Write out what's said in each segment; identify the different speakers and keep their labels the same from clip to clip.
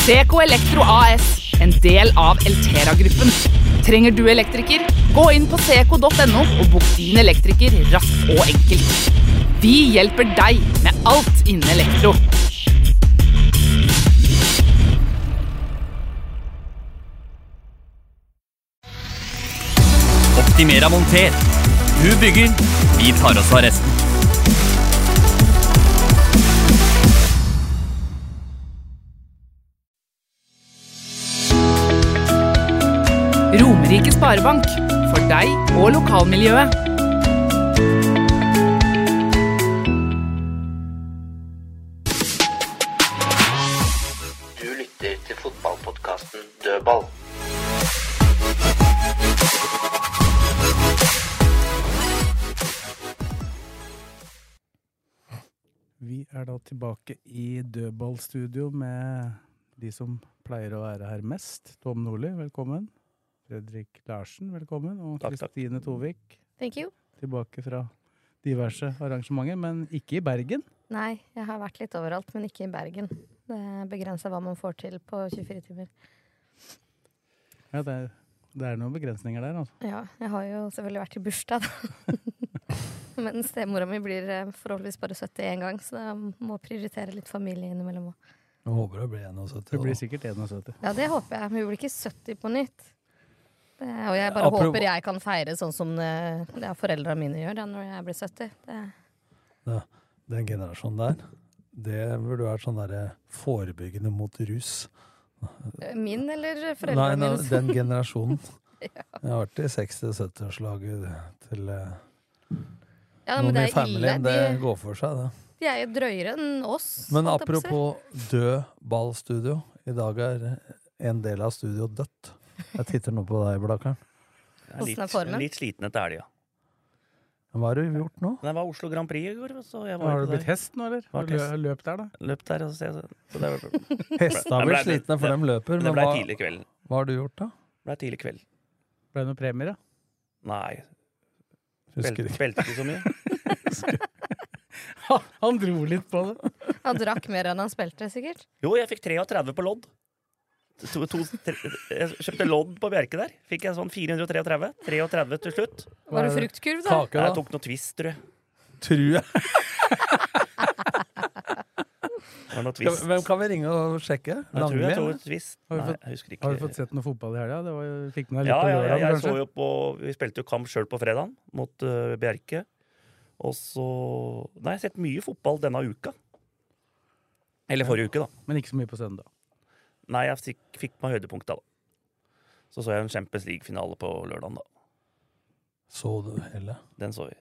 Speaker 1: Seko Elektro AS, en del av Eltera-gruppen. Trenger du elektriker? Gå inn på seco.no og bok din elektriker raskt og enkelt. Vi hjelper deg med alt innen elektro.
Speaker 2: Optimera monter. Du bygger, vi tar oss av resten.
Speaker 1: Romerike Sparebank. For deg og lokalmiljøet.
Speaker 3: Du lytter til fotballpodkasten Dødball.
Speaker 4: Vi er da tilbake i dødballstudio med de som pleier å være her mest. Tom Nordli, velkommen. Fredrik Larsen, velkommen. Og
Speaker 5: Takk, takk.
Speaker 4: Kristine Tovik,
Speaker 6: Thank you.
Speaker 4: tilbake fra diverse arrangementer, men ikke i Bergen.
Speaker 6: Nei, jeg har vært litt overalt, men ikke i Bergen. Det er begrensa hva man får til på 24 timer.
Speaker 4: Ja, det, er, det er noen begrensninger der, altså.
Speaker 6: Ja, jeg har jo selvfølgelig vært i bursdag, da. men stemora mi blir eh, forholdsvis bare 71 gang, så jeg må prioritere litt familie innimellom òg.
Speaker 5: Jeg håper det blir 71.
Speaker 4: Du blir sikkert 71.
Speaker 6: Ja, det håper jeg. Men vi blir ikke 70 på nytt. Det, og jeg bare
Speaker 5: Apropos-
Speaker 6: håper jeg kan feire sånn som eh, ja, foreldra mine gjør da når jeg blir 70. Det,
Speaker 5: Den generasjonen der, det burde vært sånn derre forebyggende mot rus.
Speaker 6: eh, min eller
Speaker 5: Nei,
Speaker 6: foreldra
Speaker 5: nei,
Speaker 6: mine?
Speaker 5: den generasjonen. Jeg har vært i 60- og 70-årslaget til eh,
Speaker 6: Ja, men
Speaker 5: noen
Speaker 6: det
Speaker 5: i
Speaker 6: er ille.
Speaker 5: familien.
Speaker 6: De,
Speaker 5: Det går for seg, det.
Speaker 6: de er jo drøyere enn oss.
Speaker 5: Men
Speaker 6: holdt jeg på å si.
Speaker 5: apropos død ballstudio. I dag er en del av studio dødt. Jeg titter nå på deg, Blakkaren.
Speaker 6: Hvordan er formen?
Speaker 2: Litt sliten etter helga.
Speaker 5: Hva har du gjort nå?
Speaker 2: Men Det var Oslo Grand Prix i går, så jeg var
Speaker 4: Har du
Speaker 2: jo
Speaker 4: blitt hest nå, eller? Har du lø-
Speaker 2: Hva
Speaker 4: løp der, da?
Speaker 2: løp der. Og så, så det, var-
Speaker 5: Hestene blir slitne, for dem løper.
Speaker 2: det
Speaker 5: Men
Speaker 2: ble
Speaker 5: hva,
Speaker 2: tidlig kveld.
Speaker 5: hva har du gjort, da?
Speaker 2: Ble tidlig kveld.
Speaker 4: Ble det noen premier, da?
Speaker 2: Nei,
Speaker 5: Husker
Speaker 2: spilte
Speaker 5: ikke.
Speaker 2: spilte ikke så mye.
Speaker 4: Han dro litt på det.
Speaker 6: Han drakk mer enn han spilte, sikkert.
Speaker 2: Jo, jeg fikk 33 på lodd. To, to, tre, jeg kjøpte lodd på Bjerke der. Fikk jeg sånn 433. 33 til slutt.
Speaker 6: Var det fruktkurv, da?
Speaker 5: Kake,
Speaker 2: Jeg
Speaker 5: da?
Speaker 2: tok noe twist, tror jeg.
Speaker 5: Tror jeg.
Speaker 2: Det var noe
Speaker 5: Skal-
Speaker 2: twist.
Speaker 5: Hvem kan vi ringe og sjekke?
Speaker 2: Jeg tror jeg
Speaker 5: Langli,
Speaker 2: tok twist.
Speaker 4: Har vi
Speaker 2: Nei,
Speaker 4: fått-
Speaker 2: jeg husker ikke.
Speaker 4: Har du fått sett noe fotball i helga? Det var jo- Fikk med deg litt
Speaker 2: Ja,
Speaker 4: på
Speaker 2: ja, ja,
Speaker 4: lørdag,
Speaker 2: jeg
Speaker 4: kanskje?
Speaker 2: så jo på Vi spilte jo kamp sjøl på fredagen mot eh, Bjerke. Og så Nei, jeg har sett mye fotball denne uka. Eller forrige uke, da.
Speaker 4: Men ikke så mye på søndag.
Speaker 2: Nei, jeg fikk, fikk meg høydepunkta, da. Så så jeg en Champions League-finale på lørdagen, da.
Speaker 5: Så du hele?
Speaker 2: Den så vi.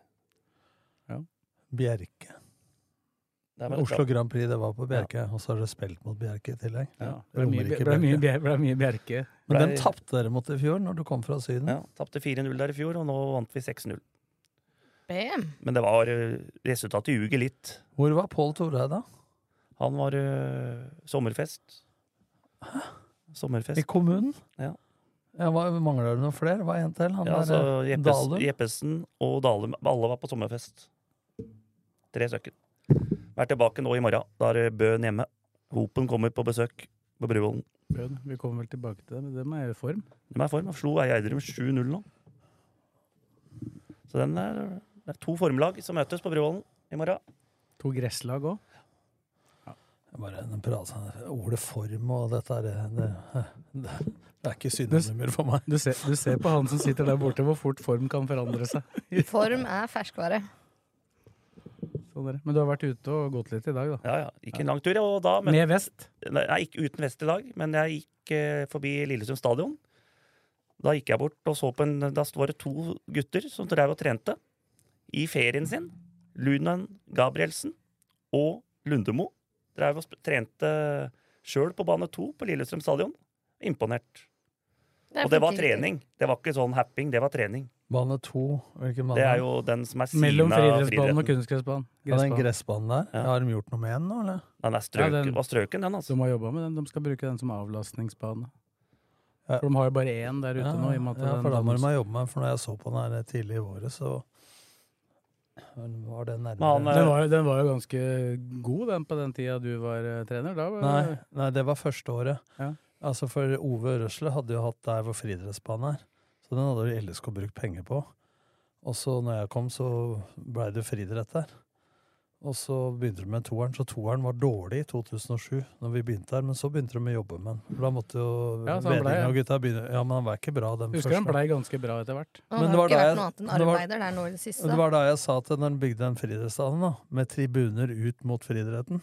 Speaker 5: Bjerke.
Speaker 2: Det var
Speaker 5: Oslo Grand Prix, det var på Bjerke. Og så har dere spilt mot Bjerke i tillegg.
Speaker 4: Ja, det ble mye,
Speaker 5: Romerike
Speaker 4: det ble mye,
Speaker 5: Bjerke.
Speaker 4: bjer- det ble mye bjerke.
Speaker 5: Men den
Speaker 2: Blei-
Speaker 5: tapte dere mot i fjor, når du kom fra Syden.
Speaker 2: Ja, Tapte 4-0 der i fjor, og nå vant vi 6-0.
Speaker 6: Bam!
Speaker 2: Men det var eh, resultatet ljuger litt.
Speaker 5: Hvor var Pål Torreid, da?
Speaker 2: Han var eh, sommerfest.
Speaker 5: I
Speaker 2: Sommerfest.
Speaker 5: kommunen?
Speaker 2: Ja.
Speaker 5: Ja, hva, mangler det noen flere? Hva er en til? Han
Speaker 2: Ja, altså,
Speaker 5: der, eh,
Speaker 2: Jeppes,
Speaker 5: Dalum?
Speaker 2: Jeppesen og Dalum, alle var på sommerfest. Tre stykker. Vær tilbake nå i morgen. Da er det Bøen hjemme. Hopen kommer på besøk på Bruvollen.
Speaker 4: Bjørn, Vi kommer vel tilbake til det, men dem er jo i form.
Speaker 2: De er i form. Slo Eidrum 7-0 nå. Så den er, det er to formlag som møtes på Bruvollen i morgen.
Speaker 4: To gresslag òg.
Speaker 5: Bare den praten, ordet form og dette er det, det, det er ikke synonymer for meg.
Speaker 4: Du, ser- du ser på han som sitter der borte, hvor fort form kan forandre seg.
Speaker 6: Form er ferskvare.
Speaker 4: Sånn er det. Men du har vært ute og gått litt i dag, da.
Speaker 2: Ja, ja. Gikk en lang tur, og da møtte
Speaker 4: Med vest.
Speaker 2: Nei, ikke uten vest i dag, men jeg gikk eh, forbi Lillesund stadion. Da gikk jeg bort og så på en Da var det to gutter som drev og trente i ferien sin. Lunan Gabrielsen og Lundemo Drev og sp- trente sjøl på bane to på Lillestrøm stadion. Imponert.
Speaker 5: Det er
Speaker 2: og det var
Speaker 5: fint, Erik.
Speaker 2: trening. Det var ikke sånn happing, det var trening.
Speaker 5: Bane to, hvilken bane?
Speaker 2: Det er jo den som er siden
Speaker 4: Mellom
Speaker 2: av
Speaker 4: friidrettsbanen og
Speaker 2: friidretten.
Speaker 4: kunstgressbanen.
Speaker 5: Ja, den gressbanen der. Har de gjort noe med den nå, eller?
Speaker 2: Den er strøken, var strøken, den, altså.
Speaker 4: De har jobba med den. De skal bruke den som avlastningsbane. For de har jo bare én der ute
Speaker 5: Ja,
Speaker 4: nå. I og med at
Speaker 5: ja,
Speaker 4: den
Speaker 5: for da må de
Speaker 4: dannes-
Speaker 5: ha jobbet med den, for når jeg så på den her eh, tidlig i våret, så var det nærmere.
Speaker 4: den, var, jo- den var jo ganske god, den, på den tida du var eh, trener. Da var
Speaker 5: Nei, nei, det var første året.
Speaker 4: Ja.
Speaker 5: Altså For Ove Røsle hadde jo hatt der hvor friidrettsbanen er. Så den hadde jo LSK brukt penger på. Og så når jeg kom, så blei det friidrett der. Og så begynte de med toeren. Så toeren var dårlig i 2007, når vi begynte der, men så begynte de å jobbe med den. For Da måtte jo
Speaker 4: Ja, så han ble-
Speaker 5: Vedingen og gutta begynne Ja, men han var ikke bra, den
Speaker 4: Husker den blei ganske bra etter hvert.
Speaker 6: Og det har ikke vært noe annet enn arbeider der nå i det siste.
Speaker 5: det var da jeg sa til når han bygde den friidrettsbanen, da, med tribuner ut mot friidretten,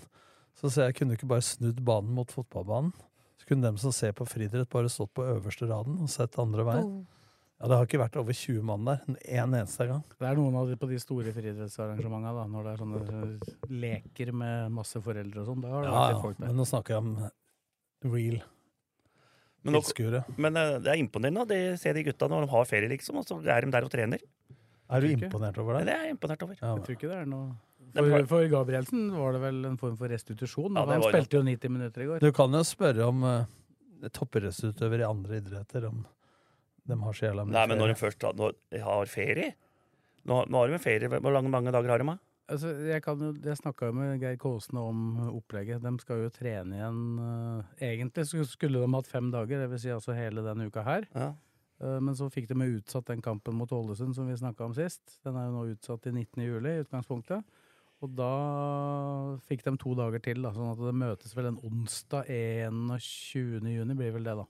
Speaker 5: så sa jeg jeg kunne ikke bare snudd banen mot fotballbanen. Så kunne dem som ser på friidrett, bare stått på øverste raden og sett andre veien.
Speaker 4: Oh.
Speaker 5: Ja, det har ikke vært over 20 mann der en en eneste gang.
Speaker 4: Det er noen av de på de store friidrettsarrangementene, da, når det er sånne eh, leker med masse foreldre og sånn. Da har det
Speaker 5: Ja,
Speaker 4: vært
Speaker 5: ja,
Speaker 4: litt folk der.
Speaker 5: men nå snakker jeg om real
Speaker 2: Men, nå-
Speaker 5: tilskuere.
Speaker 2: men eh, det er imponerende å de- se de gutta når de har ferie, liksom, og så er de der og trener.
Speaker 5: Er du imponert over det?
Speaker 2: Det er jeg imponert over.
Speaker 5: Ja,
Speaker 4: Jeg tror ikke det er noe
Speaker 2: Det er
Speaker 4: For,
Speaker 2: bare-
Speaker 4: for Gabrielsen var det vel en form for restitusjon. da,
Speaker 2: Ja, det
Speaker 4: han
Speaker 2: var det.
Speaker 4: spilte jo 90 minutter i går.
Speaker 5: Du kan jo spørre om uh, toppidrettsutøvere i andre idretter om de har så jævla mye
Speaker 2: Nei, men når de
Speaker 5: ferie.
Speaker 2: først har- når de har ferie Nå, nå har de en ferie. Hvor lange, mange dager har de? da?
Speaker 4: Altså, jeg kan jo, jeg snakka jo med Geir Kåsene om opplegget. De skal jo trene igjen eh, Egentlig så skulle de hatt fem dager, dvs. Si altså hele denne uka her. Eh, Men så fikk de jo utsatt den kampen mot Ålesund som vi snakka om sist. Den er jo nå utsatt til 19. juli i utgangspunktet. Og da fikk de to dager til, da, sånn at det møtes vel en onsdag 21. juni, blir vel det, da.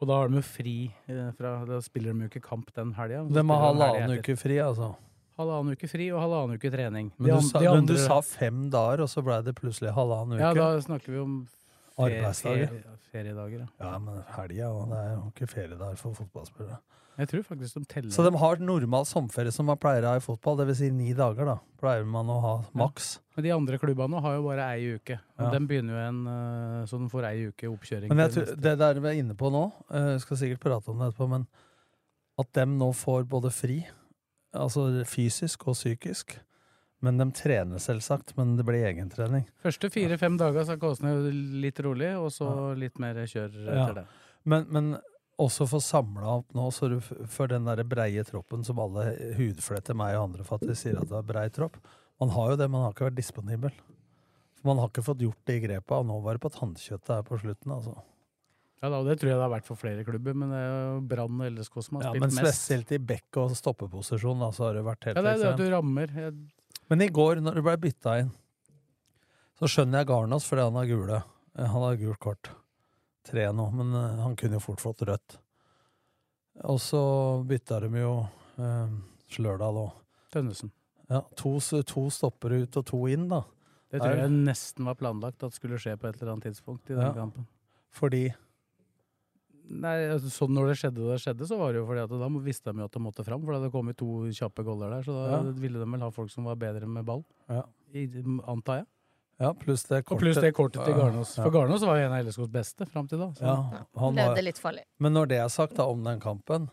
Speaker 4: Og da har de jo fri eh, fra Da spiller de jo ikke kamp den helga.
Speaker 5: De har halvannen uke fri, altså.
Speaker 4: Halvannen uke fri og halvannen uke trening.
Speaker 5: Men
Speaker 4: De
Speaker 5: du,
Speaker 4: an-
Speaker 5: sa,
Speaker 4: de
Speaker 5: men du
Speaker 4: andre-
Speaker 5: sa fem dager, og så blei det plutselig halvannen uke.
Speaker 4: Ja, da snakker vi om ferie-
Speaker 5: Arbeidsdager.
Speaker 4: ferie- feriedager. Ja.
Speaker 5: Ja, men helga, og det er jo ikke feriedager for fotballspillere.
Speaker 4: Jeg tror faktisk de teller.
Speaker 5: Så de har normal sommerferie som man pleier å ha i fotball, dvs. Si ni dager, da. Pleier man å ha maks.
Speaker 4: Men de andre klubbene har jo bare ei uke. Og
Speaker 5: Ja.
Speaker 4: De begynner jo en eh, så de får ei uke oppkjøring.
Speaker 5: Men jeg
Speaker 4: til
Speaker 5: tror, det der vi er inne på nå, eh, skal sikkert prate om det etterpå, men at dem nå får både fri, altså fysisk og psykisk, men de trener selvsagt, men det blir egentrening.
Speaker 4: neste. Første fire-fem dager så er Kåsene litt rolig, og så litt mer kjør etter det.
Speaker 5: Men, men også få samla opp nå, så du f- for den der breie troppen som alle hudfletter meg og andre for at de sier at det er brei tropp. Man har jo det, man har ikke vært disponibel. For man har ikke fått gjort de grepa, og nå var det på tannkjøttet her på slutten, altså.
Speaker 4: Ja, da, og Det tror jeg det har vært for flere klubber, men det er jo Brann og LSK som har
Speaker 5: Ja, men
Speaker 4: spilt mest.
Speaker 5: spesielt i bekk- og stoppeposisjon, da, så har det vært
Speaker 4: Ja,
Speaker 5: helt
Speaker 4: det er det at du
Speaker 5: ekstremt.
Speaker 4: rammer. Jeg,
Speaker 5: Men i går, når det ble bytta inn, så skjønner jeg Garnås fordi han har gule. Eh, Han har gult kort. Tre nå, men eh, han kunne jo fort fått rødt. Og så bytta de jo eh, Slørdal òg.
Speaker 4: Tønnesen.
Speaker 5: Ja, to, s- to stopper ut og to inn, da.
Speaker 4: det
Speaker 5: Er-
Speaker 4: tror jeg nesten var planlagt at skulle skje på et eller annet tidspunkt i den
Speaker 5: Ja.
Speaker 4: kampen.
Speaker 5: Fordi
Speaker 4: Nei, altså, sånn når det skjedde, det skjedde, så var det jo fordi at da må- visste de jo at de måtte fram, for det hadde kommet to kjappe goller der, så da
Speaker 5: Ja.
Speaker 4: ville de vel ha folk som var bedre med ball,
Speaker 5: Ja,
Speaker 4: i, antar jeg.
Speaker 5: ja pluss det
Speaker 4: Og
Speaker 5: kortet.
Speaker 4: pluss det kortet til
Speaker 5: Ja,
Speaker 4: Garnås.
Speaker 5: ja.
Speaker 4: For Garnås var jo en av LSKs beste fram til da. Så.
Speaker 5: Ja, han
Speaker 6: Levde
Speaker 5: var-
Speaker 6: litt farlig.
Speaker 5: Men når det er sagt da, om den kampen,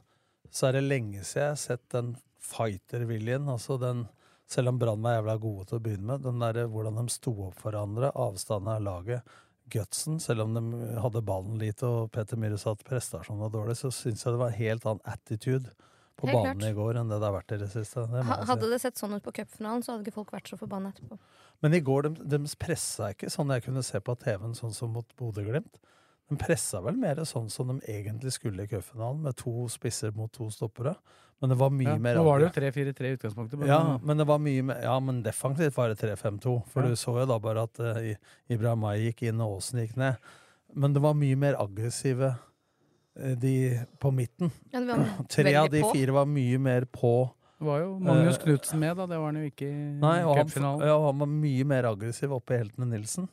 Speaker 5: så er det lenge siden jeg har sett den fighter-viljen. altså den, Selv om Brann var jævla gode til å begynne med, den der, hvordan de sto opp for hverandre, avstanden av laget, gutsen, selv om de hadde ballen lite og Petter Myhre sa at prestasjonen var dårlig, så syns jeg det var en helt annen attitude på
Speaker 6: Helt
Speaker 5: banen
Speaker 6: klart.
Speaker 5: i går enn det det har vært i det siste. Det må
Speaker 6: Ha-
Speaker 5: jeg si.
Speaker 6: Hadde det sett sånn ut på cupfinalen, så hadde ikke folk vært så forbanna etterpå.
Speaker 5: Men i går, de, de pressa ikke sånn jeg kunne se på TV-en, sånn som mot Bodø-Glimt. De pressa vel mer sånn som de egentlig skulle i cupfinalen, med to spisser mot to stoppere. Men det var mye
Speaker 4: Ja,
Speaker 5: mer
Speaker 4: Nå var det
Speaker 5: angrep.
Speaker 4: jo 3-4-3 i utgangspunktet. men-
Speaker 5: Ja, men det var mye mer Ja, men defensivt var det 3-5-2. For
Speaker 4: Ja.
Speaker 5: du så jo da bare at uh, Ibrahimai gikk inn, og Aasen gikk ned. Men det var mye mer aggressive eh, de på midten.
Speaker 6: Ja, det var
Speaker 5: Tre av
Speaker 6: veldig
Speaker 5: de
Speaker 6: på.
Speaker 5: fire var mye mer på.
Speaker 4: Det var jo Magnus
Speaker 5: eh,
Speaker 4: Knutsen med, da. Det var han jo ikke i
Speaker 5: Nei, og han,
Speaker 4: cupfinalen.
Speaker 5: ja, han var mye mer aggressiv oppe i Heltene Nilsen.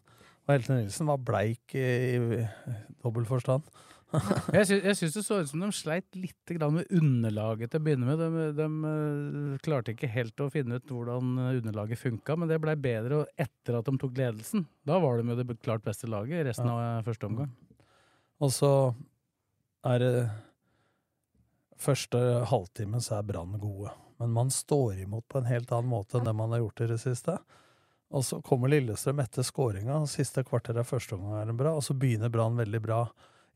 Speaker 5: Og Heltene Nilsen var bleik i, i dobbel forstand.
Speaker 4: Jeg sy- jeg syns det så ut som de sleit litt grann med underlaget til å begynne med. De, de eh, klarte ikke helt å finne ut hvordan eh, underlaget funka, men det blei bedre og etter at de tok ledelsen. Da var de jo det klart beste laget i resten av eh, første omgang.
Speaker 5: Og så er det Første halvtimen så er Brann gode, men man står imot på en helt annen måte enn det man har gjort i det siste. Og så kommer Lillestrøm etter skåringa, og siste kvarter av første omgang er det bra, og så begynner Brann veldig bra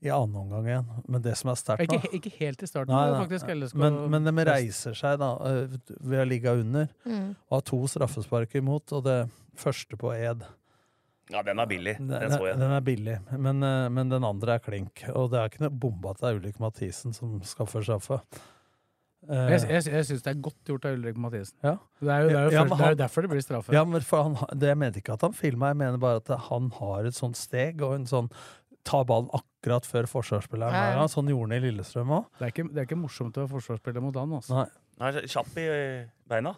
Speaker 5: i annen omgang igjen. Men det som er sterkt nå
Speaker 4: Ikke, ikke helt i starten,
Speaker 5: Nei,
Speaker 4: men
Speaker 5: nei,
Speaker 4: faktisk. LSK
Speaker 5: men, men de reiser seg da eh, ved å ligge under
Speaker 4: Mm.
Speaker 5: og har to straffespark imot, og det første på Ed.
Speaker 2: Ja, den er billig. Den så jeg.
Speaker 5: Den er billig, men, eh, men den andre er klink. Og det er ikke noe bomba til Ulrik Mathisen som skaffer straffe. Eh,
Speaker 4: Jeg, jeg, jeg syns det er godt gjort av Ulrik Mathisen.
Speaker 5: Ja.
Speaker 4: Det er jo, det er jo,
Speaker 5: Ja, men
Speaker 4: først, det er
Speaker 5: han-
Speaker 4: jo derfor det blir straffe.
Speaker 5: ja, men for han, har- det, jeg mente ikke at han filma, jeg mener bare at han har et sånt steg og en sånn Ta ballen akkurat før forsvarsspilleren.
Speaker 4: Ja,
Speaker 5: er
Speaker 4: ja.
Speaker 5: der, Sånn gjorde han i Lillestrøm òg.
Speaker 4: Det, er ikke, det er ikke morsomt å være forsvarsspiller mot han. Altså.
Speaker 5: Nei.
Speaker 2: Den er kjapp i eh, beina.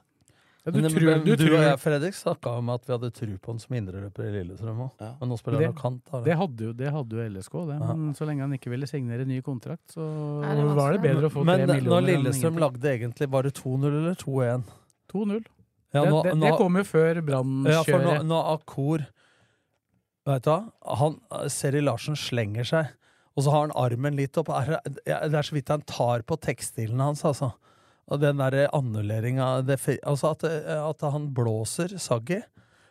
Speaker 5: Men-
Speaker 4: du
Speaker 5: men
Speaker 4: tror- du
Speaker 5: og
Speaker 4: tror-
Speaker 5: jeg, Fredrik, snakka om at vi hadde tru på han som indreløper i Lillestrøm òg. Men nå spiller han jo kant. da.
Speaker 4: det hadde jo, det hadde jo LSK, det. men så lenge han ikke ville signere ny kontrakt, så
Speaker 5: Nei, det er
Speaker 4: var det
Speaker 5: vanskelig.
Speaker 4: bedre å få
Speaker 5: Men
Speaker 4: tre
Speaker 5: det-
Speaker 4: millioner.
Speaker 5: når
Speaker 4: enn
Speaker 5: Lillestrøm
Speaker 4: ingenting.
Speaker 5: lagde egentlig bare 2-0 eller 2-1
Speaker 4: 2-0.
Speaker 5: Ja,
Speaker 4: det,
Speaker 5: nå-
Speaker 4: det, det
Speaker 5: nå-
Speaker 4: kom jo før Brann
Speaker 5: Ja, for nå,
Speaker 4: kjører.
Speaker 5: nå Akor Vet du hva? Han, Seri Larsen slenger seg, og så har han armen litt opp. Er, ja, det er så vidt han tar på tekstilen hans, altså. Og den derre annulleringa det fri- Altså at, at han blåser Saggi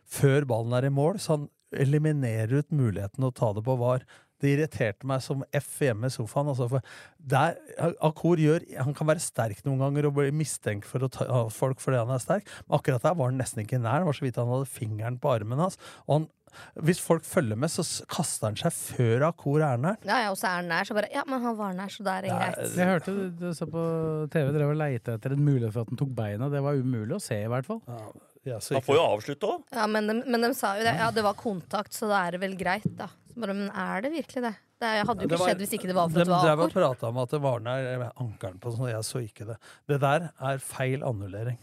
Speaker 5: før ballen er i mål, så han eliminerer ut muligheten å ta det på var. Det irriterte meg som F hjemme i sofaen. Altså, for der, Akor gjør, han kan være sterk noen ganger og bli mistenkt for å ta av folk fordi han er sterk, men akkurat der var han nesten ikke nær. Det var så vidt han hadde fingeren på armen hans. Og han, hvis folk følger med, så s- kaster han seg før Akor er nær.
Speaker 6: Ja, ja, og så er han nær, så bare Ja, men han var nær, så da er det greit.
Speaker 4: Jeg hørte du, du så på TV drev og leita etter en mulighet for at han tok beina. Det var umulig å se, i hvert fall.
Speaker 2: Han får jo avslutte òg.
Speaker 6: Ja, men de, men de sa jo det. Ja, det var kontakt, så da er det vel greit, da. Så bare, men er det virkelig det? Det er- hadde jo ikke skjedd hvis ikke det var for
Speaker 5: de
Speaker 6: at det var
Speaker 5: drev og
Speaker 6: akord.
Speaker 5: prata om at det var nær eh, ankelen på sånn, og jeg så ikke det. Det der er feil annullering.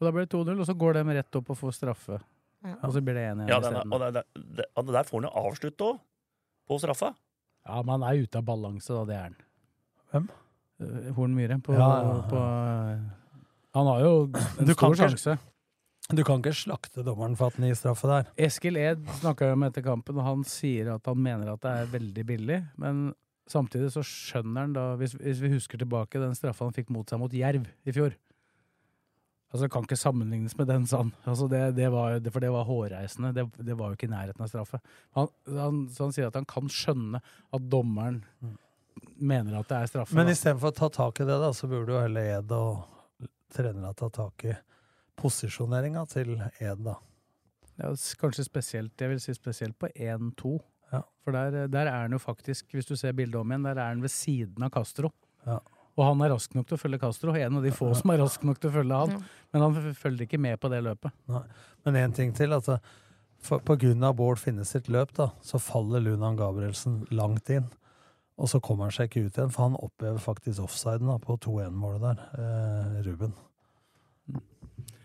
Speaker 4: Og da ble det 2-0, og så går de rett opp og får straffe. Og så blir det 1-1
Speaker 2: Ja, den er,
Speaker 4: isteden.
Speaker 2: og det, det, det, og det der får han jo avslutte òg, på straffa.
Speaker 4: Ja, men han er ute av balanse, da. Det er han.
Speaker 5: Hvem?
Speaker 4: Eh, Horn Myhre. På,
Speaker 5: Ja, ja, ja.
Speaker 4: på Han har jo en
Speaker 5: Du kan
Speaker 4: stor
Speaker 5: ikke-
Speaker 4: sjanse.
Speaker 5: Du kan ikke slakte dommeren for at han gir straffe der.
Speaker 4: Eskil Ed snakka jo om etter kampen, og han sier at han mener at det er veldig billig. Men samtidig så skjønner han da, hvis, hvis vi husker tilbake, den straffa han fikk mot seg mot Jerv i fjor. Altså, det kan ikke sammenlignes med den, sa han. Altså, det, det var, det, for det var hårreisende. Det, det var jo ikke i nærheten av straffe. Han, han, så han sier at han kan skjønne at dommeren mener at det er straffe.
Speaker 5: Men
Speaker 4: da.
Speaker 5: istedenfor å ta tak i det, da, så burde jo heller Ed og trenerne ta tak i posisjoneringa til Ed, da.
Speaker 4: Ja, s- kanskje spesielt, jeg vil si spesielt på 1-2. For der, eh, der er han jo faktisk, hvis du ser bildet om igjen, der er han ved siden av Castro.
Speaker 5: Ja.
Speaker 4: Og han er rask nok til å følge Castro, en av de få som er rask nok til å følge han. Men han f- følger ikke med på det løpet.
Speaker 5: Nei. Men én ting til. at det- for, på grunn av Bård Finnes sitt løp, da, så faller Lunan Gabrielsen langt inn. Og så kommer han seg ikke ut igjen, for han opphever faktisk offsiden da, på 2-1-målet der, eh, Ruben.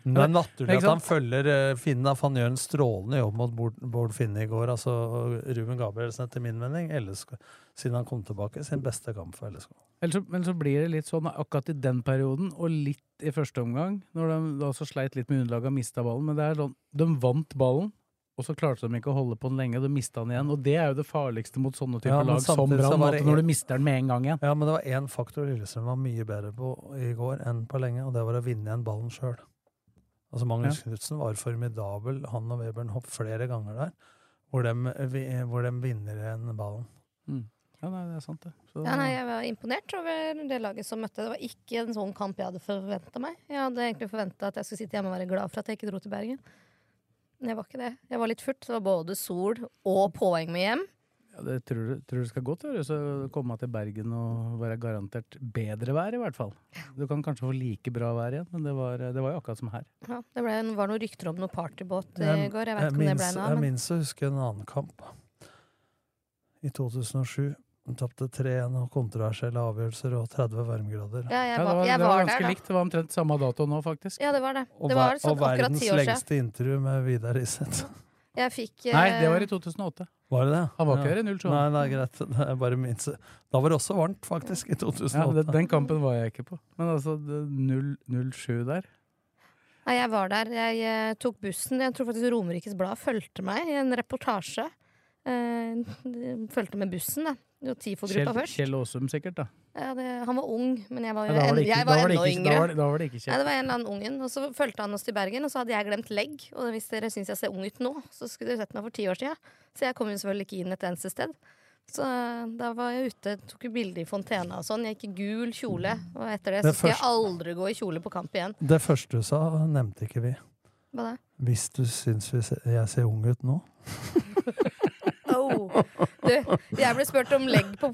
Speaker 5: Men det er naturlig
Speaker 4: Mm. Ikke
Speaker 5: at han
Speaker 4: sant?
Speaker 5: følger eh, Finn, da, for han gjør en strålende jobb mot Bård, Bård Finne i går. Altså og Ruben Gabrielsen, etter min mening, LSK, siden han kom tilbake, sin beste kamp for LSK.
Speaker 4: Ellers så, men så blir det litt sånn akkurat i den perioden, og litt i første omgang, når de da også sleit litt med underlaget og mista ballen. Men det er sånn, de vant ballen, og så klarte de ikke å holde på den lenge, og de mista den igjen. Og det er jo det farligste mot sånne typer
Speaker 5: Ja, men
Speaker 4: lag som
Speaker 5: samtidig så
Speaker 4: Brann,
Speaker 5: var
Speaker 4: at
Speaker 5: det-
Speaker 4: når du mister den med en gang igjen.
Speaker 5: Ja, men det var én faktor Lillestrøm var mye bedre på i går enn på lenge, og det var å vinne igjen ballen sjøl. Altså Magnus Knutsen var formidabel, han og Webern Hopp flere ganger der, hvor de, hvor dem vinner igjen ballen.
Speaker 4: Ja, nei, det er sant, det. Så,
Speaker 6: Ja, nei, jeg var imponert over det laget som møtte. Det var ikke en sånn kamp jeg hadde forventa meg. Jeg hadde egentlig forventa at jeg skulle sitte hjemme og være glad for at jeg ikke dro til Bergen. Men jeg var ikke det. Jeg var litt furt. Det var både sol og påheng med hjem.
Speaker 4: Ja, det tror du, tror du skal godt gjøres å komme til Bergen og være garantert bedre vær, i hvert fall. Du kan kanskje få like bra vær igjen, men det var, det var jo akkurat som her.
Speaker 6: Ja, det ble, var noen rykter om noe partybåt eh, i
Speaker 5: Jeg-
Speaker 6: går. Jeg
Speaker 5: jeg
Speaker 6: vet ikke om det ble
Speaker 5: minnes- Jeg
Speaker 6: noe av. Men...
Speaker 5: minnes å huske en annen kamp. I 2007. De tapte 3-1 og kontroversielle avgjørelser og 30 varmegrader.
Speaker 6: Ja, jeg var-
Speaker 4: det var,
Speaker 6: jeg
Speaker 4: det var
Speaker 6: var der,
Speaker 4: ganske
Speaker 6: da.
Speaker 4: likt. Det var omtrent samme dato nå, faktisk.
Speaker 6: Ja, det var det.
Speaker 5: Og,
Speaker 6: Det
Speaker 5: ver-
Speaker 6: var sånn
Speaker 5: og
Speaker 6: akkurat
Speaker 5: verdens
Speaker 6: ti år siden.
Speaker 5: lengste intervju med Vidar Iseth.
Speaker 6: Jeg fikk eh,
Speaker 4: Nei, det var i 2008.
Speaker 5: Var det det?
Speaker 4: Han var ikke
Speaker 5: Ja.
Speaker 4: her i 07.
Speaker 5: Nei, nei, greit. Det er bare min se- Da var det også varmt, faktisk, i 2008.
Speaker 4: Ja, den, den kampen var jeg ikke på. Men altså, det- 0 0-7 der.
Speaker 6: Nei, jeg var der. Jeg eh, tok bussen. Jeg tror faktisk Romerikes Blad fulgte meg i en reportasje. Eh, de fulgte med bussen, da. Det var
Speaker 4: Kjell,
Speaker 6: TIFO-gruppa først.
Speaker 4: Kjell Aasum sikkert, da.
Speaker 6: Ja, det, han var ung, men jeg var,
Speaker 4: Ja,
Speaker 6: jo
Speaker 4: da var
Speaker 6: en,
Speaker 4: det ikke-
Speaker 6: jeg
Speaker 4: da
Speaker 6: var
Speaker 4: var det
Speaker 6: enda
Speaker 4: ikke- da
Speaker 6: yngre.
Speaker 4: var det- da var det ikke Kjell.
Speaker 6: Nei, det var en eller annen ungen. Og så fulgte han oss til Bergen, og så hadde jeg glemt legg. Og hvis dere syns jeg ser ung ut nå, så skulle dere sett meg for ti år siden. Så jeg kom jo selvfølgelig ikke inn et eneste sted. Så eh, da var jeg ute, tok jo bilder i fontena og sånn. Jeg gikk i gul kjole. Og etter det så
Speaker 5: Det
Speaker 6: skal jeg
Speaker 5: første-
Speaker 6: aldri gå i kjole på kamp igjen.
Speaker 5: Det første du sa, nevnte ikke vi.
Speaker 6: Hva da?
Speaker 5: Hvis du syns vi ser, jeg ser ung ut nå?
Speaker 6: Oh. Du, jeg ble spurt om legg på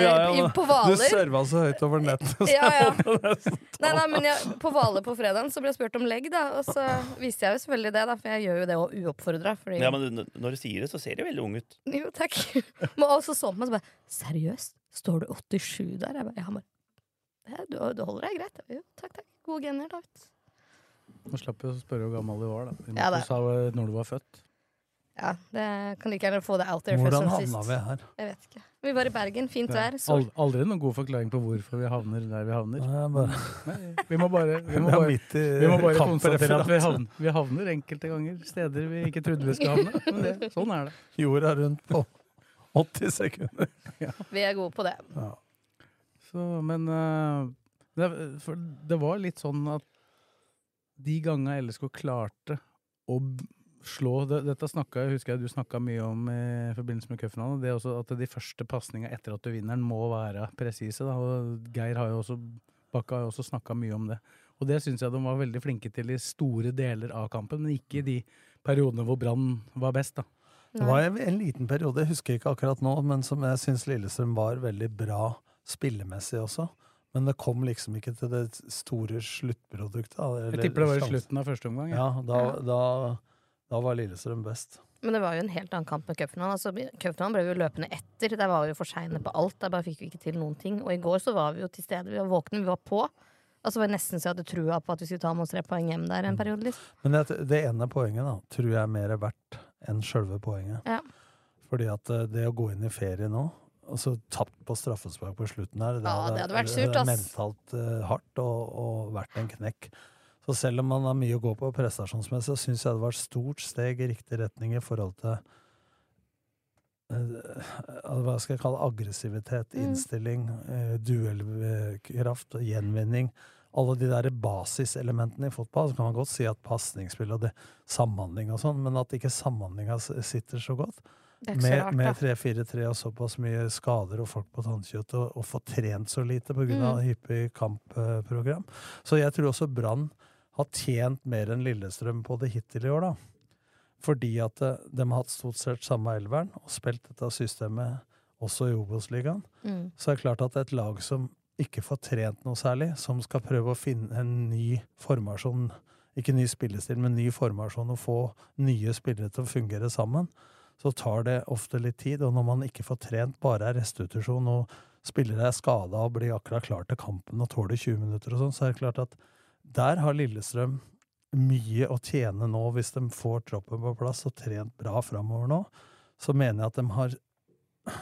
Speaker 5: Ja, ja,
Speaker 6: i-
Speaker 5: men
Speaker 6: på
Speaker 5: Du
Speaker 6: Hvaler.
Speaker 5: serva så høyt over nettet. så-
Speaker 6: Ja, ja. Nei, nei, men jeg, på Hvaler på fredagen så ble jeg spurt om legg, da. Og så viste jeg jo selvfølgelig det, da, for jeg gjør jo det òg uoppfordra. Fordi...
Speaker 2: Ja, men n- når du sier det, så ser de veldig unge ut.
Speaker 6: Jo, takk. Men også så på meg så bare Seriøst? Står du 87 der? Jeg bare, ja, han bare «Ja, du, du holder deg greit. Jo, takk, takk. Gode gener, da. vet du.»
Speaker 4: Nå slapp jeg å spørre hvor gammel du var, da. Vi
Speaker 6: Ja,
Speaker 4: måtte
Speaker 6: det-
Speaker 4: sa vel når du var født.
Speaker 6: Ja, det kan like gjerne få det out there
Speaker 4: Hvordan
Speaker 6: først som sist.
Speaker 4: havna vi her?
Speaker 6: Jeg vet ikke. Vi var i Bergen. Fint vær. Sol.
Speaker 4: Aldri, aldri noen god forklaring på hvorfor vi havner der vi havner. Nei, vi må bare, vi
Speaker 5: Vi
Speaker 4: må
Speaker 5: er
Speaker 4: bare,
Speaker 5: midt i
Speaker 4: vi må bare konstatere
Speaker 5: kampreferat.
Speaker 4: at vi havner, vi havner enkelte ganger steder vi ikke trodde vi skulle havne. Men det, sånn er det.
Speaker 5: Jorda rundt på 80 sekunder.
Speaker 6: Vi er gode på det.
Speaker 4: Så, men eh, det, for det var litt sånn at de gangene LSK klarte å b- slå det, Dette snakka, jeg husker jeg du snakka mye om i forbindelse med cupfinalen. Det er også at de første pasninga etter at du vinner, den må være presise. da, og Geir har jo også, Bakke har jo også snakka mye om det. Og det syns jeg de var veldig flinke til i store deler av kampen, men ikke i de periodene hvor Brann var best. da.
Speaker 5: Det var en, en liten periode, jeg husker ikke akkurat nå, men som jeg syns Lillestrøm var veldig bra spillemessig også. Men det kom liksom ikke til det store sluttproduktet. da, eller
Speaker 4: Jeg tipper det var i
Speaker 5: sjansen.
Speaker 4: slutten av første
Speaker 6: Mm.
Speaker 4: omgang. jeg.
Speaker 5: Ja, da, da, da var Lillestrøm best.
Speaker 6: Men det var jo en helt annen kamp med cupfinalen. Altså, cupfinalen ble vi jo løpende etter. Der var vi jo for seine på alt. Der bare fikk vi ikke til noen ting. Og i går så var vi jo til stede. Vi var våkne, vi var på. Altså, det var nesten så jeg hadde trua på at vi skulle ta med oss tre poeng hjem der en periode. Liksom.
Speaker 5: Men det, det ene poenget da, tror jeg er mer verdt enn sjølve poenget.
Speaker 6: Ja.
Speaker 5: Fordi at eh, det å gå inn i ferie nå, og så tapt på straffespark på slutten her, det,
Speaker 6: Ja, det hadde vært surt,
Speaker 5: det er
Speaker 6: ass.
Speaker 5: mentalt eh, hardt og, og vært en knekk. Så selv om man har mye å gå på prestasjonsmessig, så syns jeg det var et stort steg i riktig retning i forhold til eh, hva skal jeg kalle det, aggressivitet,
Speaker 7: Mm.
Speaker 5: innstilling, eh, duellkraft, gjenvinning. Alle de der basiselementene i fotball. Så kan man godt si at pasningsspill og det, samhandling og sånn, men at ikke samhandlinga s- sitter så godt.
Speaker 7: Det er ikke så
Speaker 5: Med,
Speaker 7: rart,
Speaker 5: med
Speaker 7: da.
Speaker 5: 3-4-3 og såpass mye skader og folk på tannkjøtt og, og få trent så lite pga.
Speaker 7: Mm.
Speaker 5: hyppig kampprogram. Så jeg tror også Brann har tjent mer enn Lillestrøm på det hittil i år, da. Fordi at eh, de har hatt stort sett samme elveren og spilt dette systemet også i Obos-ligaen.
Speaker 7: Mm.
Speaker 5: Så er det klart at et lag som ikke får trent noe særlig, som skal prøve å finne en ny formasjon, ikke ny spillestil, men ny formasjon, og få nye spillere til å fungere sammen, så tar det ofte litt tid. Og når man ikke får trent, bare er restitusjon, og spillere er skada og blir akkurat klar til kampen og tåler 20 minutter og sånn, så er det klart at der har Lillestrøm mye å tjene nå hvis de får troppen på plass og trent bra framover nå. Så mener jeg at de har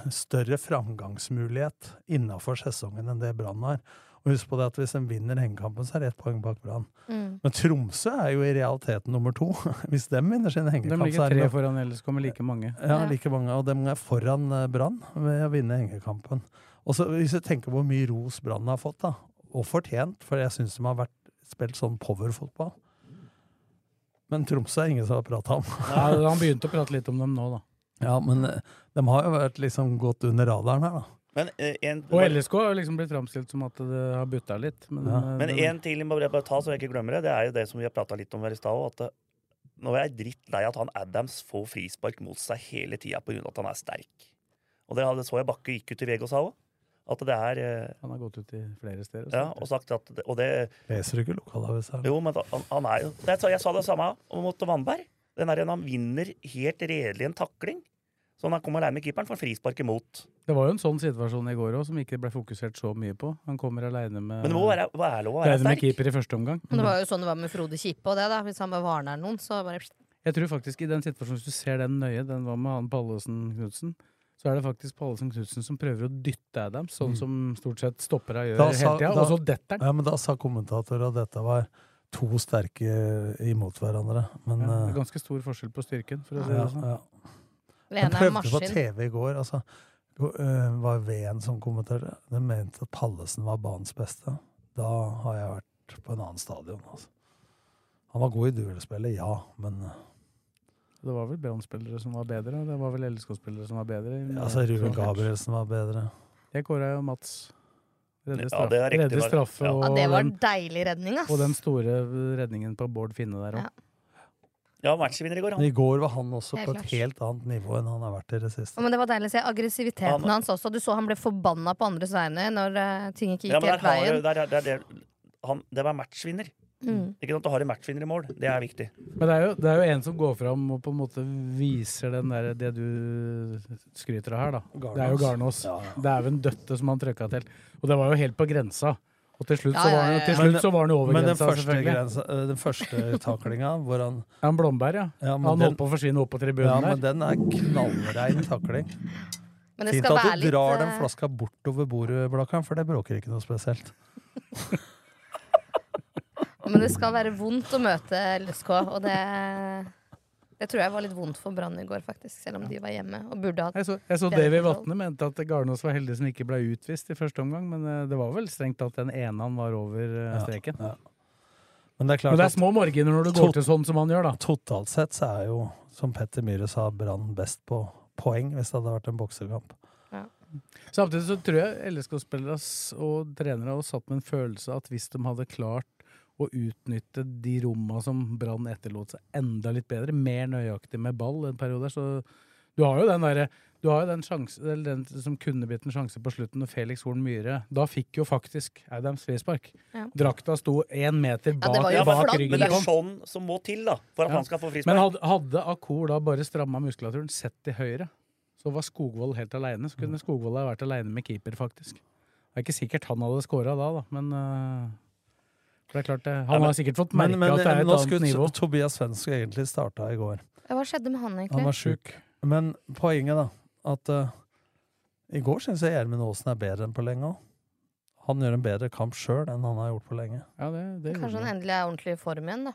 Speaker 5: større framgangsmulighet innafor sesongen enn det Brann har. Og husk på det at hvis de vinner hengekampen, så er det ett poeng bak Brann.
Speaker 6: Mm.
Speaker 5: Men Tromsø er jo i realiteten nummer to. Hvis de vinner sin
Speaker 4: De
Speaker 5: hengekamp, så
Speaker 4: ligger
Speaker 5: er det
Speaker 4: tre foran, ellers kommer like mange.
Speaker 5: ja, like mange. Og dem er foran eh, Brann ved å vinne hengekampen. Og så Hvis du tenker på hvor mye ros Brann har fått, da, og fortjent, for jeg syns de har vært, spilt sånn powerfotball Men Tromsø er ingen som har prata om.
Speaker 4: Ja, han begynte å prate litt om dem nå, da.
Speaker 5: Ja, men eh, de har jo vært liksom gått under radaren her, da.
Speaker 2: Men eh, en,
Speaker 4: Og LSK har jo liksom blitt framstilt som at det har butta litt. Men, eh,
Speaker 2: Men
Speaker 4: den-
Speaker 2: en til jeg må bare ta, så jeg ikke glemmer det. Det er jo det som vi har prata litt om her i stad. også, At eh, nå er jeg drittlei at han Adams får frispark mot seg hele tida pga. at han er sterk. Og det hadde- så jeg Bakke gikk ut i VG og sa òg. At det er eh,
Speaker 4: Han har gått ut i flere steder.
Speaker 2: Ja, og sagt at det- Og det
Speaker 5: Leser du ikke lokalavisa?
Speaker 2: Jo, men da- han, han er jo jeg, sa- jeg sa det samme om Otto Wandberg. Den der, han vinner helt redelig en takling. Så når han kommer aleine med keeperen, får han frispark imot.
Speaker 4: Det var jo en sånn situasjon i går òg, som ikke ble fokusert så mye på. Han kommer aleine med
Speaker 2: Men det må være, være lov å være
Speaker 4: alene med
Speaker 2: sterk.
Speaker 4: keeper i første omgang.
Speaker 6: Men det var jo sånn det var med Frode Kippe og det, da. Hvis han bare varner noen, så bare pst,
Speaker 4: Jeg tror faktisk i den situasjonen, hvis du ser den nøye, den var med han Pallesen Knutsen, så er det faktisk Pallesen Knutsen som prøver å dytte Adams, sånn
Speaker 5: Mm.
Speaker 4: som stort sett stoppere gjør
Speaker 5: Da
Speaker 4: hele
Speaker 5: sa-
Speaker 4: tida,
Speaker 5: da-
Speaker 4: og så detter han.
Speaker 5: Ja, men da sa kommentator at dette var to sterke imot hverandre. Men
Speaker 4: Ja,
Speaker 5: eh,
Speaker 4: det er ganske stor forskjell på styrken, for å si
Speaker 5: ja,
Speaker 4: det sånn.
Speaker 5: ja.
Speaker 6: Det ene
Speaker 5: Jeg
Speaker 6: er
Speaker 5: prøvde på
Speaker 6: maskin.
Speaker 5: TV i går, altså. jo, eh, var Ven som kommenterte. Den mente at Pallesen var banens beste. Da har jeg vært på en annen stadion, altså. Han var god i duellspillet, ja, men eh,
Speaker 4: Det var vel Brann-spillere som var bedre, og det var vel LSK-spillere som var bedre. eh,
Speaker 5: altså, Ruben Gabrielsen var bedre.
Speaker 4: Jeg kåra jo Mats. Redde
Speaker 5: Ja,
Speaker 4: straffe,
Speaker 5: det er riktig,
Speaker 4: redde
Speaker 5: var-
Speaker 4: straffe
Speaker 5: ja.
Speaker 4: og,
Speaker 6: Ja, det var
Speaker 4: den,
Speaker 6: deilig redning, ass.
Speaker 4: og den store redningen på Bård Finne der òg.
Speaker 2: Ja, matchvinner i går,
Speaker 5: Men I går var han også
Speaker 6: Helt
Speaker 5: på
Speaker 6: klart.
Speaker 5: et helt annet nivå enn han har vært i det siste.
Speaker 6: Ja, Men det var deilig å se aggressiviteten hans også. Du så han ble forbanna på andres vegne når eh, ting ikke gikk
Speaker 2: Ja, men der
Speaker 6: helt
Speaker 2: har
Speaker 6: veien.
Speaker 2: du, der, der, der, han, det var matchvinner.
Speaker 6: Mm.
Speaker 2: Ikke sant, Du har en matchvinner i mål. Det er viktig.
Speaker 4: Men det er, jo, det er jo en som går fram og på en måte viser den der, det du skryter av her, da. Det er jo Garnås. Det er jo en døtte som han trøkka til. Og det var jo helt på grensa. Og til slutt,
Speaker 5: Ja,
Speaker 4: så,
Speaker 5: ja,
Speaker 4: var han,
Speaker 5: ja,
Speaker 4: til
Speaker 5: ja.
Speaker 4: slutt så var han jo over
Speaker 5: Men den
Speaker 4: grensa,
Speaker 5: første,
Speaker 4: selvfølgelig.
Speaker 5: grensa, eh, den første taklinga hvor han
Speaker 4: Ja, en Blomberg, ja.
Speaker 5: men
Speaker 4: han
Speaker 5: den-
Speaker 4: holdt på å forsvinne opp på tribunen
Speaker 5: Ja,
Speaker 4: der.
Speaker 5: men den er knallrein takling.
Speaker 6: Men det
Speaker 5: Fint
Speaker 6: skal
Speaker 5: at
Speaker 6: være
Speaker 5: du
Speaker 6: litt,
Speaker 5: drar den
Speaker 6: eh,
Speaker 5: flaska bortover bordet, Blakkaren, for det bråker ikke noe spesielt.
Speaker 6: Men det skal være vondt å møte LSK, og det det tror jeg var litt vondt for Brann i går, faktisk. Selv om de var hjemme og burde hatt
Speaker 4: Jeg så, jeg så
Speaker 6: bedre
Speaker 4: Davy
Speaker 6: kontroll.
Speaker 4: Vatne mente at Garnås var heldig som ikke ble utvist i første omgang, men eh, det var vel strengt tatt den ene han var over eh,
Speaker 5: Ja,
Speaker 4: streken.
Speaker 5: ja. Men det er klart
Speaker 4: Men det er
Speaker 5: at
Speaker 4: små marginer når det går
Speaker 5: tot-
Speaker 4: til sånn som han gjør, da.
Speaker 5: Totalt sett så er jo, som Petter Myhre sa, Brann best på poeng hvis det hadde vært en boksekamp.
Speaker 4: Samtidig så tror jeg LSK-spillere s- og trenere har satt med en følelse at hvis de hadde klart å utnytte de romma som Brann etterlot seg, enda litt bedre, mer nøyaktig med ball en periode, så du har jo den derre du har jo den, sjanse, eller den som kunne blitt en sjanse på slutten, når Felix Horn Myhre Da fikk jo faktisk Adams frispark.
Speaker 6: Ja.
Speaker 4: Drakta sto én meter bak,
Speaker 2: Ja, men,
Speaker 4: bak
Speaker 2: men,
Speaker 4: ryggen
Speaker 2: det
Speaker 4: på
Speaker 2: er
Speaker 4: ham.
Speaker 2: sånn som må til da for at
Speaker 4: Ja.
Speaker 2: han skal få
Speaker 4: Men
Speaker 2: frispark.
Speaker 4: hadde, hadde Akor da bare stramma muskulaturen, sett til høyre, så var Skogvold helt aleine. Så
Speaker 5: Mm.
Speaker 4: kunne Skogvold ha vært aleine med keeper, faktisk. Det er ikke sikkert han hadde scora da, da, men øh, for det er klart det, Han
Speaker 5: Ja, men-
Speaker 4: har sikkert fått
Speaker 5: Men-
Speaker 4: merke
Speaker 5: men,
Speaker 4: at det er
Speaker 5: eh,
Speaker 4: et
Speaker 5: nå
Speaker 4: annet
Speaker 5: skulle
Speaker 4: nivå.
Speaker 5: Tobias Svensk egentlig starta i går.
Speaker 6: Ja, Hva skjedde med han, egentlig?
Speaker 5: Han var sjuk. Men poenget, da, at eh, i går syns jeg Gjermund Aasen er bedre enn på lenge òg. Han gjør en bedre kamp sjøl enn han har gjort på lenge.
Speaker 4: Ja, det, det gjorde
Speaker 6: Kanskje han
Speaker 4: han.
Speaker 6: endelig er ordentlig i form igjen, da.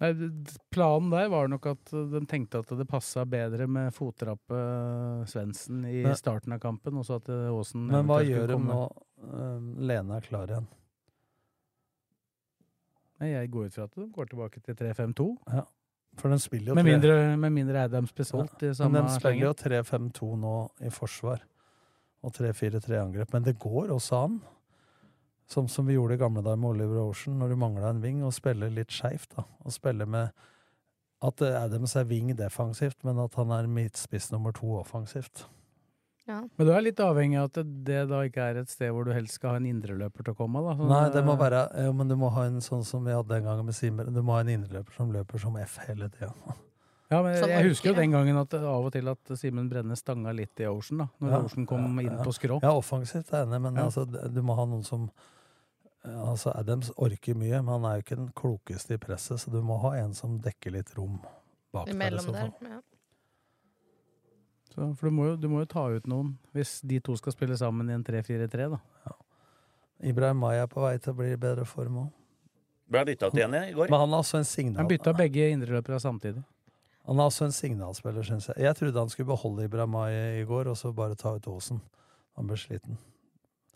Speaker 4: Nei, d- d- planen der var nok at øh, de tenkte at det passa bedre med fottrappe øh, Svendsen i
Speaker 5: Men-
Speaker 4: starten av kampen, og så at øh, Aasen
Speaker 5: Men hva
Speaker 4: eventuelt skulle
Speaker 5: gjør de
Speaker 4: komme.
Speaker 5: nå? eh, Lene er klar igjen.
Speaker 4: Nei, Jeg går ut fra at de går tilbake til 3-5-2.
Speaker 5: Ja. For den spiller jo
Speaker 4: Med
Speaker 5: tre-
Speaker 4: mindre, med mindre Adams blir solgt i
Speaker 5: Men
Speaker 4: samme
Speaker 5: den
Speaker 4: slengen.
Speaker 5: spiller jo 3-5-2 nå i forsvar, og 3-4-3 angrep. Men det går også an, Sånn som, som vi gjorde i gamle dager med Oliver Ocean, når du mangla en ving, og spille litt skeivt, da. Og spille med at eh, Adams er ving defensivt, men at han er midtspiss nummer to offensivt.
Speaker 4: Men du er litt avhengig av at det- det da ikke er et sted hvor du helst skal ha en indreløper til å komme? da. Sånn,
Speaker 5: Nei, det må
Speaker 4: eh,
Speaker 5: være Jo, men du må ha en sånn som vi hadde den gangen med Simmer. Du må ha en indreløper som løper som F hele tida.
Speaker 4: Ja, men
Speaker 5: Som
Speaker 4: jeg husker jo
Speaker 5: orker, ja.
Speaker 4: den gangen at eh, av og til at Simen Brenne stanga litt i Ocean, da. Når
Speaker 5: Ja,
Speaker 4: Ocean kom
Speaker 5: ja,
Speaker 4: inn
Speaker 5: ja.
Speaker 4: på skrå.
Speaker 5: Ja, offensivt er jeg enig, men
Speaker 4: Ja.
Speaker 5: altså, d- du må ha noen som eh, Altså, Adams orker mye, men han er jo ikke den klokeste i presset, så du må ha en som dekker litt rom bak der. i
Speaker 6: Imellom
Speaker 5: så
Speaker 6: der.
Speaker 5: fall.
Speaker 6: Ja.
Speaker 4: Så, for du må, jo, du må jo ta ut noen, hvis de to skal spille sammen i en 3-4-3, da.
Speaker 5: Ibrahim Maya er på vei til å bli i bedre form òg.
Speaker 2: Ble bytta ut igjen i går.
Speaker 5: Men han er også en signal...
Speaker 4: Han bytta begge indreløpere samtidig.
Speaker 5: Han er også en signalspiller, syns jeg. Jeg trodde han skulle beholde Ibrahim Maya i går, og så bare ta ut Aasen. Han ble sliten.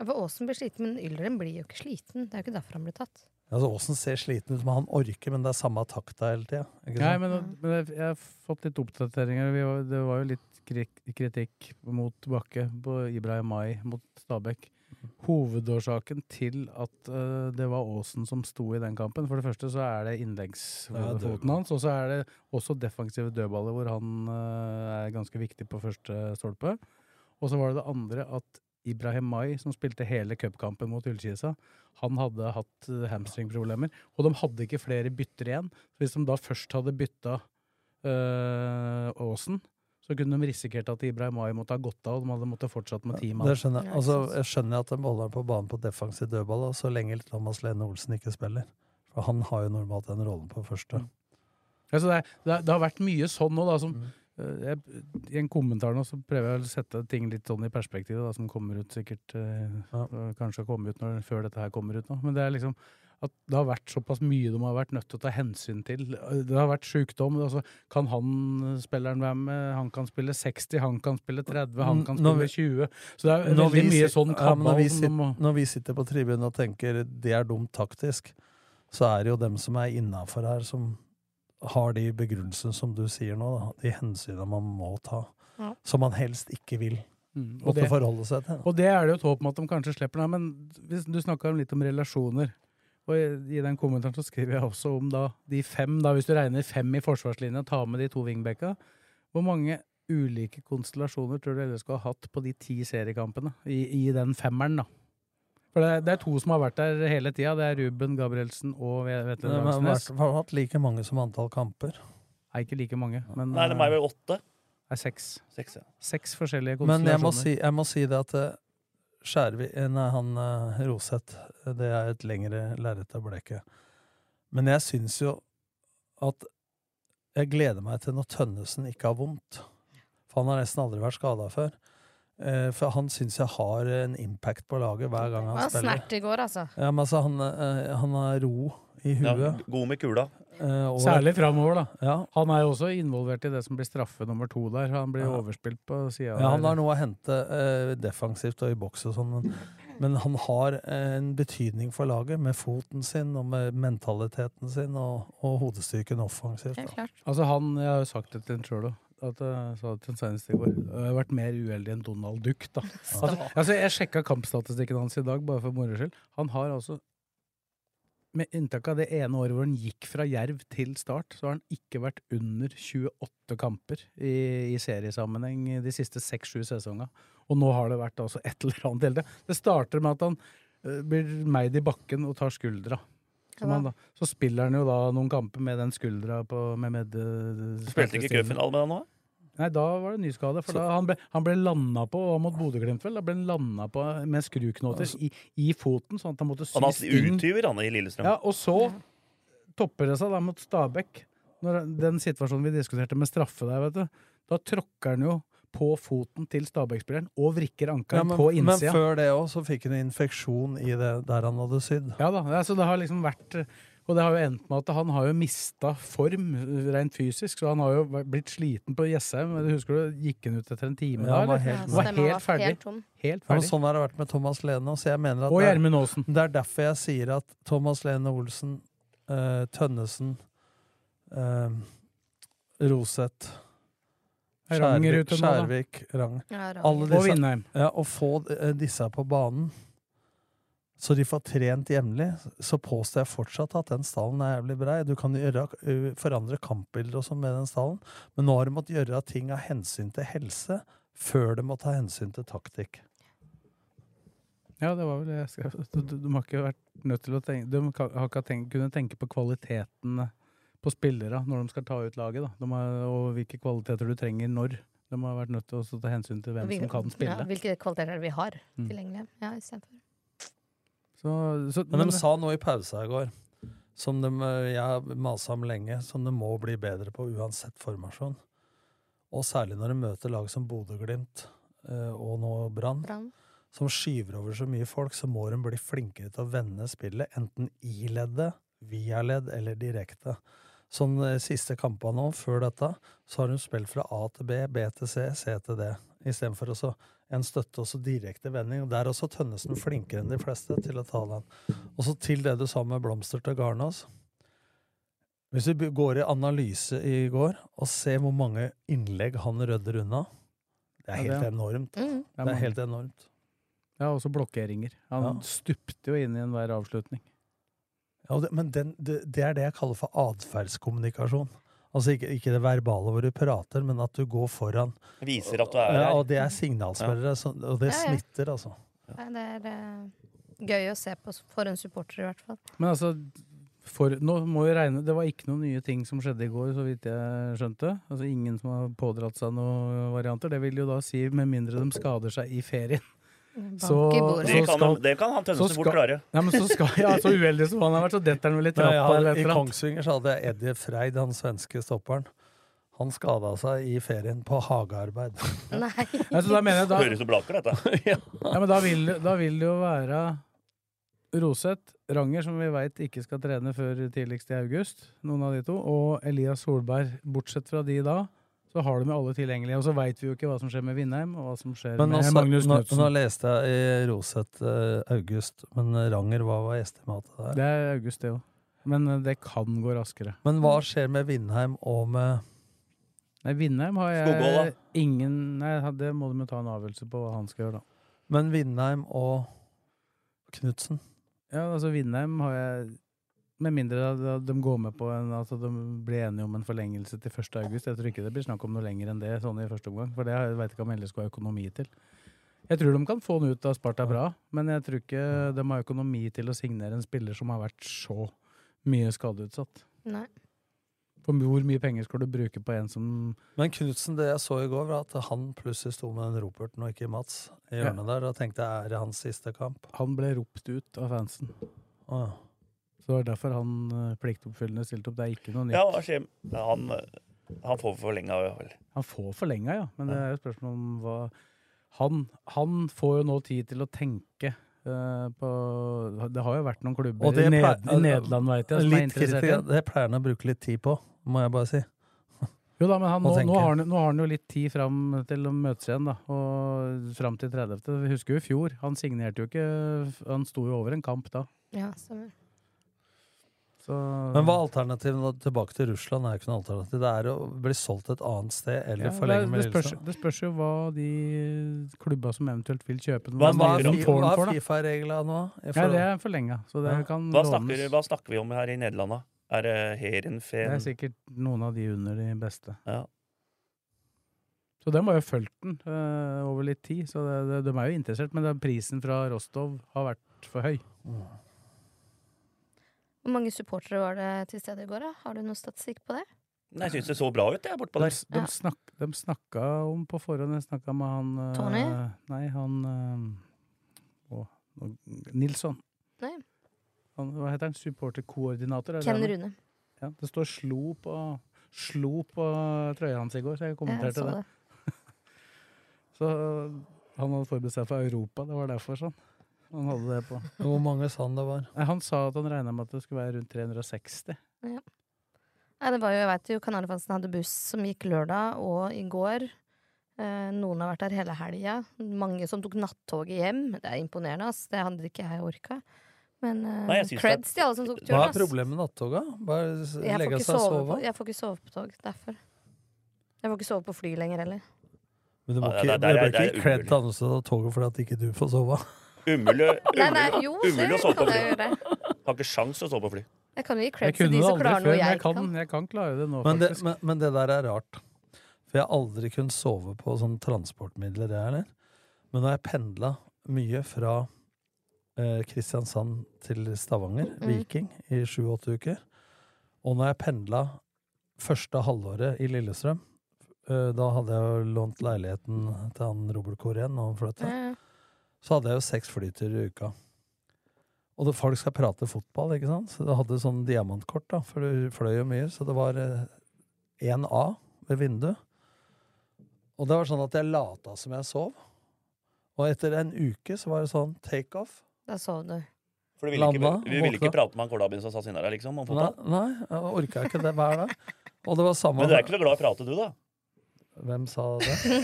Speaker 6: For Aasen blir sliten, men Yldren blir jo ikke sliten. Det er jo ikke derfor han blir tatt.
Speaker 5: Altså, Aasen ser sliten ut, men han orker, men det er samme takta hele tida.
Speaker 4: Nei, men, men jeg, jeg har fått litt oppdateringer. Vi var, det var jo litt kri- kritikk mot Bakke på Ibrahim Mai mot Stabæk. Hovedårsaken til at eh, det var Aasen som sto i den kampen For det første så er det
Speaker 5: Ja, dødball.
Speaker 4: innleggsfoten hans, og så er det også defensive dødballer hvor han eh, er ganske viktig på første stolpe. Og så var det det andre at Ibrahim Mai, som spilte hele cupkampen mot Ullkisa, han hadde hatt eh, hamstringproblemer. Og de hadde ikke flere bytter igjen. Så hvis de da først hadde bytta eh, Aasen, så kunne de risikert at Ibrahim Mai måtte ha gått av, og de hadde måttet fortsatt med ti mann.
Speaker 5: Det skjønner jeg. Altså, jeg skjønner at de holder han på banen på defensiv dødball,
Speaker 4: Mm.
Speaker 5: og så lenge Thomas Lene Olsen ikke spiller. For han har jo normalt den rollen på første.
Speaker 4: Ja, så Altså, det, er- det, er- det har vært mye sånn nå, da. Som,
Speaker 5: Mm.
Speaker 4: eh, jeg, I en kommentar nå så prøver jeg å sette ting litt sånn i perspektiv, da, som kommer ut sikkert eh, og Kanskje kommer ut når, før dette her kommer ut nå. Men det er liksom at det har vært såpass mye de har vært nødt til å ta hensyn til. Det har vært sykdom. Altså, kan han eh, spilleren være med? Han kan spille 60, han kan spille 30, han kan
Speaker 5: Når
Speaker 4: spille 20. Så det er
Speaker 5: Når
Speaker 4: veldig
Speaker 5: vi
Speaker 4: mye
Speaker 5: sit-
Speaker 4: sånn
Speaker 5: ja, men når,
Speaker 4: kabal
Speaker 5: vi
Speaker 4: som
Speaker 5: sit-
Speaker 4: de må
Speaker 5: når vi sitter på tribunen og tenker det er dumt taktisk, så er det jo dem som er innafor her, som har de begrunnelsene som du sier nå, da. de hensynene man må ta,
Speaker 4: Ja.
Speaker 5: som man helst ikke vil
Speaker 4: Mm, og
Speaker 5: måtte
Speaker 4: det-
Speaker 5: forholde seg til.
Speaker 4: Og det er det jo et håp om at de kanskje slipper, da. Men hvis du snakka litt om relasjoner. Og i- i den kommentaren så skriver jeg også om da de fem, da hvis du regner fem i forsvarslinja, ta med de to wingbacka. Hvor mange ulike konstellasjoner tror du LSK har hatt på de ti seriekampene? I, i den femmeren, da. For det, er- det er to som har vært der hele tida. Det er Ruben Gabrielsen og Ve-
Speaker 5: De
Speaker 4: Vetle
Speaker 5: har
Speaker 4: Langsnes.
Speaker 5: vært- har hatt like mange som antall kamper.
Speaker 4: Er ikke like mange, men eh,
Speaker 2: Nei, de er vel åtte?
Speaker 4: Det er seks.
Speaker 2: Seks, ja.
Speaker 4: Seks forskjellige
Speaker 5: Men
Speaker 4: konstellasjoner.
Speaker 5: jeg må si, jeg må si det at eh, Skjærvi eh, Nei, han eh, Roseth. Det er et lengre lerret av bleket. Men jeg syns jo at jeg gleder meg til når Tønnesen ikke har vondt. For han har nesten aldri vært skada før. Eh, For han syns jeg har en impact på laget hver gang han
Speaker 6: Han
Speaker 5: spiller.
Speaker 6: snert i går, altså.
Speaker 5: Ja, men altså, han, eh, han har ro i
Speaker 2: Ja,
Speaker 5: huet.
Speaker 2: god med kula.
Speaker 5: Eh, og-
Speaker 4: Særlig framover, da.
Speaker 5: Ja.
Speaker 4: Han er jo også involvert i det som blir straffe nummer to der. Han blir
Speaker 5: Ja.
Speaker 4: overspilt på sida.
Speaker 5: Ja, han har noe å hente eh, defensivt og i boks og sånn, men, men han har en betydning for laget med foten sin og med mentaliteten sin og, og hodestyrken offensivt. da.
Speaker 4: Altså han, Jeg har jo sagt det til han sjøl òg. At jeg sa det til han senest i går. Jeg har vært mer uheldig enn Donald Duck, da. Altså, altså Jeg sjekka kampstatistikken hans i dag, bare for moro skyld. Han har altså Med unntak av det ene året hvor han gikk fra Jerv til Start, så har han ikke vært under 28 kamper i, i seriesammenheng de siste 6-7 sesonga. Og nå har det vært altså et eller annet hele tida. Det starter med at han eh, blir meid i bakken og tar skuldra. Som
Speaker 2: Ja.
Speaker 4: han da, så spiller han jo da noen kamper med den skuldra på med, med, eh,
Speaker 2: Spilte ikke cupfinale med deg nå?
Speaker 4: Nei, da var det nyskade. For da han ble, han ble landa på og mot Bodø-Glimt, vel. Da ble han landa på med skruknoter i, i foten, sånn at han måtte
Speaker 2: Han har
Speaker 4: sys
Speaker 2: hatt
Speaker 4: inn.
Speaker 2: uttyver, han i Lillestrøm.
Speaker 4: Ja, og så topper det seg da mot Stabæk. Når den situasjonen vi diskuterte med straffe der, vet du. Da tråkker han jo på foten til Stabæk-spilleren og vrikker
Speaker 5: Ja,
Speaker 4: ankelen
Speaker 5: men,
Speaker 4: på
Speaker 5: men
Speaker 4: innsida.
Speaker 5: før det òg, så fikk han en infeksjon i det der han hadde sydd.
Speaker 4: Ja da, altså det har liksom vært Og det har jo endt med at han har jo mista form eh, rent fysisk, så han har jo vært- blitt sliten på Jessheim. Men Husker du, gikk han ut etter en time
Speaker 5: Ja, han
Speaker 4: da?
Speaker 5: var
Speaker 4: eller?
Speaker 5: helt-
Speaker 4: var
Speaker 5: Stemmer,
Speaker 4: helt,
Speaker 5: han var
Speaker 4: ferdig.
Speaker 5: helt tom. Ja, men sånn har det vært med Thomas Lene. Så jeg mener at
Speaker 4: Og
Speaker 5: det er-
Speaker 4: Gjermund Aasen.
Speaker 5: Det er derfor jeg sier at Thomas Lene Olsen, eh, Tønnesen, eh, Roseth
Speaker 4: Er Ranger
Speaker 5: Skjærvik-
Speaker 4: ute nå, da?
Speaker 5: Skjærvik, Rang.
Speaker 4: Ja, Ranger.
Speaker 5: Alle
Speaker 4: Og Vindheim.
Speaker 5: Ja, å få eh, disse på banen, så de får trent jevnlig, så påstår jeg fortsatt at den stallen er jævlig brei. Du kan gjøre, eh, forandre kampbilder og sånn med den stallen, men nå har de måttet gjøre ting av hensyn til helse før de må ta hensyn til taktikk.
Speaker 4: Ja, det var vel det jeg skrev. Du, du, du har ikke vært nødt til å tenke De kan- har ikke tenkt, kunne tenke på kvaliteten på spillere når de skal ta ut laget, da. De har, og hvilke kvaliteter du trenger når. De har vært nødt til å ta hensyn til hvem som kan spille.
Speaker 6: Ja, hvilke kvaliteter vi har
Speaker 4: Mm.
Speaker 6: tilgjengelig. Ja, i stedet for.
Speaker 4: Så, så,
Speaker 5: Men de sa noe i pausa i går som de, eh, jeg har masa om lenge, som de må bli bedre på uansett formasjon. Og særlig når de møter lag som Bodø-Glimt eh, og nå Brann,
Speaker 6: Brann.
Speaker 5: som skyver over så mye folk, så må de bli flinkere til å vende spillet, enten i leddet, via ledd eller direkte. Som de siste kampene nå, før dette, så har de spilt fra A til B, B til C, C til D. Istedenfor også en støtte og så direkte vending. Og Der er også Tønnesen flinkere enn de fleste til å ta den. Og så til det du sa med blomster til Garnås. Hvis vi be- går i analyse i går og ser hvor mange innlegg han rydder unna Det er
Speaker 4: Ja, det
Speaker 5: helt
Speaker 4: er-
Speaker 5: enormt.
Speaker 4: Mm. Det er
Speaker 5: Det er
Speaker 4: mange.
Speaker 5: helt enormt.
Speaker 4: Ja, også blokkeringer. Han stupte jo inn i enhver avslutning.
Speaker 5: Ja, og det, men den, det, det er det jeg kaller for atferdskommunikasjon. Altså ikke, ikke det verbale hvor du prater, men at du går foran.
Speaker 2: Viser at du
Speaker 5: ja,
Speaker 2: er her.
Speaker 5: Og det er signalspillere, så- og det
Speaker 6: Ja, ja.
Speaker 5: smitter, altså.
Speaker 6: Nei, det er eh, gøy å se på for en supporter, i hvert fall.
Speaker 4: Men altså, for, nå må vi regne Det var ikke noen nye ting som skjedde i går, så vidt jeg skjønte. Altså Ingen som har pådratt seg noen varianter. Det vil jo da si, med mindre de skader seg i ferien. Så,
Speaker 6: Bank i bordet.
Speaker 2: Det kan- det kan han Tønnesen
Speaker 4: så
Speaker 2: fort klare.
Speaker 4: Nei, men så skal, ja, så uheldig som han har vært, så detter han vel i
Speaker 5: Nei, jeg
Speaker 4: trappa.
Speaker 5: har-
Speaker 4: eller et
Speaker 5: I
Speaker 4: eller annet.
Speaker 5: Kongsvinger så hadde jeg Eddie Freid, han svenske stopperen. Han skada seg i ferien på hagearbeid.
Speaker 6: Nei.
Speaker 4: Ja, så da mener jeg da- Høres
Speaker 2: ut som blaker, dette.
Speaker 4: Ja, men da vil, da vil det jo være Roseth, Ranger, som vi veit ikke skal trene før tidligst i august, noen av de to, og Elias Solberg. Bortsett fra de da, så har du med alle tilgjengelige. Og så veit vi jo ikke hva som skjer med Vindheim, og hva som skjer
Speaker 5: Men
Speaker 4: med
Speaker 5: også,
Speaker 4: Magnus
Speaker 5: nå, nå
Speaker 4: Knutsen.
Speaker 5: leste jeg i Roseth eh, August, men Ranger, hva var estimatet der?
Speaker 4: Det er august, det òg. Men eh, det kan gå raskere.
Speaker 5: Men hva skjer med Vindheim og med
Speaker 4: Nei, Vindheim har jeg
Speaker 5: Skogvold, da?
Speaker 4: ingen Nei, det må de jo ta en avgjørelse på hva han skal gjøre, da.
Speaker 5: Men Vindheim og Knutsen?
Speaker 4: Ja, altså Vindheim har jeg Med mindre da- da de går med på en, altså de blir enige om en forlengelse til 1. august. Jeg tror ikke det blir snakk om noe lenger enn det sånn i første omgang. For det har- jeg vet ikke om LSK har økonomi til. Jeg tror de kan få den ut av Sparta bra, men jeg tror ikke de har økonomi til å signere en spiller som har vært så mye skadeutsatt.
Speaker 6: Nei.
Speaker 4: For hvor mye penger skal du bruke på en som
Speaker 5: Men Knutsen, det jeg så i går, var at han plutselig sto med den roperten og ikke Mats i hjørnet der, og tenkte er det hans siste kamp?
Speaker 4: Han ble ropt ut av fansen. Så det var derfor han eh, pliktoppfyllende stilte opp. Det er ikke noe nytt.
Speaker 2: Ja, hva skjer? Han, eh, han får forlenga, vel.
Speaker 4: Han får forlenga, ja. Men det er jo et spørsmål om hva han, han får jo nå tid til å tenke eh, på Det har jo vært noen klubber i, Ned, i Nederland, veit jeg, som er
Speaker 5: Litt
Speaker 4: interessert i
Speaker 5: kritikk, det pleier han å bruke litt tid på, må jeg bare si.
Speaker 4: Jo da, men han,
Speaker 5: Å
Speaker 4: nå, nå,
Speaker 5: tenke.
Speaker 4: har han, nå har han jo litt tid fram til å møtes igjen, da. Og fram til 30. Vi husker jo i fjor. Han signerte jo ikke Han sto jo over en kamp da.
Speaker 6: Ja, stemmer.
Speaker 4: Så
Speaker 5: Men hva er alternativet nå? tilbake til Russland? er jo ikke noe alternativ. Det er å bli solgt et annet sted eller
Speaker 4: Ja, det,
Speaker 5: forlenge med
Speaker 4: det, spørs,
Speaker 5: Lillesand.
Speaker 4: det spørs jo hva de klubba som eventuelt vil kjøpe den,
Speaker 5: Hva
Speaker 4: hva
Speaker 5: snakker
Speaker 4: de
Speaker 5: du om?
Speaker 4: får den
Speaker 5: Hva er
Speaker 4: for, da.
Speaker 5: Fifa-reglene nå? i
Speaker 4: Nei,
Speaker 5: forhold-
Speaker 4: det er forlenga. Så det
Speaker 5: Ja.
Speaker 4: kan
Speaker 2: Hva
Speaker 4: lånes.
Speaker 2: snakker, hva snakker vi om her i Nederland, da? Er det
Speaker 4: Det
Speaker 2: Herenfen
Speaker 4: er sikkert noen av de under de beste.
Speaker 2: Ja.
Speaker 4: Så dem har jo fulgt den eh, over litt tid, så det, det, de er jo interessert. Men det, prisen fra Rostov har vært for høy.
Speaker 6: Hvor mange supportere var det til stede i går? Da? Har du noe statistikk på det?
Speaker 2: Nei, Jeg syns det så bra ut, jeg, bortpå
Speaker 4: De,
Speaker 2: der.
Speaker 4: s- de, snak, de snakka om på forhånd Jeg snakka med han eh,
Speaker 6: Tony?
Speaker 4: Nei, han eh, å, nå- Nilsson.
Speaker 6: Nei.
Speaker 4: Han, hva heter han? Supporterkoordinator? er det
Speaker 6: Ken
Speaker 4: han er?
Speaker 6: Rune.
Speaker 4: Ja, det står 'slo' på, slo på trøya hans i går, så jeg
Speaker 6: Jeg
Speaker 4: kommenterte
Speaker 6: så
Speaker 4: det.
Speaker 6: det.
Speaker 4: Så han hadde forberedt seg for Europa, det var derfor sånn. Han hadde det på.
Speaker 5: Hvor mange sand det var?
Speaker 4: Nei, han sa at han regna med at det skulle være rundt 360.
Speaker 6: Ja. Nei, det var jo, jeg vet jo, Kanarifansen hadde buss som gikk lørdag og i går. Eh, noen har vært der hele helga. Mange som tok nattoget hjem. Det er imponerende, ass. Det hadde ikke jeg orka. Men eh,
Speaker 5: Nei, jeg synes
Speaker 6: creds
Speaker 5: det-
Speaker 6: til alle som tok
Speaker 5: Hva
Speaker 6: turen,
Speaker 5: er problemet med nattoga? Bare s-
Speaker 6: Jeg får,
Speaker 5: legge
Speaker 6: ikke
Speaker 5: seg og
Speaker 6: sove
Speaker 5: sove?
Speaker 6: på, jeg får ikke sove på tog, derfor. Jeg får ikke sove på fly lenger heller.
Speaker 5: Men du må
Speaker 2: Ja,
Speaker 5: ikke,
Speaker 2: det-
Speaker 5: du
Speaker 2: det-
Speaker 5: bør
Speaker 2: det- det
Speaker 5: ikke
Speaker 2: er
Speaker 5: gi cred til andre som tar toget fordi at ikke du får sove.
Speaker 2: Umulig,
Speaker 6: Nei, nei, jo, det
Speaker 2: umulig å sove
Speaker 6: kan
Speaker 2: på
Speaker 6: jeg
Speaker 2: fly.
Speaker 6: gjøre.
Speaker 2: Har ikke sjans å sove på fly.
Speaker 6: Jeg kan jo gi
Speaker 4: Jeg
Speaker 6: creds til
Speaker 4: kunne
Speaker 6: de
Speaker 4: det
Speaker 6: som
Speaker 4: aldri
Speaker 6: klarer
Speaker 4: før,
Speaker 6: noe
Speaker 4: men jeg
Speaker 6: jeg
Speaker 4: kan,
Speaker 6: kan.
Speaker 4: jeg kan klare det nå,
Speaker 5: Men det,
Speaker 4: faktisk.
Speaker 5: men, men det der er rart. For jeg har aldri kunnet sove på sånne transportmidler. jeg er der. Men nå har jeg pendla mye fra eh, Kristiansand til Stavanger,
Speaker 7: Mm.
Speaker 5: Viking, i sju-åtte uker. Og når jeg pendla første halvåret i Lillestrøm eh, Da hadde jeg jo lånt leiligheten til han Robert Korén når han flytta.
Speaker 6: Ja, ja.
Speaker 5: Så hadde jeg jo seks flyturer i uka. Og det, folk skal prate fotball, ikke sant? Så jeg hadde sånn diamantkort, da, for du fløy jo mye. Så det var eh, 1A ved vinduet. Og det var sånn at jeg lata som jeg sov. Og etter en uke så var det sånn takeoff.
Speaker 6: Da sov du.
Speaker 2: For du ville ikke,
Speaker 5: Landa,
Speaker 2: vi ville ikke
Speaker 5: våkna.
Speaker 2: prate med han Kordabin som satt inne der, liksom? Om
Speaker 5: Nei,
Speaker 2: fotball.
Speaker 5: nei, jeg orka ikke det hver dag. Og det var samme
Speaker 2: Men du er ikke så glad i å prate, du, da?
Speaker 5: Hvem sa det?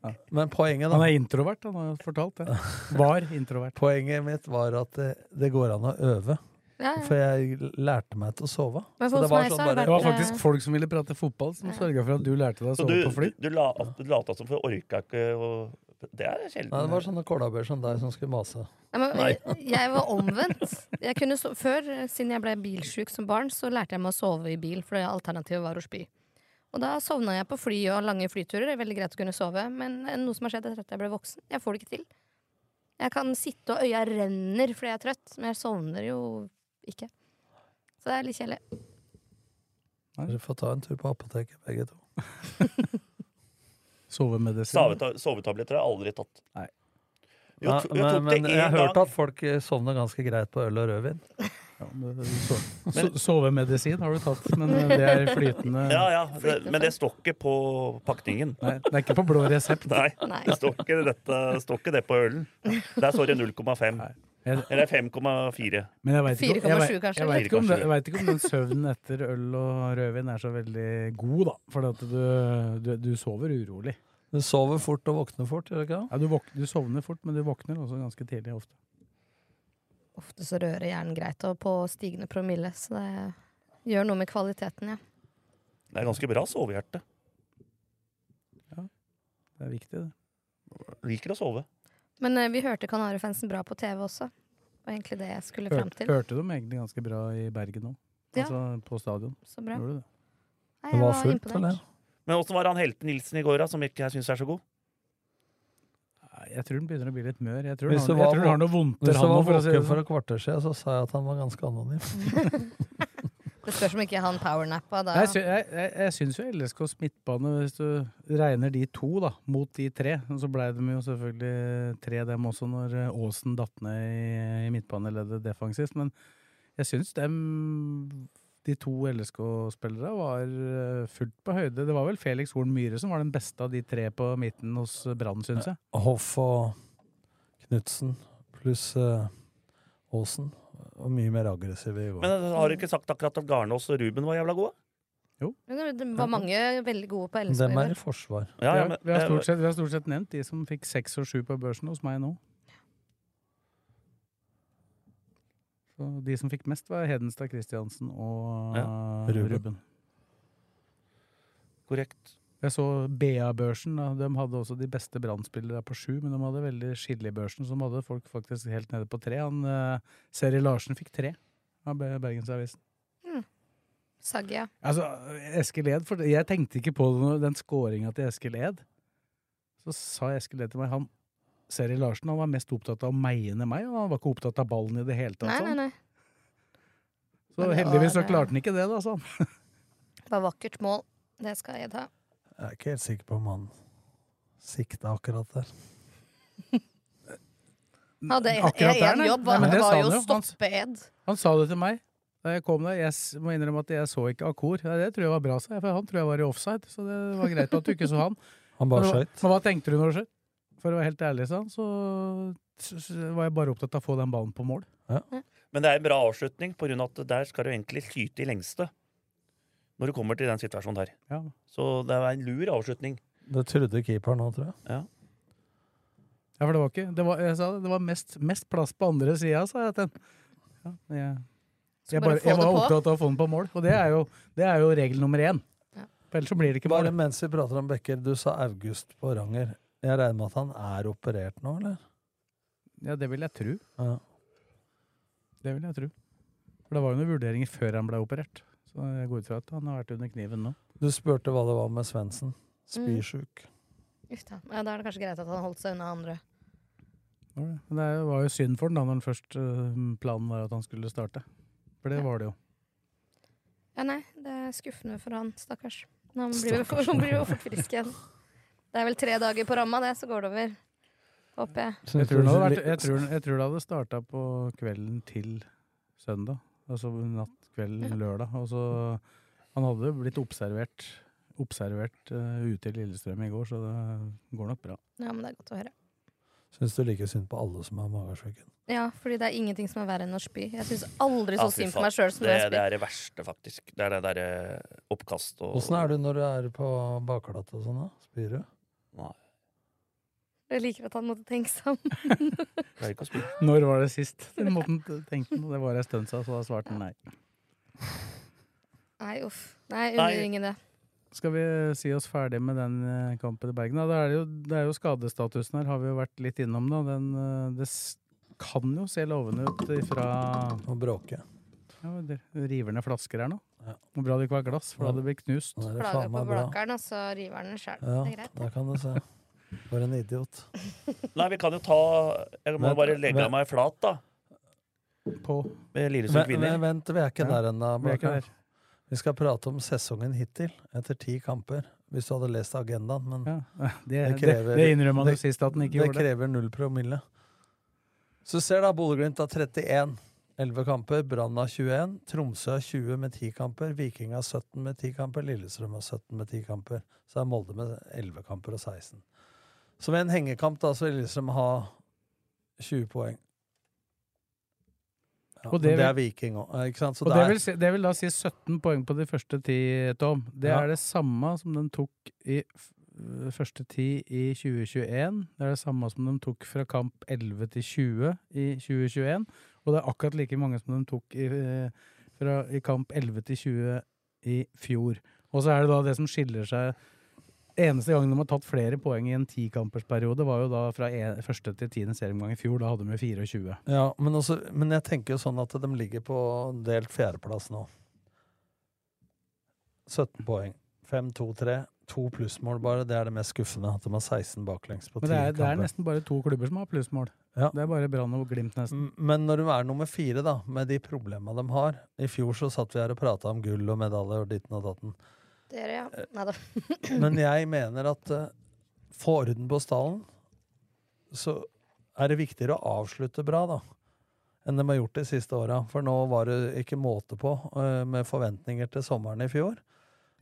Speaker 5: Ja. Men poenget, da
Speaker 4: Han er introvert, han har jo fortalt det. Var introvert.
Speaker 5: Poenget mitt var at det, det går an å øve.
Speaker 6: Ja, ja.
Speaker 5: For jeg lærte meg til å sove.
Speaker 6: Men
Speaker 5: Så
Speaker 6: hos
Speaker 5: det var
Speaker 6: meg så
Speaker 5: sånn
Speaker 6: har
Speaker 5: bare
Speaker 4: Det var faktisk folk som ville prate fotball, som sørga for at du lærte deg å
Speaker 2: Så
Speaker 4: sove
Speaker 2: du,
Speaker 4: på fly.
Speaker 2: du, la, du lata som, for jeg orka ikke å Det er sjelden.
Speaker 5: Nei, det var sånn- sånne kålabøer som deg som skulle mase.
Speaker 6: Nei, men, jeg var omvendt. Jeg kunne so Før, eh, siden jeg ble bilsjuk som barn, så lærte jeg meg å sove i bil, for det alternativet var å spy. Og da sovna jeg på fly og lange flyturer. Det er veldig greit å kunne sove, men eh, noe som har skjedd etter at jeg ble voksen, jeg får det ikke til. Jeg kan sitte og øya renner fordi jeg er trøtt, men jeg sovner jo ikke. Så det er litt kjedelig.
Speaker 5: Dere får ta en tur på apoteket, begge to.
Speaker 4: Sovemedisin.
Speaker 2: Soveta- Sovetabletter har jeg aldri tatt.
Speaker 4: Nei.
Speaker 2: Jo,
Speaker 5: Ja,
Speaker 2: to- jo,
Speaker 5: men,
Speaker 2: tok det
Speaker 5: men
Speaker 2: én
Speaker 5: jeg
Speaker 2: gang.
Speaker 5: hørte at folk eh, sovner ganske greit på øl og rødvin.
Speaker 4: So- Sovemedisin har du tatt, men eh, det er flytende
Speaker 2: Ja, ja, det, men det står ikke på pakningen.
Speaker 4: Nei, det er ikke på blå resept.
Speaker 2: Nei, det står ikke, dette, står ikke det på ølen. Der står det 0,5. Eller 5,4.
Speaker 4: Men jeg veit ikke, om- jeg
Speaker 6: 4,7
Speaker 4: vet-
Speaker 6: kanskje,
Speaker 4: jeg
Speaker 6: eller?
Speaker 4: vet ikke, om det-
Speaker 2: 4,7.
Speaker 4: jeg vet ikke om den søvnen etter øl og rødvin er så veldig god, da. For at du, du, du sover urolig.
Speaker 5: Du sover fort og våkner fort, gjør du ikke
Speaker 4: Ja, du, våk, du sovner fort, men du våkner også ganske tidlig ofte.
Speaker 6: Ofte så rører hjernen greit og på stigende promille, så det gjør noe med kvaliteten, ja.
Speaker 2: Det er ganske bra sovehjerte.
Speaker 4: Det er viktig, det.
Speaker 2: Liker å sove.
Speaker 6: Men eh, vi hørte Kanarifansen bra på TV også. Det var egentlig det jeg skulle fram
Speaker 4: Hørte,
Speaker 6: til.
Speaker 4: hørte de egentlig ganske bra i Bergen nå?
Speaker 6: Ja.
Speaker 4: Altså på stadion.
Speaker 6: Så bra.
Speaker 4: Gjorde du det?
Speaker 6: Nei,
Speaker 4: Det
Speaker 6: jeg
Speaker 4: var
Speaker 6: var
Speaker 4: fullt,
Speaker 6: imponert.
Speaker 2: Men åssen var han Helte Nilsen i går, da, som ikke jeg syns er så god?
Speaker 4: Nei, Jeg tror den begynner å bli litt mør. Jeg tror,
Speaker 5: Hvis du
Speaker 4: han,
Speaker 5: var,
Speaker 4: jeg tror han har noe vondt
Speaker 5: hvis du var
Speaker 4: nå, for å si det
Speaker 5: våken for
Speaker 4: sånn.
Speaker 5: et kvarter siden, så sa jeg at han var ganske anonym.
Speaker 6: Det spørs om ikke han powernappa da.
Speaker 4: Nei, Jeg, sy- jeg, jeg, jeg syns jo LSKs midtbane, hvis du regner de to da, mot de tre, så blei de jo selvfølgelig tre dem også når eh, Aasen datt ned i, i midtbaneleddet defensivt, men jeg syns dem, de to LSK-spillere, var eh, fullt på høyde. Det var vel Felix Horn Myhre som var den beste av de tre på midten hos Brann, syns jeg.
Speaker 5: Hoff og Knutsen pluss eh, Aasen. og mye mer aggressive i går.
Speaker 2: Men eh, har du ikke sagt akkurat at Garnås og Ruben var jævla gode?
Speaker 6: Men Det var mange veldig gode på LSK.
Speaker 5: Dem
Speaker 6: i
Speaker 5: er
Speaker 6: går.
Speaker 5: i forsvar.
Speaker 2: Ja, ja,
Speaker 4: vi,
Speaker 2: men-
Speaker 4: har,
Speaker 2: eh,
Speaker 4: vi, har stort sett, vi har stort sett nevnt de som fikk seks og sju på børsen hos meg nå. Så de som fikk mest, var Hedenstad Christiansen og
Speaker 2: Ja,
Speaker 4: eh,
Speaker 2: Ruben.
Speaker 4: Ruben.
Speaker 2: Korrekt.
Speaker 4: Jeg så BA-børsen. da. De hadde også de beste brannspillere på sju, men de hadde veldig skille i børsen, så de hadde folk faktisk helt nede på tre. Han, eh, Seri Larsen fikk tre av Be- Bergensavisen.
Speaker 6: Saggia.
Speaker 4: Altså, Eskil Ed, for jeg tenkte ikke på det, når- den scoringa til Eskil Ed. Så sa Eskil Ed til meg han, Seri Larsen han var mest opptatt av meg enn meg, og han var ikke opptatt av ballen i det hele tatt.
Speaker 6: Nei,
Speaker 4: sa
Speaker 6: nei,
Speaker 4: han.
Speaker 6: nei.
Speaker 4: Så
Speaker 6: Men det
Speaker 4: heldigvis
Speaker 6: var, eh,
Speaker 4: så klarte han ikke det, da, sånn. sa han.
Speaker 6: Det var vakkert mål. Det skal jeg ta.
Speaker 5: Jeg er ikke helt sikker på om han sikta akkurat der.
Speaker 6: Hadde en,
Speaker 4: Mm, Akkurat der,
Speaker 6: en
Speaker 4: nei.
Speaker 6: jobb
Speaker 4: Nei,
Speaker 6: var,
Speaker 4: men det
Speaker 6: var
Speaker 4: sa
Speaker 6: jo
Speaker 4: han
Speaker 6: å
Speaker 4: jo. Han-
Speaker 6: stoppe Ed.
Speaker 4: Han sa det til meg da jeg kom der. Jeg s- må innrømme at jeg så ikke Akor. Ja, det tror jeg var bra, sa jeg, for han tror jeg var i offside, så det var greit at du ikke så han.
Speaker 5: Han bare
Speaker 4: Men hva-
Speaker 5: skøyt.
Speaker 4: Men hva tenkte du når det skjøt? For å være helt ærlig, sa han, så s- s- var jeg bare opptatt av å få den ballen på mål.
Speaker 2: Men det er en bra avslutning, på grunn av at der skal du egentlig skyte i lengste. Når du kommer til den situasjonen der.
Speaker 4: Ja.
Speaker 2: Så det er en lur avslutning.
Speaker 5: Det trodde keeperen nå, tror jeg.
Speaker 4: Ja, for det var ikke det var, Jeg sa det, det var mest, mest plass på andre sida, sa jeg til den. Ja, jeg, jeg,
Speaker 5: bare
Speaker 4: bare,
Speaker 5: få
Speaker 4: jeg
Speaker 5: det
Speaker 4: var
Speaker 5: på.
Speaker 4: opptatt av å få den på mål, og det er jo, det er jo regel nummer én. For Ellers så blir det ikke
Speaker 5: Bare
Speaker 4: mål.
Speaker 5: mens vi prater om Bekker, du sa August på Ranger. Jeg regner med at han er operert nå, eller?
Speaker 4: Ja, det vil jeg tro.
Speaker 5: Ja.
Speaker 4: Det vil jeg tro. For det var jo noen vurderinger før han ble operert. Så jeg går ut fra at han har vært under kniven nå.
Speaker 5: Du spurte hva det var med Svendsen.
Speaker 6: Mm.
Speaker 5: Spysjuk.
Speaker 6: Uff da. Ja, da er det kanskje greit at han holdt seg unna andre.
Speaker 4: Det var det. Men det er jo- var jo synd for den da, når den først øh, planen var at han skulle starte. For det var det jo.
Speaker 6: Ja, nei, det er skuffende for han, stakkars. Men Han blir, jo
Speaker 4: Stakkars.
Speaker 6: han blir jo fort frisk igjen. Det er vel tre dager på ramma, det, så går det over. Håper jeg.
Speaker 4: Jeg tror, det hadde vært, jeg, tror, jeg tror det hadde starta på kvelden til søndag. Altså natt, kveld, lørdag. Og så, han hadde jo blitt observert, observert eh, ute i Lillestrøm i går, så det går nok bra.
Speaker 6: Ja, men det er godt å høre.
Speaker 5: Syns du like synd på alle som er magesjuke?
Speaker 6: Ja, fordi det er ingenting som er verre enn å spy. Jeg syns aldri
Speaker 2: Ja,
Speaker 6: så
Speaker 2: fy
Speaker 6: synd på
Speaker 2: faen.
Speaker 6: meg sjøl som
Speaker 2: det,
Speaker 6: når jeg
Speaker 2: det
Speaker 6: spyr.
Speaker 2: er det verste, faktisk. Det er det derre oppkast og
Speaker 5: Åssen er du når du er på bakglatt og sånn, da? Spyr du?
Speaker 2: Nei,
Speaker 6: Jeg liker at han måtte tenke seg om.
Speaker 2: pleier ikke å spy.
Speaker 4: Når var det sist? Det måtte han tenke på. Det var ei stund siden, så da svarte han nei.
Speaker 6: Nei, uff. Nei,
Speaker 4: Nei.
Speaker 6: under ingen det.
Speaker 4: Skal vi si oss ferdig med den eh, kampen i Bergen? Da, da er det, jo, det er jo skadestatusen her, har vi jo vært litt innom. Da. Den, eh, det s- kan jo se lovende ut ifra
Speaker 5: Nå bråker jeg.
Speaker 4: Ja, men det- river ned flasker her nå. Hvor bra det ikke var glass, for da hadde det blitt knust.
Speaker 6: Plager på blakeren, og så river han den sjøl. Det er
Speaker 5: Ja,
Speaker 6: greit.
Speaker 5: der kan du se. For en idiot.
Speaker 2: Nei, vi kan jo ta Jeg må
Speaker 5: Vent,
Speaker 2: bare legge
Speaker 5: vent.
Speaker 2: meg flat, da.
Speaker 4: På
Speaker 2: Med Lillesund
Speaker 5: Vent,
Speaker 2: kvinner.
Speaker 5: vent, vent, vi er ikke
Speaker 2: Ja,
Speaker 5: der ennå.
Speaker 2: vi er ikke
Speaker 5: Blakkar. Vi skal prate om sesongen hittil, etter ti kamper. Hvis du hadde lest agendaen, men
Speaker 4: det- det- det innrømmer han jo sist at han ikke
Speaker 5: det
Speaker 4: gjorde.
Speaker 5: krever null promille. Så ser da Bodø-Glimt har 31. 11 kamper, Brann har 21, Tromsø har 20 med 10 kamper, Viking har 17 med 10 kamper, Lillestrøm har 17 med 10 kamper. Så er Molde med 11 kamper og 16. Så ved en hengekamp da, så vil Lillestrøm ha 20 poeng. Ja,
Speaker 4: Og
Speaker 5: men det,
Speaker 4: det vil-
Speaker 5: er Viking òg, ikke sant? Så
Speaker 4: og
Speaker 5: det
Speaker 4: det,
Speaker 5: er
Speaker 4: vil si, det vil da si 17 poeng på de første ti, Tom. Det
Speaker 5: Ja.
Speaker 4: er det samme som den tok i f- eh, første ti i 2021. Det er det samme som de tok fra kamp 11 til 20 i 2021. Og det er akkurat like mange som de tok i, eh, fra, i kamp 11 til 20 i fjor. Og så er det da det som skiller seg Eneste gang de har tatt flere poeng i en tikampersperiode, var jo da fra en, første til tiende serieomgang i fjor. Da hadde de jo 24.
Speaker 5: Ja, men, også, men jeg tenker jo sånn at de ligger på delt fjerdeplass nå. 17 poeng. 5, 2, 3. To plussmål bare, det er det mest skuffende. At de har 16 baklengs på
Speaker 4: Men det er,
Speaker 5: 10
Speaker 4: det er
Speaker 5: kamper.
Speaker 4: nesten bare to klubber som har plussmål. Det er bare Brann og Glimt, nesten.
Speaker 5: M- Men når du er nummer fire, da, med de problema de har I fjor så satt vi her og prata om gull og medaljer og ditten og datten.
Speaker 6: Dere, ja.
Speaker 2: Eh,
Speaker 6: Neida.
Speaker 5: Men jeg mener at eh, få orden på stallen, så er det viktigere å avslutte bra, da. Enn de har gjort de siste åra. For nå var det ikke måte på eh, med forventninger til sommeren i fjor.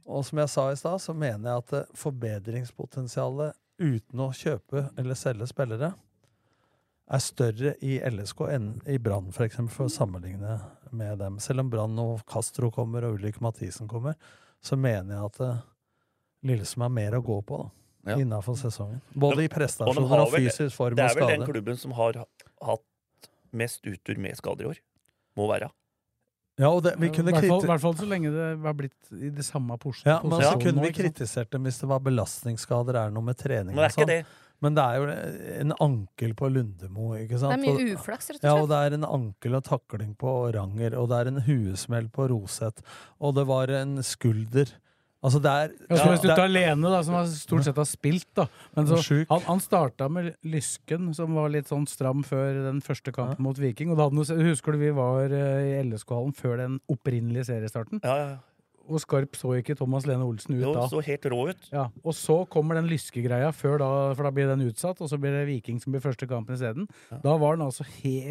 Speaker 5: Og som jeg sa i stad, så mener jeg at eh, forbedringspotensialet uten å kjøpe eller selge spillere er større i LSK enn i Brann, for eksempel, for å sammenligne med dem. Selv om Brann og Castro kommer, og Ulrik Mathisen kommer, så mener jeg at eh, Lillestrøm har mer å gå på da,
Speaker 2: Ja.
Speaker 5: innenfor sesongen. Både i
Speaker 2: Og de
Speaker 5: prestasjoner
Speaker 2: har
Speaker 5: og
Speaker 2: vel-
Speaker 5: fysisk form
Speaker 2: Det
Speaker 5: og
Speaker 2: er vel den
Speaker 5: skade.
Speaker 2: klubben som har hatt mest uttur med skader i år. Må være.
Speaker 5: Ja, og det, vi kunne
Speaker 4: hvert, fall,
Speaker 5: kriti-
Speaker 4: hvert fall så lenge det har blitt i det samme pos
Speaker 5: Ja, men så
Speaker 4: posisjonen
Speaker 5: kunne
Speaker 4: nå,
Speaker 5: vi
Speaker 4: ikke sant?
Speaker 5: kritisert dem hvis det var belastningsskader, er det noe med trening
Speaker 4: Men det er
Speaker 5: og sånn.
Speaker 4: ikke det.
Speaker 5: Men det er jo en ankel på Lundemo, ikke sant.
Speaker 6: Det er mye
Speaker 5: Og-
Speaker 6: uflaks, rett og slett.
Speaker 5: Ja, og det er en ankel og takling på Ranger, og det er en huesmell på Roseth, og det var en skulder. Altså, det er
Speaker 4: Ja, så hvis du
Speaker 5: det er-
Speaker 4: tar Lene, da, som har stort sett har spilt, da. Men så,
Speaker 5: Sjuk.
Speaker 4: han, han starta med Lysken, som var litt sånn stram før den første kampen mot Viking. Og da hadde han, jo se- husker du vi var eh, i LSK-hallen før den opprinnelige seriestarten? Og Skarp så ikke Thomas Lene Olsen ut
Speaker 2: Jo,
Speaker 4: da.
Speaker 2: så helt rå ut.
Speaker 4: Ja, og så kommer den lyskegreia før da, for da blir den utsatt, og så blir det Viking som blir første kampen isteden. Da var den altså he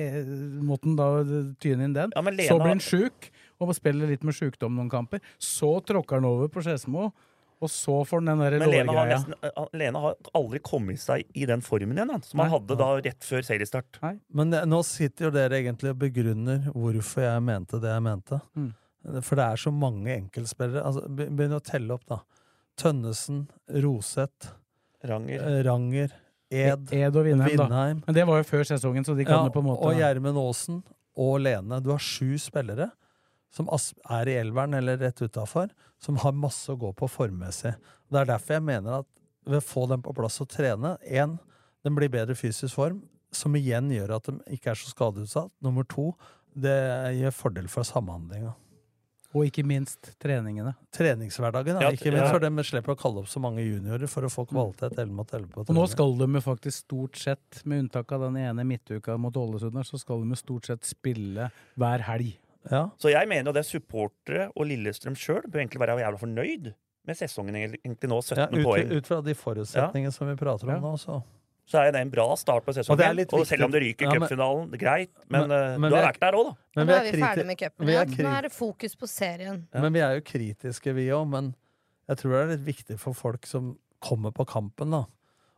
Speaker 4: måtte den da tyne inn den.
Speaker 2: Lena-
Speaker 4: Så blir den sjuk, og spiller litt med sjukdom noen kamper. Så tråkker den over på Skedsmo, og så får den den der
Speaker 2: Men Lena har,
Speaker 4: lårgreia.
Speaker 2: nesten, eh, Lena har aldri kommet seg i den formen igjen, da, som han
Speaker 5: Nei.
Speaker 2: hadde da rett før seriestart.
Speaker 5: Men det, nå sitter jo dere egentlig og begrunner hvorfor jeg mente det jeg mente.
Speaker 4: Mm.
Speaker 5: For det er så mange enkeltspillere. Altså, be- begynn å telle opp, da. Tønnesen, Roseth,
Speaker 2: Ranger,
Speaker 5: Eh. Ranger Ed,
Speaker 4: Ed og Vindheim,
Speaker 5: Vindheim.
Speaker 4: E- da. Men det var jo før sesongen, så de kan det på en måte
Speaker 5: Og Gjermund Aasen og Lene. Du har sju spillere som as- er i elveren eller rett utafor, som har masse å gå på formmessig. Det er derfor jeg mener at ved å få dem på plass og trene Én, den blir bedre i fysisk form, som igjen gjør at de ikke er så skadeutsatt. Nummer to, det gir fordel for samhandlinga.
Speaker 4: Og ikke minst treningene.
Speaker 5: Treningshverdagen, da.
Speaker 4: Ja,
Speaker 5: Ikke minst
Speaker 4: ja.
Speaker 5: for dem slipper å kalle opp så mange juniorer for å få kvalitet 11 mot 11 på
Speaker 4: Og nå
Speaker 5: trening.
Speaker 4: skal de jo faktisk stort sett, med unntak av den ene midtuka mot Ålesund, her, så skal de jo stort sett spille hver helg.
Speaker 2: Så jeg mener jo det er supportere og Lillestrøm sjøl bør egentlig være jævla fornøyd med sesongen egentlig nå, 17
Speaker 5: ja, ut,
Speaker 2: poeng.
Speaker 5: ut fra de forutsetningene som vi prater om nå, så
Speaker 2: Så er det en bra start på
Speaker 5: Og det er
Speaker 2: sesongen.
Speaker 5: litt
Speaker 2: Og, selv om det
Speaker 5: viktig.
Speaker 2: ryker i
Speaker 5: Ja, men-
Speaker 2: cupfinalen, det er greit, men,
Speaker 5: Men-
Speaker 2: eh,
Speaker 5: men
Speaker 2: du
Speaker 5: vi
Speaker 2: har
Speaker 5: er-
Speaker 2: vært der òg, da.
Speaker 5: Men
Speaker 6: Nå er vi ferdig med cupen.
Speaker 5: vi
Speaker 6: Ja.
Speaker 5: er
Speaker 6: Nå
Speaker 5: kriti-
Speaker 6: er det fokus på serien.
Speaker 5: Men vi er jo kritiske, vi òg. Men jeg tror det er litt viktig for folk som kommer på kampen, da.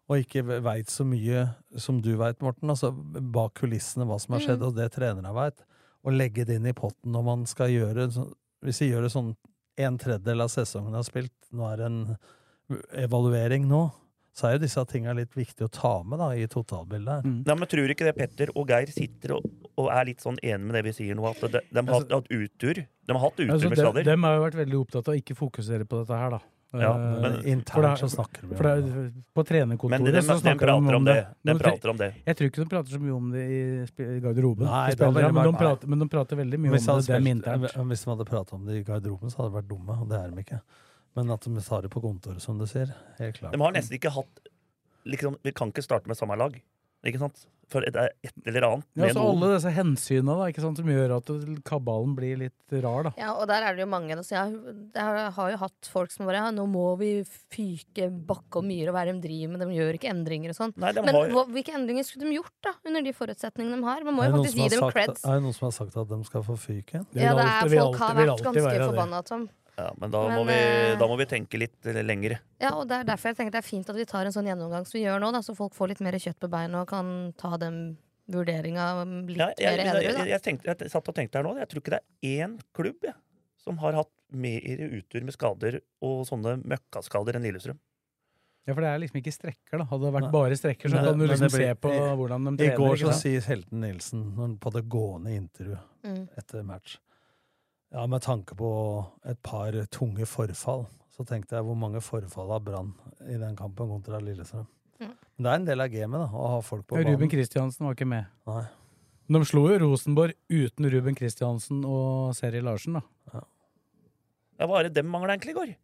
Speaker 5: Og ikke veit så mye som du veit, Morten. Altså bak kulissene hva som har skjedd,
Speaker 6: Mm.
Speaker 5: og det trenerne veit. Og legge det inn i potten når man skal gjøre sånn- Hvis vi gjør det sånn en tredjedel av sesongen har spilt, nå er det en evaluering nå, så er jo disse tinga litt viktig å ta med da, i totalbildet her.
Speaker 2: Nei, men Tror ikke det Petter og Geir sitter og, og er litt sånn enig med det vi sier nå, at de, de har hatt, hatt uttur? De har hatt uttur
Speaker 4: Altså,
Speaker 2: med
Speaker 4: de,
Speaker 2: skader.
Speaker 4: dem har jo vært veldig opptatt av å ikke fokusere på dette her, da.
Speaker 2: Ja,
Speaker 4: Eh,
Speaker 2: men internt
Speaker 4: for det er-
Speaker 2: så snakker vi om
Speaker 4: for det. er- På trenerkontoret
Speaker 2: Men de- de-
Speaker 4: så
Speaker 2: de
Speaker 4: snakker
Speaker 2: prater
Speaker 4: de
Speaker 2: om
Speaker 4: om
Speaker 2: det.
Speaker 4: det.
Speaker 2: De
Speaker 4: Men tre-
Speaker 2: prater om det.
Speaker 4: Jeg tror ikke de prater så mye om det i sp- i garderoben.
Speaker 5: Nei,
Speaker 4: til
Speaker 5: det er veldig
Speaker 4: spillerne, men, de
Speaker 5: bare-
Speaker 4: prater, men de prater veldig mye
Speaker 5: Hvis de
Speaker 4: om
Speaker 5: hadde,
Speaker 4: det dem
Speaker 5: spilt,
Speaker 4: internt.
Speaker 5: eh, hvis de hadde pratet om det i garderoben, så hadde de vært dumme, og det er de ikke. Men at de tar det på kontoret, som du sier. Helt klart.
Speaker 2: De har nesten ikke hatt liksom, Vi kan ikke starte med samme lag. Ikke sant? For det er et eller annet
Speaker 4: Ja,
Speaker 2: med
Speaker 4: så
Speaker 2: noen.
Speaker 4: alle disse hensynene da, ikke sant, som gjør at det- kabalen blir litt rar, da.
Speaker 6: Ja, og der er det jo mange. da, Så jeg, jeg har- har jo hatt folk som bare ja, 'Nå må vi fyke Bakke og Myhre og hva er det de driver med?' De gjør ikke endringer og sånn.
Speaker 5: Nei, de
Speaker 6: Men
Speaker 5: har-
Speaker 6: hva, hvilke endringer skulle de gjort, da? Under de forutsetningene de har? Man må
Speaker 5: Er
Speaker 6: jo
Speaker 5: det noen
Speaker 6: faktisk
Speaker 5: som
Speaker 6: gi
Speaker 5: har
Speaker 6: dem
Speaker 5: sagt-
Speaker 6: creds.
Speaker 5: Er det noen som har sagt at de skal få fyken?
Speaker 6: Ja, det er, folk har vært ganske altså. forbanna, Tom.
Speaker 2: Ja, men da, må
Speaker 6: Men,
Speaker 2: vi,
Speaker 6: eh,
Speaker 2: da må vi tenke litt eh, lengre.
Speaker 6: Ja, og det er derfor jeg tenker det er fint at vi tar en sånn gjennomgang som vi gjør nå, da, så folk får litt mer kjøtt på beina og kan ta den vurderinga litt
Speaker 2: Ja, jeg,
Speaker 6: mer
Speaker 2: jeg,
Speaker 6: edru.
Speaker 2: jeg,
Speaker 6: da.
Speaker 2: jeg, tenkte, jeg satt og tenkte her nå. Jeg tror ikke det er én klubb jeg, som har hatt mer utur med skader og sånne møkkaskader enn Lillestrøm.
Speaker 4: Ja, for det er liksom ikke strekker, da. Hadde det vært
Speaker 5: Nei.
Speaker 4: bare strekker, så
Speaker 5: Men-
Speaker 4: kan du
Speaker 5: men
Speaker 4: liksom
Speaker 5: det blir-
Speaker 4: se på
Speaker 5: i-
Speaker 4: hvordan de trener.
Speaker 5: I går
Speaker 4: ikke
Speaker 5: så
Speaker 4: sant?
Speaker 5: sier Helten Nilsen når- på det gående intervjuet
Speaker 6: Mm.
Speaker 5: etter match Ja, med tanke på et par tunge forfall, så tenkte jeg hvor mange forfall har Brann i den kampen kontra Lillestrøm.
Speaker 6: Mm.
Speaker 5: Men det er en del av gamet, da, å ha folk på
Speaker 4: Ja,
Speaker 5: banen.
Speaker 4: Ruben Kristiansen var ikke med.
Speaker 5: Nei.
Speaker 4: Men de slo jo Rosenborg uten Ruben Kristiansen og Seri Larsen, da.
Speaker 2: Ja, Hva er det dem mangler egentlig i går?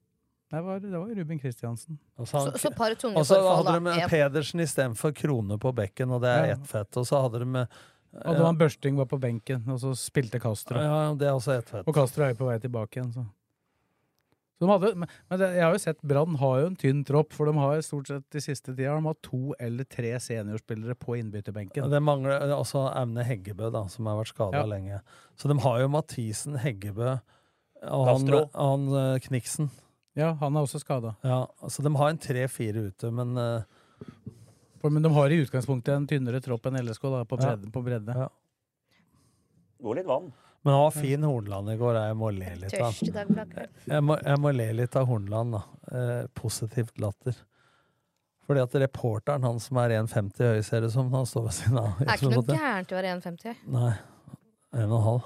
Speaker 4: Det var, det var Ruben Kristiansen.
Speaker 5: Og så, han-
Speaker 6: Så- så par tunge
Speaker 5: og så
Speaker 6: forfall,
Speaker 5: hadde de
Speaker 6: da. Ja.
Speaker 5: Pedersen istedenfor Krone på bekken, og det er
Speaker 4: Ja.
Speaker 5: ett fett. Og så hadde de
Speaker 4: Og det var en Børsting var på benken, og så spilte Castro.
Speaker 5: Ja, det er også ett fett.
Speaker 4: Og Castro er jo på vei tilbake igjen, så. så de hadde, men men det, jeg har jo sett Brann har jo en tynn tropp, for de har jo stort sett de siste tida har de hatt to eller tre seniorspillere på innbytterbenken.
Speaker 5: Det mangler også Aune Heggebø, da, som har vært skada
Speaker 4: Ja.
Speaker 5: lenge. Så de har jo Mathisen, Heggebø og han,
Speaker 4: Castro.
Speaker 5: han eh, Kniksen.
Speaker 4: Ja, han er også skada.
Speaker 5: Ja, så de har en tre-fire ute, men eh,
Speaker 4: Men de har i utgangspunktet en tynnere tropp enn LSK da, på
Speaker 5: Ja.
Speaker 4: bredde. På bredde.
Speaker 2: Går litt vann.
Speaker 5: men han var
Speaker 4: Mm.
Speaker 5: fin Hornland i går. Jeg må le litt av
Speaker 6: Tørst i dag, Blakker.
Speaker 5: jeg må, jeg må le litt av Hornland, da. Eh, positivt latter. Fordi at reporteren, han som er 1,50 høy, ser det som, han står ved siden av.
Speaker 6: Det er ikke noe gærent i å være 1,50.
Speaker 5: Nei. En og en halv.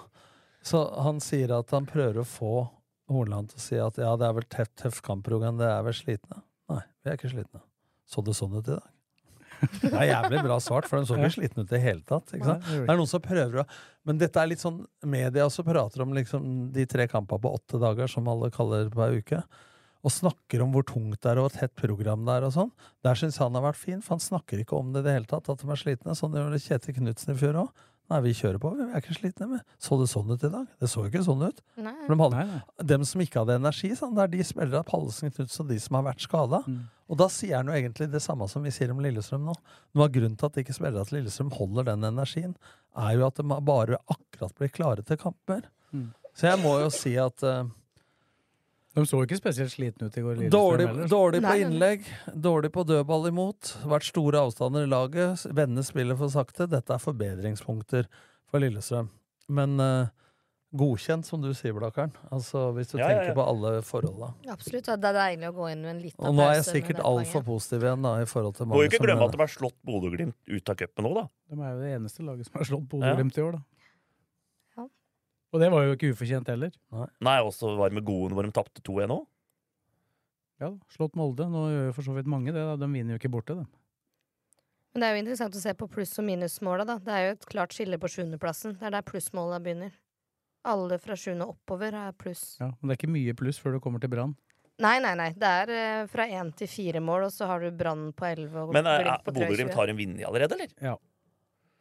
Speaker 5: Så han sier at han prøver å få Hornland til å si at ja, det er vel tøff, tøff kampprogram, det er vel slitne? Nei, vi er ikke slitne. Så det sånn ut i dag? Det er jævlig bra svart, for de så ikke slitne ut i det hele tatt. Ikke sant?
Speaker 4: Nei, det gjorde de
Speaker 5: Det er noen som prøver å Men dette er litt sånn Media også prater om liksom de tre kampene på åtte dager, som alle kaller hver uke. Og snakker om hvor tungt det er, og hvor tett program det er. og sånn. Der syns han har vært fin, for han snakker ikke om det i det hele tatt, at de er slitne. Sånn gjorde Kjetil Knutsen i fjor òg. Nei, vi kjører på, vi er ikke slitne. Men så det sånn ut i dag? Det så jo ikke sånn ut.
Speaker 6: Nei.
Speaker 5: For de, hadde, dem som ikke hadde energi, sånn, det er de spillerne, Pallesen, Knutsen og de som har vært skada. Og da sier han jo egentlig det samme som vi sier om Lillestrøm nå. Noe av grunnen til at ikke spillerne til Lillestrøm holder den energien, er jo at de bare akkurat blir klare til kamper.
Speaker 4: Mm.
Speaker 5: Så jeg må jo si at eh,
Speaker 4: De så ikke spesielt slitne ut i går. Lillestrøm,
Speaker 5: Dårlig,
Speaker 4: ellers.
Speaker 5: dårlig på innlegg, dårlig på dødball imot. Vært store avstander i laget. Vende spillet for sakte. Dette er forbedringspunkter for Lillestrøm. Men eh, godkjent, som du sier, Blakkaren. Altså, hvis du
Speaker 6: Ja, ja, ja.
Speaker 5: tenker på alle forholda.
Speaker 6: Absolutt, og det er deilig å gå inn med en liten
Speaker 5: Og nå er jeg
Speaker 6: pause med
Speaker 5: sikkert
Speaker 6: det
Speaker 5: altfor
Speaker 6: poenget.
Speaker 5: positiv igjen, da, i forhold til
Speaker 2: Må jo
Speaker 5: mange
Speaker 2: ikke
Speaker 5: som eh,
Speaker 2: glemme at
Speaker 5: mener
Speaker 2: de har slått Bodø-Glimt ut av cupen nå, da.
Speaker 4: De er jo det eneste laget som har slått
Speaker 2: Ja.
Speaker 4: Bodø-Glimt i år, da.
Speaker 6: Ja.
Speaker 4: Og det var jo ikke ufortjent heller.
Speaker 2: Nei, også var med gode hvor de tapte 2-1 òg.
Speaker 4: Ja, da, Slått Molde. Nå gjør jo for så vidt mange det. da. De vinner jo ikke borte, de.
Speaker 6: Men det er jo interessant å se på pluss- og minusmåla, da. Det er jo et klart skille på sjuendeplassen. Det er der plussmåla begynner. Alle fra sjuende oppover er pluss.
Speaker 4: Ja, men det er ikke mye pluss før du kommer til Brann.
Speaker 6: Nei, nei, nei. Det er eh, fra én til fire mål, og så har du Brann på elleve og
Speaker 2: Men eh,
Speaker 6: Glimt på
Speaker 2: Bodø-Glimt
Speaker 6: 23.
Speaker 2: har en vinner allerede, eller?
Speaker 4: Ja.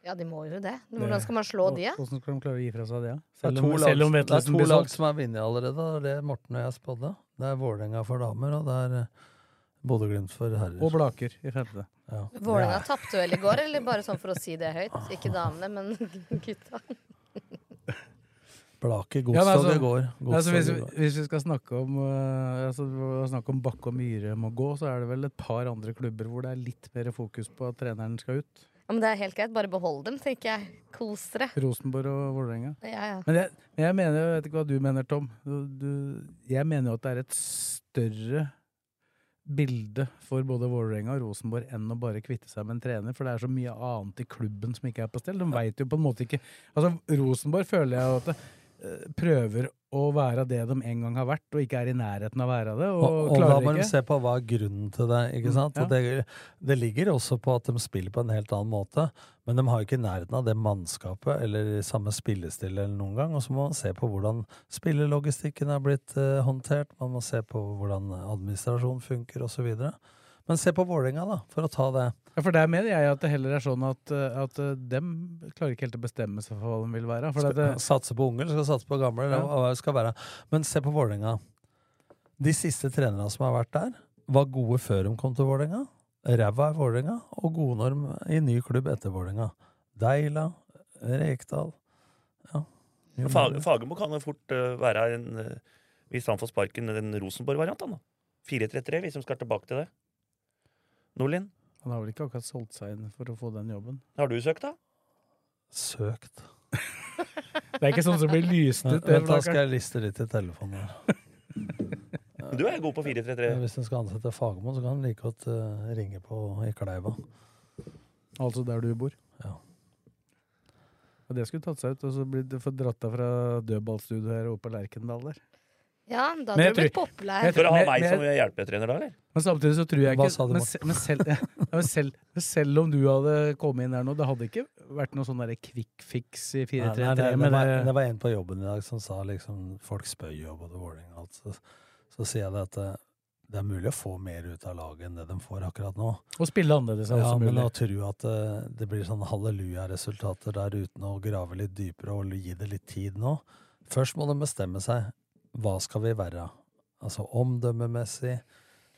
Speaker 6: Ja, de må jo det. Hvordan skal man slå de, da?
Speaker 4: Hvordan skal de klare å gi fra seg det?
Speaker 5: Det er
Speaker 4: Selv
Speaker 5: to
Speaker 4: om,
Speaker 5: lag,
Speaker 4: selv om
Speaker 5: det er
Speaker 4: Vetlesen
Speaker 5: to
Speaker 4: blir
Speaker 5: lag
Speaker 4: solgt.
Speaker 5: som er vunnet allerede. Det er det Morten og jeg spådde. Det er Vålerenga for damer, og det er eh, Bodø-Glimt for herrer.
Speaker 4: Og Blaker i femte.
Speaker 5: Ja.
Speaker 6: Vålerenga tapte vel i går, eller bare sånn for å si det høyt? Ikke damene, men gutta.
Speaker 5: Blake
Speaker 4: Ja, men
Speaker 5: godstog i går.
Speaker 4: ja, altså, hvis,
Speaker 5: Godstog i går.
Speaker 4: hvis vi skal snakke om eh, altså, snakke om Bakke og Myhre må gå, så er det vel et par andre klubber hvor det er litt mer fokus på at treneren skal ut.
Speaker 6: Ja, men det er helt greit. Bare behold dem, tenker jeg. Kos dere.
Speaker 4: Rosenborg og Vålerenga.
Speaker 6: Ja, ja.
Speaker 4: Men jeg, men jeg mener, jeg vet ikke hva du mener, Tom. Du, du, jeg mener jo at det er et større bilde for både Vålerenga og Rosenborg enn å bare kvitte seg med en trener, for det er så mye annet i klubben som ikke er på stell. De vet jo på en måte ikke Altså, Rosenborg føler jeg jo at det, eh, prøver å være det de en gang har vært, og ikke er i nærheten av å være det, og,
Speaker 5: Og, og da
Speaker 4: klarer
Speaker 5: må de
Speaker 4: ikke. Mm,
Speaker 5: se på hva er grunnen til det. ikke sant?
Speaker 4: ja.
Speaker 5: Og det, det ligger også på at de spiller på en helt annen måte, men de har jo ikke i nærheten av det mannskapet eller samme spillestil eller noen gang. Og så må man se på hvordan spillelogistikken er blitt eh, håndtert, man må se på hvordan administrasjon funker osv. Men se på Vålerenga, da, for å ta det.
Speaker 4: Ja, Ja, for der mener jeg at det heller er sånn at, eh, at eh, dem klarer ikke helt å bestemme seg for hva de vil være. For
Speaker 5: Skal-
Speaker 4: at eh, det,
Speaker 5: Satse på unge, eller skal satse på gamle. eller
Speaker 4: Ja.
Speaker 5: hva det Skal være. Men se på Vålerenga. De siste trenerne som har vært der, var gode før de kom til Vålerenga. Ræva i Vålerenga, og gode når de- i ny klubb etter Vålerenga. Deila, Rekdal ja. Jo,
Speaker 2: Men Fag, Fagermo kan jo fort eh, være en eh, Hvis han får sparken, den Rosenborg-varianten. da. 4-3-3, hvis de liksom, skal tilbake til det. Norlin,
Speaker 4: han har vel ikke akkurat solgt seg inn for å få den jobben.
Speaker 2: har du søkt, da?
Speaker 5: Søkt.
Speaker 4: Det er ikke sånn som blir lyst ut.
Speaker 5: Men,
Speaker 4: det
Speaker 5: men da
Speaker 4: flaggeren.
Speaker 5: skal jeg liste litt i telefonen her.
Speaker 2: Du er god på 4-3-3.
Speaker 5: Hvis en skal ansette Fagermo, så kan en like godt eh, ringe på i Kleiva.
Speaker 4: Altså der du bor.
Speaker 5: Ja.
Speaker 4: Og det skulle tatt seg ut, og så blitt fått dratt deg fra dødballstudioet her oppe på Lerkendal der.
Speaker 6: Ja, da
Speaker 4: Men
Speaker 6: hadde
Speaker 4: jeg
Speaker 6: du blitt
Speaker 4: tror-
Speaker 6: populær.
Speaker 4: jeg
Speaker 2: Skal du ha
Speaker 4: Men-
Speaker 2: meg
Speaker 4: men-
Speaker 2: som hjelpetrener da, eller?
Speaker 4: Men samtidig så tror jeg
Speaker 5: Hva
Speaker 4: ikke
Speaker 5: sa du,
Speaker 4: men,
Speaker 5: Morten?
Speaker 4: se- men, selv, ja, men selv, selv om du hadde kommet inn der nå, det hadde ikke vært noe sånn derre quick fix
Speaker 5: Nei,
Speaker 4: i
Speaker 5: nei,
Speaker 4: 4-3-3.
Speaker 5: det, det,
Speaker 4: men
Speaker 5: var,
Speaker 4: det-
Speaker 5: det var en på jobben i dag som sa liksom Folk spør jo både Vålerenga og alt. Så, så sier jeg det at eh, det er mulig å få mer ut av laget enn det de får akkurat nå.
Speaker 4: Å spille annerledes er
Speaker 5: Ja,
Speaker 4: også
Speaker 5: men å
Speaker 4: mulig.
Speaker 5: tro at eh, det blir sånn halleluja-resultater der uten å grave litt dypere og gi det litt tid nå Først må de bestemme seg. Hva skal vi være? Altså omdømmemessig.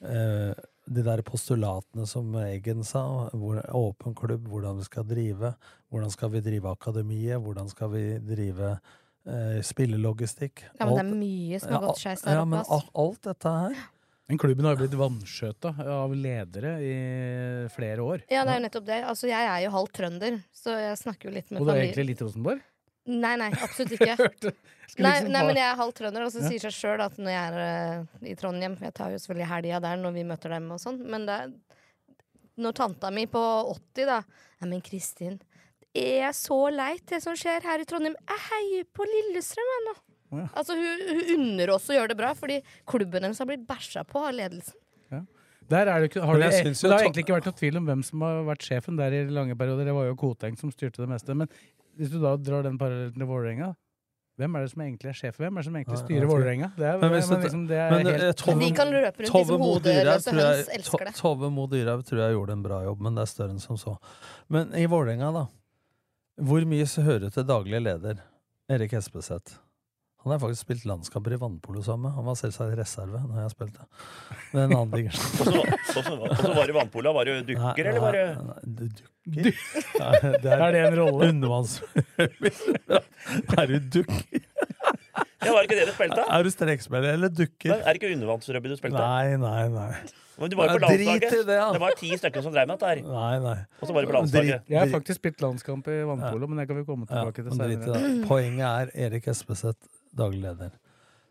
Speaker 5: eh, de der postulatene som Eggen sa, hvor, åpen klubb, hvordan vi skal drive. Hvordan skal vi drive akademiet? Hvordan skal vi drive eh, spillelogistikk?
Speaker 6: Ja, men det er
Speaker 5: Alt-
Speaker 6: mye som har
Speaker 5: Ja,
Speaker 6: gått skeis der
Speaker 5: Ja, men
Speaker 6: oppe. ass.
Speaker 5: alt, alt dette her
Speaker 4: Men klubben har jo blitt vanskjøta av ledere i flere år.
Speaker 6: Ja, det er jo nettopp det. Altså, jeg er jo halvt trønder, så jeg snakker jo litt med
Speaker 4: Og det er
Speaker 6: familie.
Speaker 4: egentlig litt Rosenborg?
Speaker 6: Nei, nei, absolutt ikke.
Speaker 4: Hørte- skulle
Speaker 6: Nei,
Speaker 4: liksom
Speaker 6: nei,
Speaker 4: ha-
Speaker 6: men jeg er halvt trønder, og så
Speaker 4: Ja.
Speaker 6: sier seg sjøl at når jeg er eh, i Trondheim Jeg tar jo selvfølgelig helga der når vi møter dem og sånn, men det er Når tanta mi på 80, da Nei, men Kristin, det er så leit, det som skjer her i Trondheim. Jeg heier på Lillestrøm, jeg nå.
Speaker 4: Å, ja.
Speaker 6: Altså, hun, hun unner oss å gjøre det bra, fordi klubben hennes har blitt bæsja på av ledelsen.
Speaker 4: Der er det, ikke, har
Speaker 5: Men
Speaker 4: det,
Speaker 5: jeg
Speaker 4: men
Speaker 5: syns jo
Speaker 4: det har
Speaker 5: ta-
Speaker 4: egentlig ikke vært noe tvil om hvem som har vært sjefen der i lange perioder. Det var jo Koteng som styrte det meste. Men hvis du da drar den parallellen til Vålerenga hvem er det som egentlig er sjef? Hvem er det som egentlig
Speaker 5: Nei, jeg vet
Speaker 4: styrer
Speaker 5: ikke.
Speaker 4: Vålerenga? Det er,
Speaker 5: Men
Speaker 4: men
Speaker 5: hvis du-
Speaker 4: liksom, det er
Speaker 5: men,
Speaker 4: helt
Speaker 5: eh, Tove-
Speaker 6: De kan løpe rundt
Speaker 5: Tove
Speaker 6: disse
Speaker 5: Mo Dyrhaug
Speaker 6: hodeløse
Speaker 5: tror jeg-
Speaker 6: høns.
Speaker 5: To-
Speaker 6: Elsker det.
Speaker 5: Tove Mo Dyrhaug tror jeg gjorde en bra jobb, men det er større enn som så. Men i Vålerenga, da. Hvor mye så hører til daglig leder Erik Espeseth? Han har faktisk spilt landskamper i vannpolo sammen med. Han var selvsagt reserve når jeg spilte. Det er en annen ting.
Speaker 2: Og så var, og så var det vannpola. Var det
Speaker 5: Nei,
Speaker 2: dukker, eller var det
Speaker 5: nei, nei, du dukker? Nei, det
Speaker 4: Er
Speaker 5: er
Speaker 4: det en rolle?
Speaker 5: undervanns... Er du dukker?
Speaker 2: Ja, var det ikke det du spilte?
Speaker 5: Er du strekspiller eller
Speaker 2: Nei,
Speaker 5: dukker?
Speaker 2: Er det ikke undervannsrugby du spilte?
Speaker 5: Nei, nei, nei.
Speaker 2: Men du var jo på
Speaker 5: Ja, drit i
Speaker 2: landslaget.
Speaker 5: det, ja.
Speaker 2: var ti stykker som drev med dette her.
Speaker 5: Nei, nei.
Speaker 2: Og så var det på landslaget.
Speaker 4: Jeg har faktisk spilt landskamp i vannpolo, men det kan vi komme
Speaker 5: Ja,
Speaker 4: tilbake til
Speaker 5: men drit i
Speaker 4: senere.
Speaker 5: det. Poenget er Erik Espeseth, daglig leder.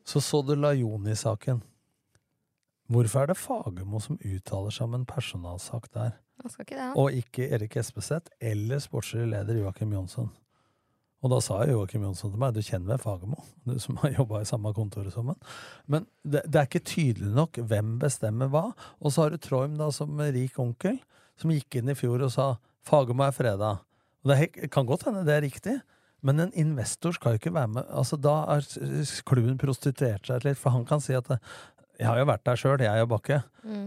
Speaker 5: Så så du Lajoni-saken. Hvorfor er det Fagermo som uttaler seg om en personalsak der,
Speaker 6: Han skal ikke det, han.
Speaker 5: og ikke Erik Espeseth eller sportslig leder Joakim Jonsson? Og da sa jo Joakim Jonsson til meg, du kjenner vel Fagermo, du som har jobba i samme kontoret som han. Men det, det er ikke tydelig nok hvem bestemmer hva. Og så har du Troim da som rik onkel, som gikk inn i fjor og sa Fagermo er freda. Og det er, helt- kan godt hende det er riktig, men en investor skal jo ikke være med. Altså, da har s- s- klubben prostituert seg litt, for han kan si at eh, jeg har jo vært der sjøl, jeg og Bakke,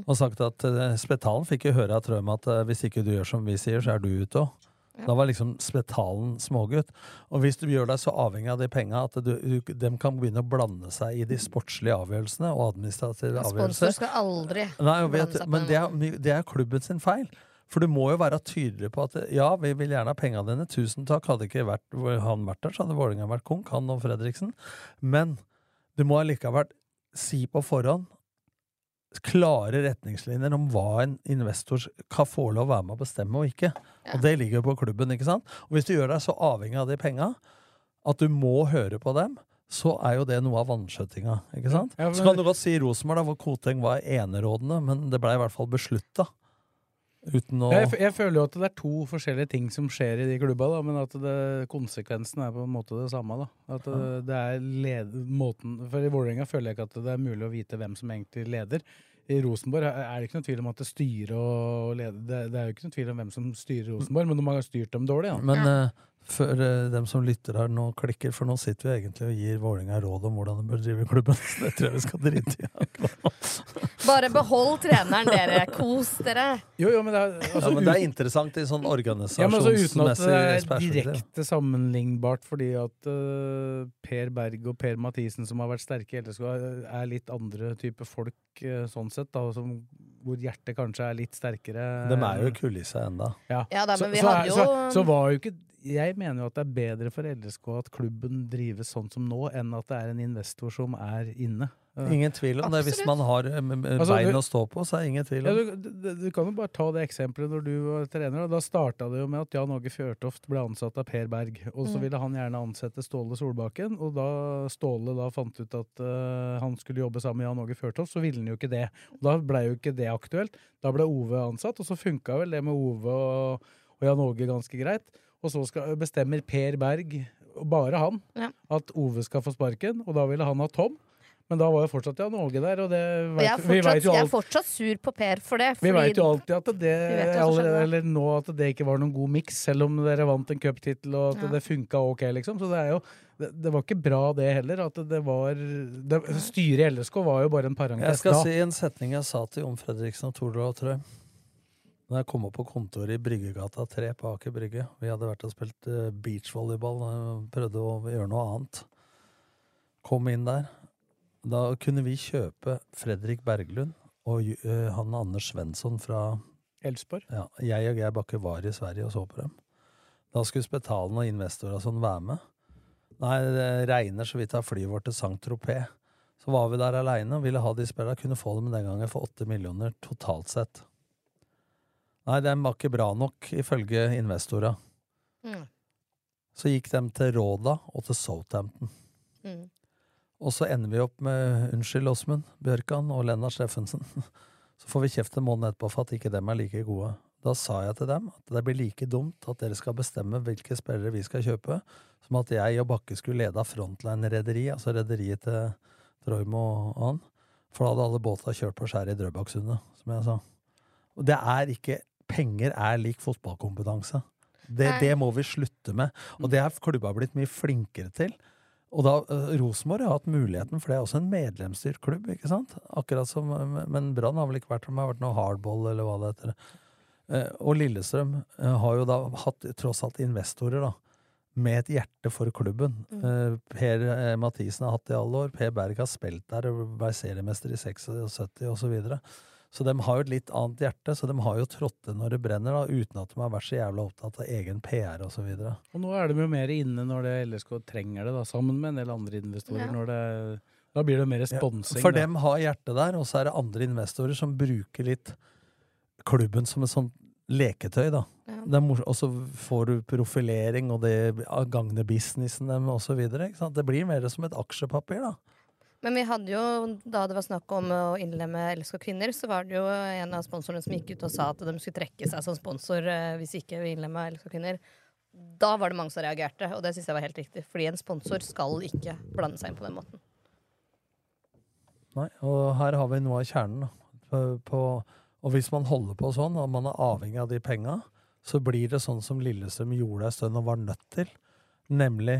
Speaker 5: og sagt at eh, Spetalen fikk jo høre av Trøm at eh, hvis ikke du gjør som vi sier, så er du ute òg. Da var liksom Spetalen smågutt. Og hvis du gjør deg så avhengig av de penga at du, du, dem kan begynne å blande seg i de sportslige avgjørelsene og administrative avgjørelser
Speaker 6: Sponsor skal aldri
Speaker 5: Nei, og vet,
Speaker 6: blande seg på
Speaker 5: men
Speaker 6: den
Speaker 5: det er,
Speaker 6: måten.
Speaker 5: my- det er klubben sin feil. For du må jo være tydelig på at ja, vi vil gjerne ha penga dine. Tusen takk. Hadde ikke vært, han vært der, så hadde Vålerenga vært konk, han og Fredriksen. Men du må allikevel si på forhånd klare retningslinjer om hva en investor kan få lov å være med å bestemme og ikke. Og det ligger jo på klubben, ikke sant? Og hvis du gjør deg så avhengig av de penga at du må høre på dem, så er jo det noe av vanskjøttinga, ikke sant?
Speaker 4: Ja, men-
Speaker 5: Så kan du godt si Rosenborg, da, hvor Koteng var enerådende, men det blei i hvert fall beslutta. Uten å
Speaker 4: Jeg, f- jeg føler jo at det er to forskjellige ting som skjer i de klubba, da, men at det, konsekvensen er på en måte det samme. da. At det, det er led, måten, For i Vålerenga føler jeg ikke at det er mulig å vite hvem som egentlig leder. I Rosenborg er er det ikke noe tvil om at det styrer og leder. Det, det er jo ikke noe tvil om hvem som styrer Rosenborg, men de har styrt dem dårlig. da.
Speaker 5: Men eh, før eh, dem som lytter her nå klikker, for nå sitter vi egentlig og gir Vålerenga råd om hvordan de bør drive klubben. Så det tror jeg vi skal drite i. akkurat nå.
Speaker 6: Bare behold treneren, dere. Kos dere.
Speaker 4: Jo, jo, men det er, altså,
Speaker 5: ja, men det er
Speaker 4: ut-
Speaker 5: interessant i sånn
Speaker 4: Ja, men altså Uten at det
Speaker 5: organisasjonsmessig
Speaker 4: er
Speaker 5: perspektiv.
Speaker 4: direkte sammenlignbart, fordi at eh, Per Berg og Per Mathisen, som har vært sterke i LSK, er litt andre type folk eh, sånn sett, da, som, hvor hjertet kanskje er litt sterkere.
Speaker 5: De er jo i kulissa enda.
Speaker 4: Ja,
Speaker 6: Ja, da, men vi
Speaker 4: så,
Speaker 6: hadde
Speaker 4: er-
Speaker 6: jo-
Speaker 4: så, så var jo ikke Jeg mener jo at det er bedre for LSK at klubben drives sånn som nå, enn at det er en investor som er inne. Eh,
Speaker 5: Ingen tvil om det. Hvis man har eh, m- m-
Speaker 4: Altså,
Speaker 5: bein
Speaker 4: du-
Speaker 5: å stå på, så er det ingen tvil
Speaker 4: ja,
Speaker 5: om
Speaker 4: du, du, du kan jo bare ta det eksempelet når du var trener. Da, da starta det jo med at Jan Åge Fjørtoft ble ansatt av Per Berg. Og så
Speaker 5: Mm.
Speaker 4: ville han gjerne ansette Ståle Solbakken, og da Ståle da fant ut at eh, han skulle jobbe sammen med Jan Åge Fjørtoft, så ville han jo ikke det. Og da blei jo ikke det aktuelt. Da ble Ove ansatt, og så funka vel det med Ove og, og Jan Åge ganske greit. Og så skal, bestemmer Per Berg, og bare han,
Speaker 6: Ja.
Speaker 4: at Ove skal få sparken, og da ville han ha Tom. Men da var jo fortsatt Jan Åge der, og det
Speaker 6: Og
Speaker 4: vet,
Speaker 6: jeg er
Speaker 4: vi vet
Speaker 6: fortsatt,
Speaker 4: jo
Speaker 6: jeg
Speaker 4: alt
Speaker 6: er fortsatt sur på Per for det.
Speaker 4: vi
Speaker 6: fordi-
Speaker 4: veit jo alltid at det,
Speaker 6: Vi vet jo hva som
Speaker 4: allerede,
Speaker 6: skjedde.
Speaker 4: eller nå at det ikke var noen god miks, selv om dere vant en cuptittel og at
Speaker 6: Ja.
Speaker 4: det funka ok, liksom. Så det er jo det, det var ikke bra, det heller. At det var det, Styret i LSK var jo bare en parentes
Speaker 5: Jeg skal
Speaker 4: da.
Speaker 5: si en setning jeg sa til Jon Fredriksen og Tordal, tror jeg. Når jeg kom opp på kontoret i Bryggegata 3 på Aker Brygge. Vi hadde vært og spilt eh, beachvolleyball og prøvde å gjøre noe annet. Kom inn der. Da kunne vi kjøpe Fredrik Berglund og Ju- eh, han Anders Svensson fra
Speaker 4: Elfsborg.
Speaker 5: Ja, jeg og Geir Bakke var i Sverige og så på dem. Da skulle Spetalen og investorer og sånn være med. Nei, det regner så vidt av flyet vårt til Saint-Tropez. Så var vi der aleine og ville ha de spillerne. Kunne få dem den gangen for åtte millioner totalt sett. Nei, den var ikke bra nok, ifølge investorene.
Speaker 6: Mm.
Speaker 5: Så gikk de til Råda og til Southampton.
Speaker 6: Mm.
Speaker 5: Og så ender vi opp med Unnskyld, Åsmund Bjørkan og Lennart Steffensen. Så får vi kjeft en måned etterpå for at ikke dem er like gode. Da sa jeg til dem at det blir like dumt at dere skal bestemme hvilke spillere vi skal kjøpe, som at jeg og Bakke skulle lede av Frontline-rederi, altså rederiet til Drøym og han. For da hadde alle båta kjørt på skjæret i Drøbaksundet, som jeg sa. Og det er ikke Penger er lik fotballkompetanse. Det,
Speaker 7: Nei.
Speaker 5: det må vi slutte med. Og det har klubba blitt mye flinkere til. Og da, eh, Rosenborg har hatt muligheten, for det er også en medlemsstyrt klubb. ikke sant? Akkurat som, eh, Men Brann har vel ikke vært om det har vært noe hardball, eller hva det heter. Eh, Og Lillestrøm eh, har jo da hatt tross alt investorer, da. Med et hjerte for klubben. Eh, Per eh, Mathisen har hatt det i alle år. Per Berg har spilt der og ble seriemester i 76 osv. Så, videre. så de har jo et litt annet hjerte, så de har jo trådt til når det brenner, da, uten at de har vært så jævla opptatt av egen PR osv.
Speaker 4: Og nå er de jo mer inne når det LSK trenger det, da, sammen med en del andre investorer.
Speaker 5: Ja.
Speaker 4: Når det, da blir det mer sponsing.
Speaker 5: For
Speaker 4: da.
Speaker 5: dem har hjertet der, og så er det andre investorer som bruker litt klubben som et sånt leketøy, da. Det er mors- og så får du profilering, og det gagner businessen dem, og så videre. Ikke sant? Det blir mer som et aksjepapir, da.
Speaker 6: Men vi hadde jo, da det var snakk om å innlemme LSK Kvinner, så var det jo en av sponsorene som gikk ut og sa at de skulle trekke seg som sponsor eh, hvis ikke vi innlemma LSK Kvinner. Da var det mange som reagerte, og det syns jeg var helt riktig. Fordi en sponsor skal ikke blande seg inn på den måten.
Speaker 5: Nei, og her har vi noe av kjernen. da. På, på, og hvis man holder på sånn, og man er avhengig av de penga, så blir det sånn som Lillestrøm gjorde en stund og var nødt til. Nemlig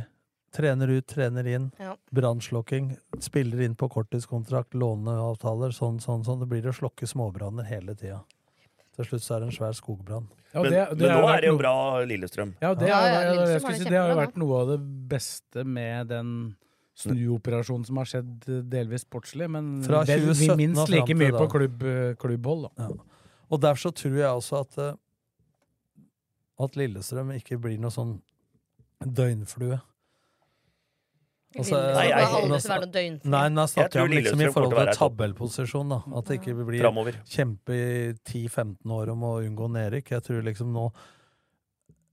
Speaker 5: trener ut, trener inn,
Speaker 6: Ja.
Speaker 5: brannslokking, spiller inn på korttidskontrakt, låneavtaler, sånn, sånn, sånn. Det blir å slokke småbranner hele tida. Til slutt så er det en svær skogbrann.
Speaker 4: Ja,
Speaker 2: Men,
Speaker 4: det- det
Speaker 2: men
Speaker 4: har
Speaker 2: nå
Speaker 4: vært
Speaker 2: er det jo
Speaker 4: noe-
Speaker 2: bra Lillestrøm.
Speaker 4: Ja, det,
Speaker 2: Ja,
Speaker 4: er,
Speaker 2: ja,
Speaker 4: det,
Speaker 2: Lillestrøm
Speaker 4: jeg
Speaker 2: har
Speaker 4: skulle
Speaker 2: det
Speaker 4: si, det har jo
Speaker 2: kjempebra
Speaker 4: vært noe av det beste med den snuoperasjonen som har skjedd eh, delvis sportslig, men
Speaker 5: Fra
Speaker 4: vel, vi
Speaker 5: 2017 og
Speaker 4: minst
Speaker 5: fram
Speaker 4: like
Speaker 5: til
Speaker 4: mye
Speaker 5: da.
Speaker 4: på klubb, klubbhold. Da.
Speaker 5: Og derfor så tror jeg også at, eh, at Lillestrøm ikke blir noe sånn døgnflue.
Speaker 6: Lillestrøm
Speaker 5: Nei,
Speaker 6: kommer
Speaker 5: jeg-
Speaker 6: aldri
Speaker 5: nå
Speaker 6: til å være noe døgnflue.
Speaker 5: Nei, nå
Speaker 6: Jeg
Speaker 5: snakker jeg
Speaker 6: tror
Speaker 5: om liksom i forhold
Speaker 2: Lillestrøm kommer til å
Speaker 5: til
Speaker 2: være i topp.
Speaker 5: tabellposisjon, da. At det ikke blir
Speaker 2: Fremover.
Speaker 5: kjempe i 10-15 år om å unngå nedrykk. Jeg tror liksom nå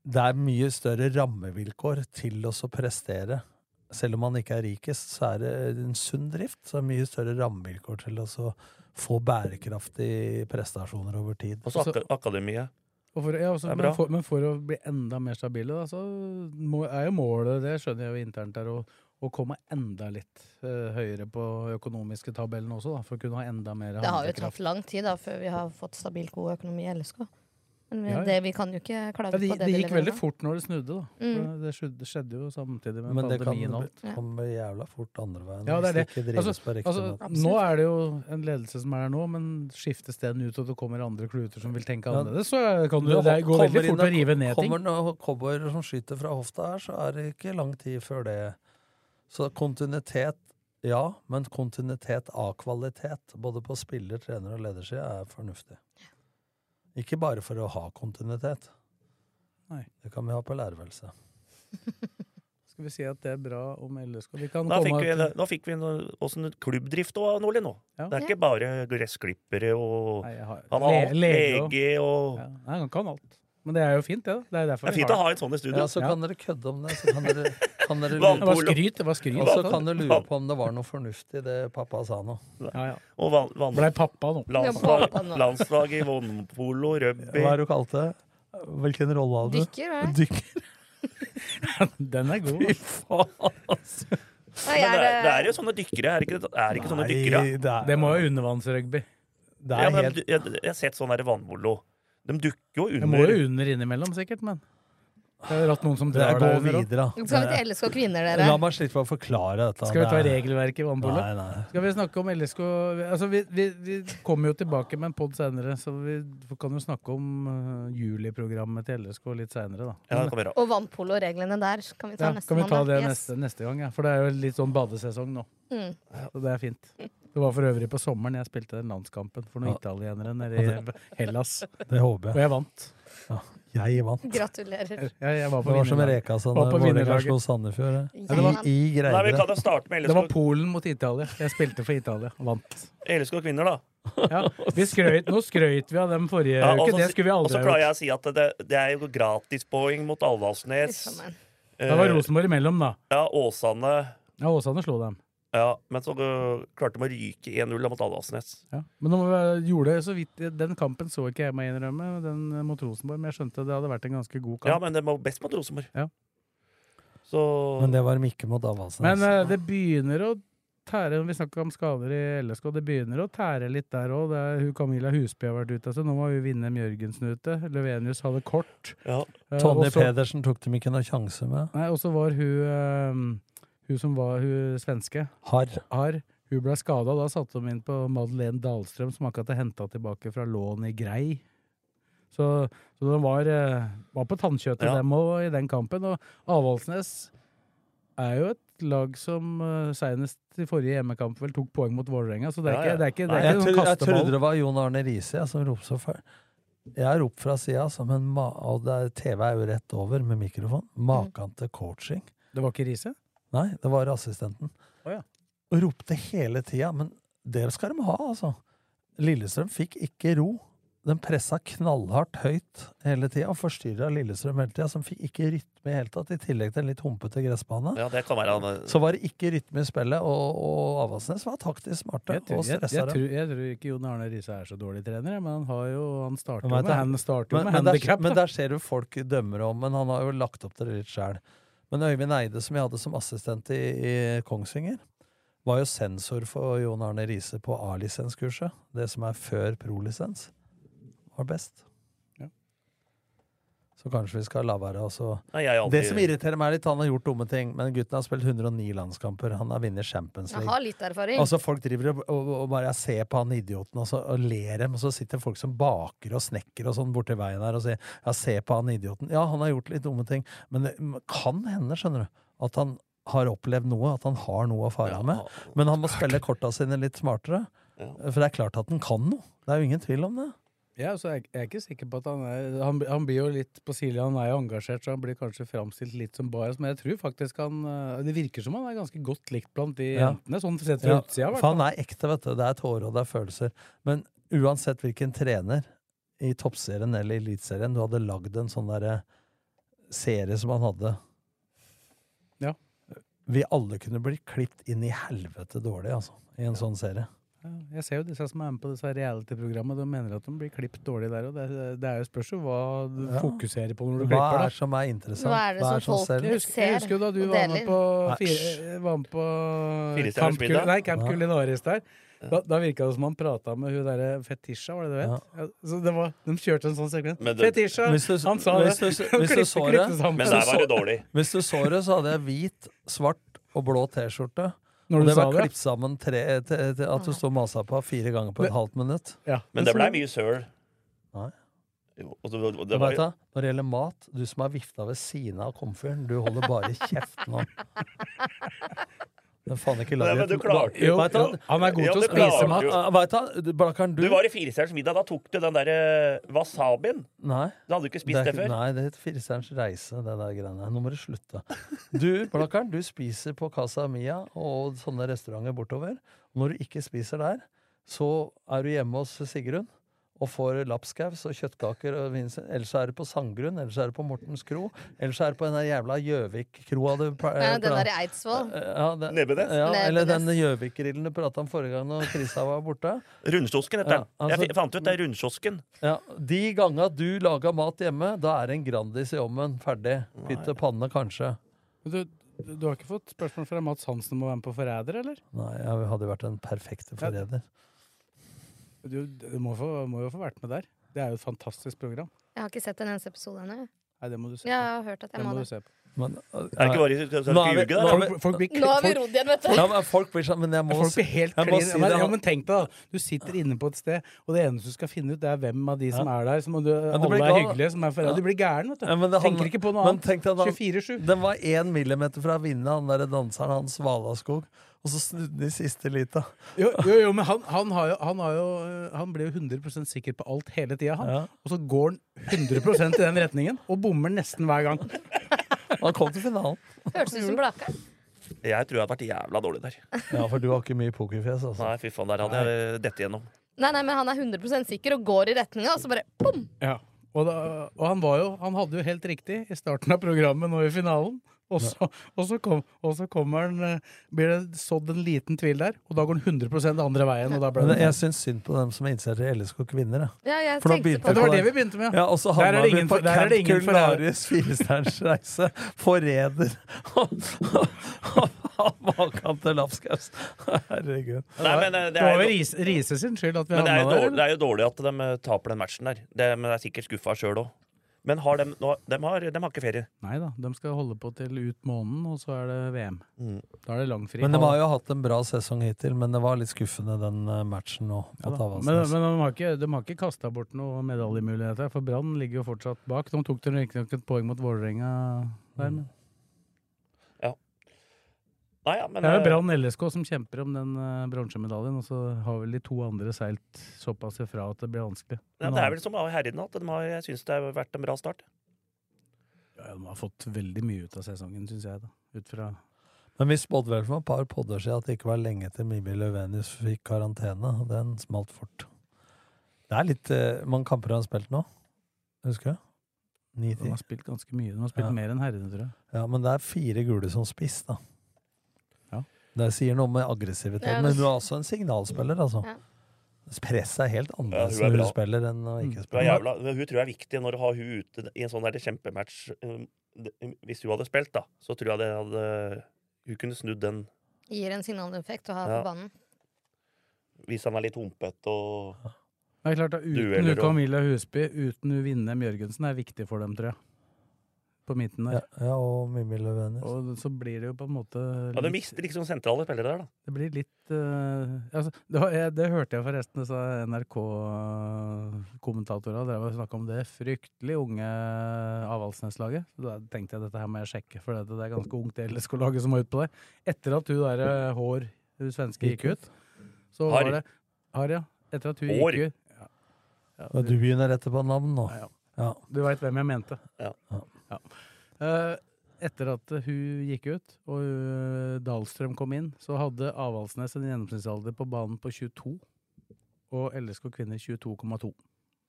Speaker 5: det er mye større rammevilkår til oss å prestere. Selv om man ikke er rikest, så er det en sunn drift. Så er det mye større rammevilkår til oss å få bærekraftige prestasjoner over tid.
Speaker 2: Og så ak akademiet.
Speaker 4: Og for, ja, også,
Speaker 2: Det er
Speaker 4: men,
Speaker 2: bra.
Speaker 4: for, men for å bli enda mer stabile, da, så må, er jo målet, det skjønner jeg jo internt der, å, å komme enda litt eh, høyere på økonomiske tabellen også, da, for å kunne ha enda mer
Speaker 6: Det har jo
Speaker 4: handlekraft.
Speaker 6: tatt lang tid da, før vi har fått stabilt god økonomi i LSK. Men
Speaker 4: Ja, ja.
Speaker 6: det, vi kan jo ikke klage
Speaker 4: Ja, det,
Speaker 6: på
Speaker 4: det
Speaker 6: det. de
Speaker 4: gikk
Speaker 6: leverer
Speaker 4: veldig
Speaker 6: nå.
Speaker 4: fort når det snudde, da. For
Speaker 6: Mm.
Speaker 4: Det skjedde, skjedde jo samtidig med
Speaker 5: Men det kan
Speaker 4: pandemien og alt.
Speaker 5: bli- komme jævla fort andre veien
Speaker 4: Ja, det er det.
Speaker 5: hvis det ikke drives
Speaker 4: Altså,
Speaker 5: på riktig måte.
Speaker 4: altså, nå er det jo en ledelse som er her nå, men skiftes den ut, og det kommer andre kluter som vil tenke
Speaker 5: Ja.
Speaker 4: annerledes, så kan du,
Speaker 5: Men
Speaker 4: det går
Speaker 5: kommer
Speaker 4: veldig
Speaker 5: inn
Speaker 4: fort å
Speaker 5: en-
Speaker 4: rive ned ting.
Speaker 5: Kommer det noen cowboyer som skyter fra hofta her, så er det ikke lang tid før det. Så kontinuitet, ja, men kontinuitet av kvalitet, både på spiller, trener og ledersida, er fornuftig. Ikke bare for å ha kontinuitet.
Speaker 4: Nei.
Speaker 5: Det kan vi ha på lærerværelset.
Speaker 4: Skal vi si at det er bra om LSK Vi kan
Speaker 2: Da fikk
Speaker 4: komme
Speaker 2: vi, da fikk vi noe- åssen klubbdrift og Nordli nå. Det er ikke bare gressklippere og
Speaker 4: Nei, jeg har-
Speaker 2: Han har
Speaker 4: Le- lege og-
Speaker 2: lege og
Speaker 4: Ja, Nei, han kan alt. Men det er jo fint, det. da. Det er, derfor
Speaker 2: Det er
Speaker 4: vi
Speaker 2: fint å
Speaker 4: har
Speaker 2: ha en sånn i studio.
Speaker 5: Ja, så kan dere kødde om det. Så kan dere, kan dere
Speaker 2: Vannpolo.
Speaker 4: Det var skryt, det var skryt. Altså.
Speaker 5: Og så kan du lure på om det var noe fornuftig i det pappa sa nå.
Speaker 4: Ja, ja.
Speaker 2: Og van, van,
Speaker 4: Blei pappa nå.
Speaker 2: landslag,
Speaker 4: Ja, pappa nå.
Speaker 2: landslag i vannpolo, rugby
Speaker 5: Hva er det du kalte det? Hvilken rolle hadde du?
Speaker 6: Dykker, hva?
Speaker 4: Den er god.
Speaker 5: Fy faen, altså.
Speaker 6: Nei,
Speaker 2: Men det, er, eh,
Speaker 6: er det-
Speaker 2: det er jo sånne dykkere, er det ikke, er det ikke sånne
Speaker 4: Nei,
Speaker 2: dykkere?
Speaker 4: Det må jo undervannsrugby.
Speaker 2: ja, men de- jeg, jeg har sett sånn der vannpolo. De dukker jo
Speaker 4: Det må
Speaker 2: under.
Speaker 4: jo under innimellom, sikkert, men Det er jo rett noen som
Speaker 5: Det er
Speaker 4: drar
Speaker 5: gå
Speaker 4: deg under. da.
Speaker 5: videre, da.
Speaker 6: Skal vi til LSK kvinner, dere?
Speaker 5: La meg slippe å forklare dette.
Speaker 4: Skal vi ta
Speaker 5: Det er-
Speaker 4: regelverket i vannpolo?
Speaker 5: Nei, nei.
Speaker 4: Skal vi snakke om LSK altså, vi, vi, vi kommer jo tilbake med en pod senere, så vi kan jo snakke om eh, juliprogrammet til LSK litt senere, da.
Speaker 2: Ja, det kan vi gjøre.
Speaker 6: Og vannpolo-reglene der kan vi ta
Speaker 4: Ja,
Speaker 6: neste
Speaker 4: kan vi ta
Speaker 6: mandag.
Speaker 4: det
Speaker 6: Yes.
Speaker 4: neste, neste gang? Ja? For det er jo litt sånn badesesong nå.
Speaker 6: Mm.
Speaker 4: Så det er fint. Det var for øvrig på sommeren jeg spilte den landskampen for noen italienere nede i Hellas.
Speaker 5: Det håper jeg.
Speaker 4: Og jeg vant.
Speaker 5: Jeg vant.
Speaker 6: Gratulerer.
Speaker 4: Jeg, jeg var på
Speaker 5: Det var som
Speaker 4: vinnerlaget.
Speaker 5: reka sa
Speaker 4: Var
Speaker 5: da
Speaker 4: på
Speaker 5: Vålerenga
Speaker 4: vinnerlaget.
Speaker 5: slo Sandefjord. det.
Speaker 6: Jeg vant.
Speaker 5: I, i
Speaker 2: Nei, vi
Speaker 5: greier.
Speaker 2: kan jo starte med
Speaker 4: Det var
Speaker 2: LSK,
Speaker 4: Polen mot Italia. Jeg spilte for Italia. Vant.
Speaker 2: LSK kvinner, da.
Speaker 4: Ja, vi skrøyt, nå skrøyt vi av dem forrige
Speaker 2: Ja,
Speaker 4: uke.
Speaker 2: og så-
Speaker 4: Det skulle vi
Speaker 2: og så
Speaker 4: aldri ha
Speaker 2: pleier
Speaker 4: gjort.
Speaker 2: jeg å si at det, det er jo gratispoeng mot Aldalsnes.
Speaker 4: Da var Rosenborg imellom, da.
Speaker 2: Ja, Åsane.
Speaker 4: Ja, Åsane slo dem.
Speaker 2: Ja, men så øh, klarte de å ryke 1-0 mot Aldalsnes.
Speaker 4: Ja. Men nå var- gjorde jeg så vidt Den kampen så ikke jeg meg innrømme, den eh, mot Rosenborg, men jeg skjønte det hadde vært en ganske god kamp.
Speaker 2: Ja, men det var best mot Rosenborg.
Speaker 4: Ja.
Speaker 2: Så
Speaker 5: Men det var de ikke mot Avaldsnes.
Speaker 4: Men eh, det begynner å tære Vi snakka om skader i LSK. Det begynner å tære litt der òg. Camilla Husby har vært ute, så nå må hun vinne Mjørgensen ute. Løvenius hadde kort.
Speaker 2: Ja.
Speaker 4: Eh,
Speaker 5: Tonje
Speaker 4: og så-
Speaker 5: Pedersen tok dem ikke noe sjanse med.
Speaker 4: Nei, Og så var hun eh, Hun som var hun svenske,
Speaker 5: Harr.
Speaker 4: Har. Hun ble skada. Da satte de inn på Madeleine Dahlstrøm, som akkurat er henta tilbake fra lån i Grei. Så, så de var, eh, var på tannkjøttet,
Speaker 2: Ja.
Speaker 4: dem òg, i den kampen. Og Avaldsnes er jo et lag som eh, senest i forrige hjemmekamp vel tok poeng mot Vålerenga, så det er
Speaker 2: Ja,
Speaker 4: ikke,
Speaker 2: ja.
Speaker 4: det er ikke, det
Speaker 5: Nei,
Speaker 4: er
Speaker 5: jeg,
Speaker 4: ikke
Speaker 5: tro,
Speaker 4: noen
Speaker 5: jeg trodde
Speaker 4: kasteball.
Speaker 5: det var Jon Arne Riise jeg, som ropte så fælt. Jeg har ropt fra sida, og det er, TV er jo rett over med mikrofon. Makan til coaching.
Speaker 4: Det var ikke Riise?
Speaker 5: Nei, det var assistenten.
Speaker 4: Å ja.
Speaker 5: Og ropte hele tida. Men det skal de ha, altså. Lillestrøm fikk ikke ro. Den pressa knallhardt høyt hele tida og forstyrra Lillestrøm hele tida, som fikk ikke rytme i hele tatt, i tillegg til en litt humpete gressbane.
Speaker 2: ja, det kan være han eh.
Speaker 5: Så var det ikke rytme i spillet, og, og Avaldsnes var taktisk smarte
Speaker 4: Jeg
Speaker 5: og
Speaker 4: tror, jeg, jeg,
Speaker 5: stressa dem.
Speaker 4: tror, jeg tror ikke Jon Arne Riise er så dårlig trener, jeg, men han har jo Han starter
Speaker 5: Men
Speaker 4: jo
Speaker 5: vet
Speaker 4: med,
Speaker 5: jeg-
Speaker 4: han starter jo
Speaker 5: Men,
Speaker 4: med
Speaker 5: men, der,
Speaker 4: handikap.
Speaker 5: men der ser du folk dømmer om, men han har jo lagt opp til det litt sjæl. Men Øyvind Eide, som jeg hadde som assistent i, i Kongsvinger, var jo sensor for Jon Arne Riise på A-lisenskurset. Det som er før prolisens. Var best.
Speaker 4: Ja.
Speaker 5: Så kanskje vi skal la være. Altså.
Speaker 2: Nei, jeg er
Speaker 5: Det som
Speaker 2: aldri
Speaker 5: irriterer meg litt, han har gjort dumme ting, men gutten har spilt 109 landskamper. Han har vunnet Champions
Speaker 6: Jeg
Speaker 5: League.
Speaker 6: har litt erfaring.
Speaker 5: Altså Folk driver og, og, og bare ser på han idioten og, så, og ler dem, og så sitter folk som baker og snekker og sånn borti veien her og sier ja, se på han idioten. Ja, han har gjort litt dumme ting, men det kan hende, skjønner du, at han har opplevd noe, at han har noe å fare
Speaker 2: Ja.
Speaker 5: med. Men han må spille korta sine litt smartere.
Speaker 2: Ja.
Speaker 5: For det er klart at han kan noe. Det er jo ingen tvil om det.
Speaker 4: Ja, så jeg, jeg er ikke sikker på at han er Han, blir- han blir jo litt på Silja, han er jo engasjert, så han blir kanskje framstilt litt som bajas, men jeg tror faktisk han øh, Det virker som han er ganske godt likt blant de
Speaker 5: Ja.
Speaker 4: jentene, sånn sett fra
Speaker 5: Ja,
Speaker 4: utsida. i hvert
Speaker 5: for han er ekte, vet du. Det er tårer og det er følelser. Men uansett hvilken trener i toppserien eller i eliteserien du hadde lagd en sånn derre serie som han hadde
Speaker 4: Ja.
Speaker 5: Vi alle kunne blitt klippet inn i helvete dårlig, altså. I en sånn serie.
Speaker 4: Jeg ser jo disse som er med på disse reality-programmene, de mener at de blir klippet dårlig der. Og det, det er jo spørs jo hva du
Speaker 5: Ja.
Speaker 4: fokuserer på når du
Speaker 5: Hva
Speaker 4: klipper. da.
Speaker 5: er som er interessant? Hva er det Hva er sånn som som folk selger?
Speaker 4: Jeg husker, jeg
Speaker 5: ser
Speaker 4: husker jo da du
Speaker 5: og
Speaker 4: var med
Speaker 5: deler?
Speaker 4: på,
Speaker 5: Nei.
Speaker 4: fire, eh, var med på
Speaker 5: Firestjerners
Speaker 4: Camp Cul-
Speaker 5: middag?
Speaker 4: nei, Camp
Speaker 5: Ja.
Speaker 4: Culinaris der. Da, da virka det som han prata med hun derre Fetisha, var det det du het? Ja. Så det var, de kjørte en sånn sekvens.
Speaker 5: Men det-
Speaker 4: Fetisha!
Speaker 5: Hvis du-
Speaker 4: han sa
Speaker 5: hvis
Speaker 4: det!
Speaker 5: du-
Speaker 4: De
Speaker 5: hvis du
Speaker 4: klippte-
Speaker 5: så
Speaker 4: klippte
Speaker 5: det-
Speaker 4: sammen.
Speaker 5: hvis du så- Hvis du så det, så hadde jeg hvit, svart og blå T-skjorte.
Speaker 4: Når
Speaker 5: Og
Speaker 4: du
Speaker 5: det var
Speaker 4: sa det?
Speaker 5: klippet sammen tre, te, te, at du sto og masa på fire ganger på et
Speaker 2: Men-
Speaker 5: halvt minutt.
Speaker 4: Ja.
Speaker 2: Men det blei mye søl.
Speaker 5: Nei.
Speaker 2: Jo, og det, og
Speaker 5: Det
Speaker 2: det var,
Speaker 5: Når det gjelder mat, du som har vifta ved siden av komfyren, du holder bare kjeft nå. Men faen ikke
Speaker 2: Nei,
Speaker 5: lag
Speaker 2: men du klarte-
Speaker 5: Hva- vet du hva?
Speaker 2: Jo, han er god Ja, til å det spise klarte mat. du.
Speaker 5: Ah, Vet du, hva? Blakkaren, du
Speaker 2: du var i Firestjerners middag. Da tok du den der eh, wasabien.
Speaker 5: Nei.
Speaker 2: Da hadde du ikke spist
Speaker 5: er
Speaker 2: det,
Speaker 5: ikke-
Speaker 2: før.
Speaker 5: Nei, det heter Firestjerners reise, det der greiene. her. Nå må du slutte. Du, Blakkaren, du spiser på Casa Mia og sånne restauranter bortover. Når du ikke spiser der, så er du hjemme hos Sigrun og får lapskaus og kjøttkaker og vins. Ellers så er du på Sandgrunn, ellers så er du på Mortens kro, ellers så er du på den der jævla Gjøvik-kroa du pla-
Speaker 6: Nei, Eh, den
Speaker 5: pla- Eh,
Speaker 6: der i Eidsvoll.
Speaker 5: ja, det-
Speaker 2: Nebbenes.
Speaker 5: Ja, eller den
Speaker 6: Nebbenes.
Speaker 5: Gjøvik-grillen du prata om forrige gang når Krista var borte.
Speaker 2: Rundkiosken heter den.
Speaker 5: Ja, altså-
Speaker 2: Jeg fi- fant ut det er rundkiosken.
Speaker 5: Ja, De ganga du laga mat hjemme, da er en Grandis i ovnen ferdig. Pytt og panne, kanskje.
Speaker 4: Men Du, du har ikke fått spørsmål fra Mats Hansen om å være med på Forræder, eller?
Speaker 5: Nei, jeg hadde jo vært den perfekte forræder.
Speaker 4: Du, du må, få, må jo få vært med der. Det er jo et fantastisk program.
Speaker 6: Jeg har ikke sett en eneste episode ennå. jeg.
Speaker 4: Nei, det må du se
Speaker 6: Jeg
Speaker 4: på.
Speaker 6: har hørt at jeg
Speaker 4: Det må
Speaker 6: må
Speaker 4: du
Speaker 6: det.
Speaker 4: se på.
Speaker 5: Men, øh,
Speaker 2: Er det ikke bare- skal- skal
Speaker 5: Nå er
Speaker 2: ikke
Speaker 5: vi-
Speaker 2: ljuge, da?
Speaker 5: nå er vi-
Speaker 2: Folk- folk blir-
Speaker 6: Nå har vi rodd igjen, vet du.
Speaker 5: Ja, men folk blir sånn, men jeg må
Speaker 4: Folk blir
Speaker 5: si-
Speaker 4: helt
Speaker 5: jeg må
Speaker 4: klin.
Speaker 5: si
Speaker 4: men,
Speaker 5: det,
Speaker 4: ja,
Speaker 5: han-
Speaker 4: men tenk deg, da. Du sitter inne på et sted, og det eneste du skal finne ut, det er hvem av de som
Speaker 5: Ja.
Speaker 4: er der. Som du,
Speaker 5: du
Speaker 4: alle
Speaker 5: blir
Speaker 4: er
Speaker 5: gal, da.
Speaker 4: hyggelige, som er
Speaker 5: Ja.
Speaker 4: foreldre. Du blir gæren, vet du.
Speaker 5: Ja, men det- han-
Speaker 4: Tenker ikke på noe
Speaker 5: men
Speaker 4: annet.
Speaker 5: tenk deg da-
Speaker 4: 24-7.
Speaker 5: Den var én millimeter fra å vinne, han derre danseren, han Svalaskog. Og så snudde den i siste lita.
Speaker 4: Jo, jo, jo, men han, han, har jo, han, har jo, øh, han blir jo 100 sikker på alt hele tida, han.
Speaker 5: Ja.
Speaker 4: Og så går han 100 i den retningen, og bommer nesten hver gang.
Speaker 5: Han kom til finalen.
Speaker 6: Hørtes ut som Blakkaren.
Speaker 2: Jeg tror jeg hadde vært jævla dårlig der.
Speaker 5: Ja, for du har ikke mye pokerfjes, altså.
Speaker 2: Nei, fy faen, der hadde jeg dette gjennom.
Speaker 6: Nei, nei, men han er 100 sikker og går i retninga, og så bare bom!
Speaker 4: Ja. Og, da, og han var jo Han hadde jo helt riktig i starten av programmet nå i finalen. Og så, og så, kom, og så kommer han eh, Blir det sådd en liten tvil der, og da går han 100 andre veien. Og da ble
Speaker 5: Men
Speaker 4: det
Speaker 5: jeg syns synd på dem som er interessert i LSK kvinner. jeg.
Speaker 6: Ja,
Speaker 5: nå
Speaker 6: jeg tenkte
Speaker 5: begynte
Speaker 6: på det. Det var det
Speaker 4: vi begynte med, ja.
Speaker 5: Ja, og så
Speaker 4: Der er
Speaker 5: havna vi
Speaker 4: det ingen
Speaker 5: på
Speaker 4: for- der er det
Speaker 5: Camp
Speaker 4: ingen for-
Speaker 5: Culinaris firestjernersreise. Forræder. Makan til lapskaus. Herregud.
Speaker 2: Nei, men, eh,
Speaker 4: Det
Speaker 2: er
Speaker 4: var
Speaker 2: jo-
Speaker 4: vel Riise Riise sin skyld at vi
Speaker 2: Men det er, jo
Speaker 4: havna der.
Speaker 2: dårlig, det
Speaker 4: eller?
Speaker 2: er jo dårlig at de eh, taper den matchen der. Det, men de er sikkert skuffa sjøl òg. Men har de, nå, de, har, de har ikke ferie.
Speaker 4: Nei da, de skal holde på til ut måneden, og så er det VM. Da er det langfri.
Speaker 5: Men de har jo hatt en bra sesong hittil, men det var litt skuffende den eh, matchen nå. På
Speaker 4: Ja da. Men,
Speaker 5: Tavastnes.
Speaker 4: men de har ikke, de har ikke kasta bort noen medaljemuligheter, for Brann ligger jo fortsatt bak. De tok riktignok et poeng mot Vålerenga der, men
Speaker 2: Nei, ja, men
Speaker 4: det er jo
Speaker 2: eh,
Speaker 4: Brann LSK som kjemper om den eh, bronsemedaljen, og så har vel de to andre seilt såpass ifra at det blir vanskelig.
Speaker 2: ja, Det er vel som herrene, at de har, jeg syns det har vært en bra start.
Speaker 4: Ja, de har fått veldig mye ut av sesongen, syns jeg, da. Ut fra
Speaker 5: Men vi spådde vel for et par podder siden at det ikke var lenge til Mimmi Løvenius fikk karantene, og den smalt fort. Det er litt eh, mange kamper han har spilt nå. Husker du?
Speaker 4: De
Speaker 5: Ni-ti.
Speaker 4: har spilt ganske mye. De har spilt
Speaker 5: Ja.
Speaker 4: mer enn herrene, tror jeg.
Speaker 5: Ja, men det er fire gule som spiss, da.
Speaker 4: Ja.
Speaker 5: Det sier noe med aggressivitet.
Speaker 4: Ja, det-
Speaker 5: Men hun er også en signalspiller, altså. Presset er helt annerledes
Speaker 2: Ja, hun
Speaker 5: når
Speaker 2: er bra. Mm.
Speaker 5: hun spiller enn å ikke
Speaker 2: Hun, er
Speaker 5: spille.
Speaker 2: jævla, hun tror jeg er viktig når du har hun ute i en sånn der kjempematch. Um, det- Hvis hun hadde spilt, da, så tror jeg det hadde Hun kunne snudd den
Speaker 6: Gir en signaleffekt å ha
Speaker 2: Ja.
Speaker 6: på banen.
Speaker 2: hvis han er litt humpete og
Speaker 4: Det er klart at Uten
Speaker 2: Dueller
Speaker 4: hun
Speaker 2: og-
Speaker 4: Camilla Husby, uten hun Vindem Jørgensen, er viktig for dem, tror jeg. På midten
Speaker 5: Ja,
Speaker 4: der.
Speaker 5: ja, og Mimmi Løvenius.
Speaker 4: Og så blir det jo på en måte
Speaker 2: Ja, du
Speaker 4: litt-
Speaker 2: mister liksom sentrale spillere der, da.
Speaker 4: Det blir litt eh, altså, det, var, jeg, det hørte jeg forresten disse NRK-kommentatorene drev og snakka om det fryktelig unge Avaldsnes-laget. Så Da tenkte jeg dette her må jeg sjekke, for det, det er ganske ungt LSK-laget som var ute på der. Etter at hun der eh, Hår, hun svenske, gikk ut, så
Speaker 5: Harry.
Speaker 4: var det Harry, ja. Etter at hun
Speaker 5: Hår.
Speaker 4: gikk ut
Speaker 5: Og du begynner rett på navn nå. Ja.
Speaker 4: Du veit hvem jeg mente.
Speaker 2: Ja.
Speaker 4: Eh, etter at eh, hun gikk ut og eh, Dahlstrøm kom inn, så hadde Avaldsnes en gjennomsnittsalder på banen på 22, og LSK kvinner 22,2.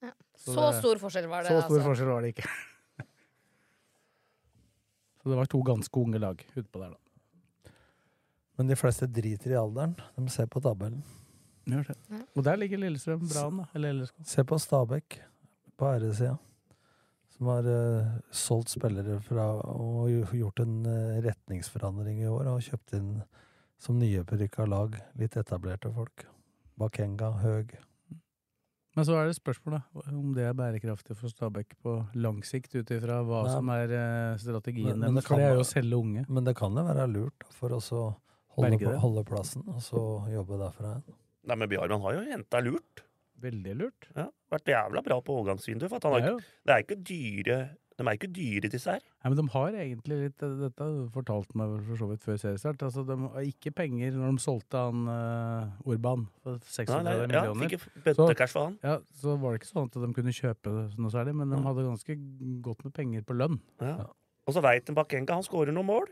Speaker 6: Ja.
Speaker 4: Så
Speaker 6: Så
Speaker 4: det-
Speaker 6: stor forskjell var det,
Speaker 4: Så stor
Speaker 6: altså.
Speaker 4: forskjell var det ikke. så det var to ganske unge lag utpå der, da.
Speaker 5: Men de fleste driter i alderen. De ser på tabellen.
Speaker 4: Gjør det. Og der ligger Lillestrøm bra an, da. Eller LSK.
Speaker 5: Se på Stabæk på æresida, som har eh, solgt spillere fra og gj- gjort en eh, retningsforandring i år og kjøpt inn som nyopprykka lag litt etablerte folk. Bakenga, Høg.
Speaker 4: Men så er det spørsmålet om det er bærekraftig for Stabæk på lang sikt, ut ifra hva
Speaker 5: Nei.
Speaker 4: som er eh, strategien
Speaker 5: Men- men det
Speaker 4: deres. For
Speaker 5: kan
Speaker 4: det er jo å
Speaker 5: være-
Speaker 4: selge unge.
Speaker 5: Men det kan jo være lurt for oss å holde,
Speaker 4: Berge det.
Speaker 5: holde plassen og så jobbe derfra igjen.
Speaker 2: Nei, men Bjarman har jo henta lurt.
Speaker 4: Veldig lurt.
Speaker 2: Ja, vært jævla bra på overgangsvinduet. For at han har
Speaker 4: Det er
Speaker 2: ikke, det er ikke dyre, de er ikke dyre, disse her.
Speaker 4: Nei, men de har egentlig litt eh, Dette fortalte meg vel for så vidt før seriestart. Altså, de har ikke penger når de solgte han eh, Orban for 600
Speaker 2: Nei, nei, ja,
Speaker 4: millioner.
Speaker 2: fikk ikke bøttekasj for han.
Speaker 4: Ja, så var det ikke sånn at de kunne kjøpe noe særlig, men de
Speaker 2: Mm.
Speaker 4: hadde ganske godt med penger på lønn.
Speaker 2: Ja. Og så veit en Bakenga, han skårer noen mål.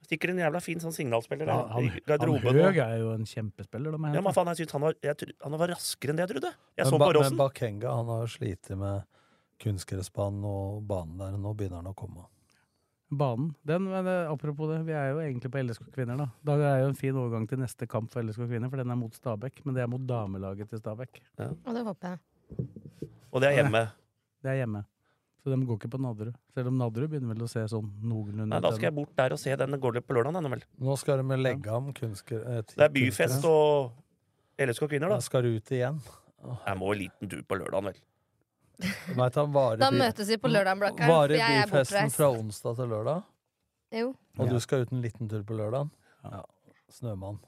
Speaker 2: Stikker en jævla fin sånn signalspiller der.
Speaker 4: Han, han,
Speaker 2: i
Speaker 4: han
Speaker 2: garderoben og-
Speaker 4: Høeg er jo en kjempespiller, da. må jeg
Speaker 2: Ja, men
Speaker 4: hente.
Speaker 2: faen, jeg synes han var, jeg, tro- han var raskere enn det jeg trodde. Jeg
Speaker 5: Men
Speaker 2: så
Speaker 5: Ba-
Speaker 2: på Rossen.
Speaker 5: Men Bakenga han har slitt med kunstgressbanen og banen der. Nå begynner han å komme.
Speaker 4: Banen. Den, men eh, apropos det, vi er jo egentlig på LSK Kvinner, da. Da er det jo en fin overgang til neste kamp for LSK Kvinner, for den er mot Stabæk. Men det er mot damelaget til Stabæk.
Speaker 6: Og det håper jeg.
Speaker 2: Og det er hjemme.
Speaker 4: Det er hjemme. Så de går ikke på Nadderud. Selv om Nadderud begynner vel å se sånn noenlunde
Speaker 2: Nei, da skal jeg bort der og se den. Den Går det på lørdag, den vel?
Speaker 5: Nå skal de legge om kunstgre... eh,
Speaker 2: Det er byfest og LSK kvinner,
Speaker 5: Da
Speaker 2: da.
Speaker 5: skal du ut igjen.
Speaker 2: Jeg må en liten tur på lørdag, vel.
Speaker 5: Vet han varer
Speaker 6: Da
Speaker 5: by- Mm.
Speaker 6: møtes vi på lørdag, Blakkaren, for
Speaker 5: Varer
Speaker 6: jeg er
Speaker 5: byfesten
Speaker 6: bortreist.
Speaker 5: fra onsdag til lørdag,
Speaker 6: Jo.
Speaker 5: og du skal ut en liten tur på lørdag? Ja. Snømann.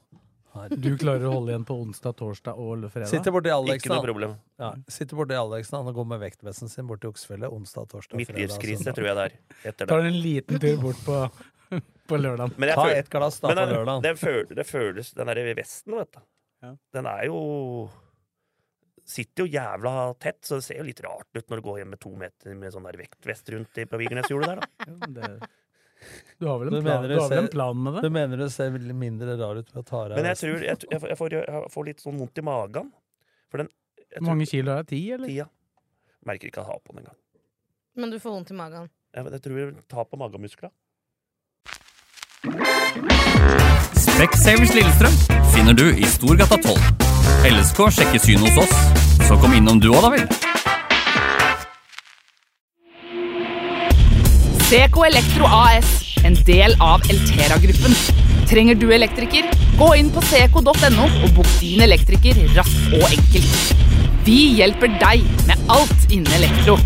Speaker 5: Her.
Speaker 4: Du klarer å holde igjen på onsdag, torsdag og lø- fredag?
Speaker 5: Sitter borti
Speaker 2: Ikke
Speaker 5: Aleksen.
Speaker 2: noe
Speaker 5: han.
Speaker 2: problem.
Speaker 5: Ja, sitter borti Aleksen han, og går med vektvesten sin bort til Oksfjellet onsdag, torsdag,
Speaker 2: Midtlivskrise,
Speaker 5: søndag.
Speaker 2: tror jeg det er. Etter det.
Speaker 4: Tar en liten tur bort på, på lørdag.
Speaker 2: Men jeg
Speaker 5: Ta
Speaker 2: føler-
Speaker 5: et glass da
Speaker 2: Men
Speaker 5: på
Speaker 2: den-
Speaker 5: lørdag.
Speaker 2: Den, føl- det føles, den der vesten, vet du.
Speaker 4: Ja.
Speaker 2: Den er jo Sitter jo jævla tett, så det ser jo litt rart ut når du går hjem med to meter med sånn der vektvest rundt i- på Vigernesjordet der, da.
Speaker 4: Ja, men det, du har vel
Speaker 5: Du
Speaker 4: en plan,
Speaker 5: mener
Speaker 4: du
Speaker 5: du
Speaker 4: har vel
Speaker 5: ser-
Speaker 4: en plan med
Speaker 5: Du
Speaker 4: det?
Speaker 5: mener du ser veldig mindre rar ut ved å ta av
Speaker 2: Men jeg
Speaker 5: vesten?
Speaker 2: tror jeg, t- jeg, får- jeg, får, jeg får litt sånn vondt i magen. For den jeg
Speaker 4: Hvor
Speaker 2: tror,
Speaker 4: mange kilo er det? Ti, eller?
Speaker 2: Tida. Merker ikke at jeg har på den engang.
Speaker 6: Men du får vondt i magen.
Speaker 2: Jeg, jeg tror jeg tar på magemuskla.
Speaker 7: Specsavers Lillestrøm finner du i Storgata 12. LSK sjekker synet hos oss, så kom innom du òg, da vel.
Speaker 1: CK Elektro AS, en del av Eltera-gruppen. Trenger du elektriker? Gå inn på ck.no og bok din elektriker raskt og enkelt. Vi hjelper deg med alt innen elektro.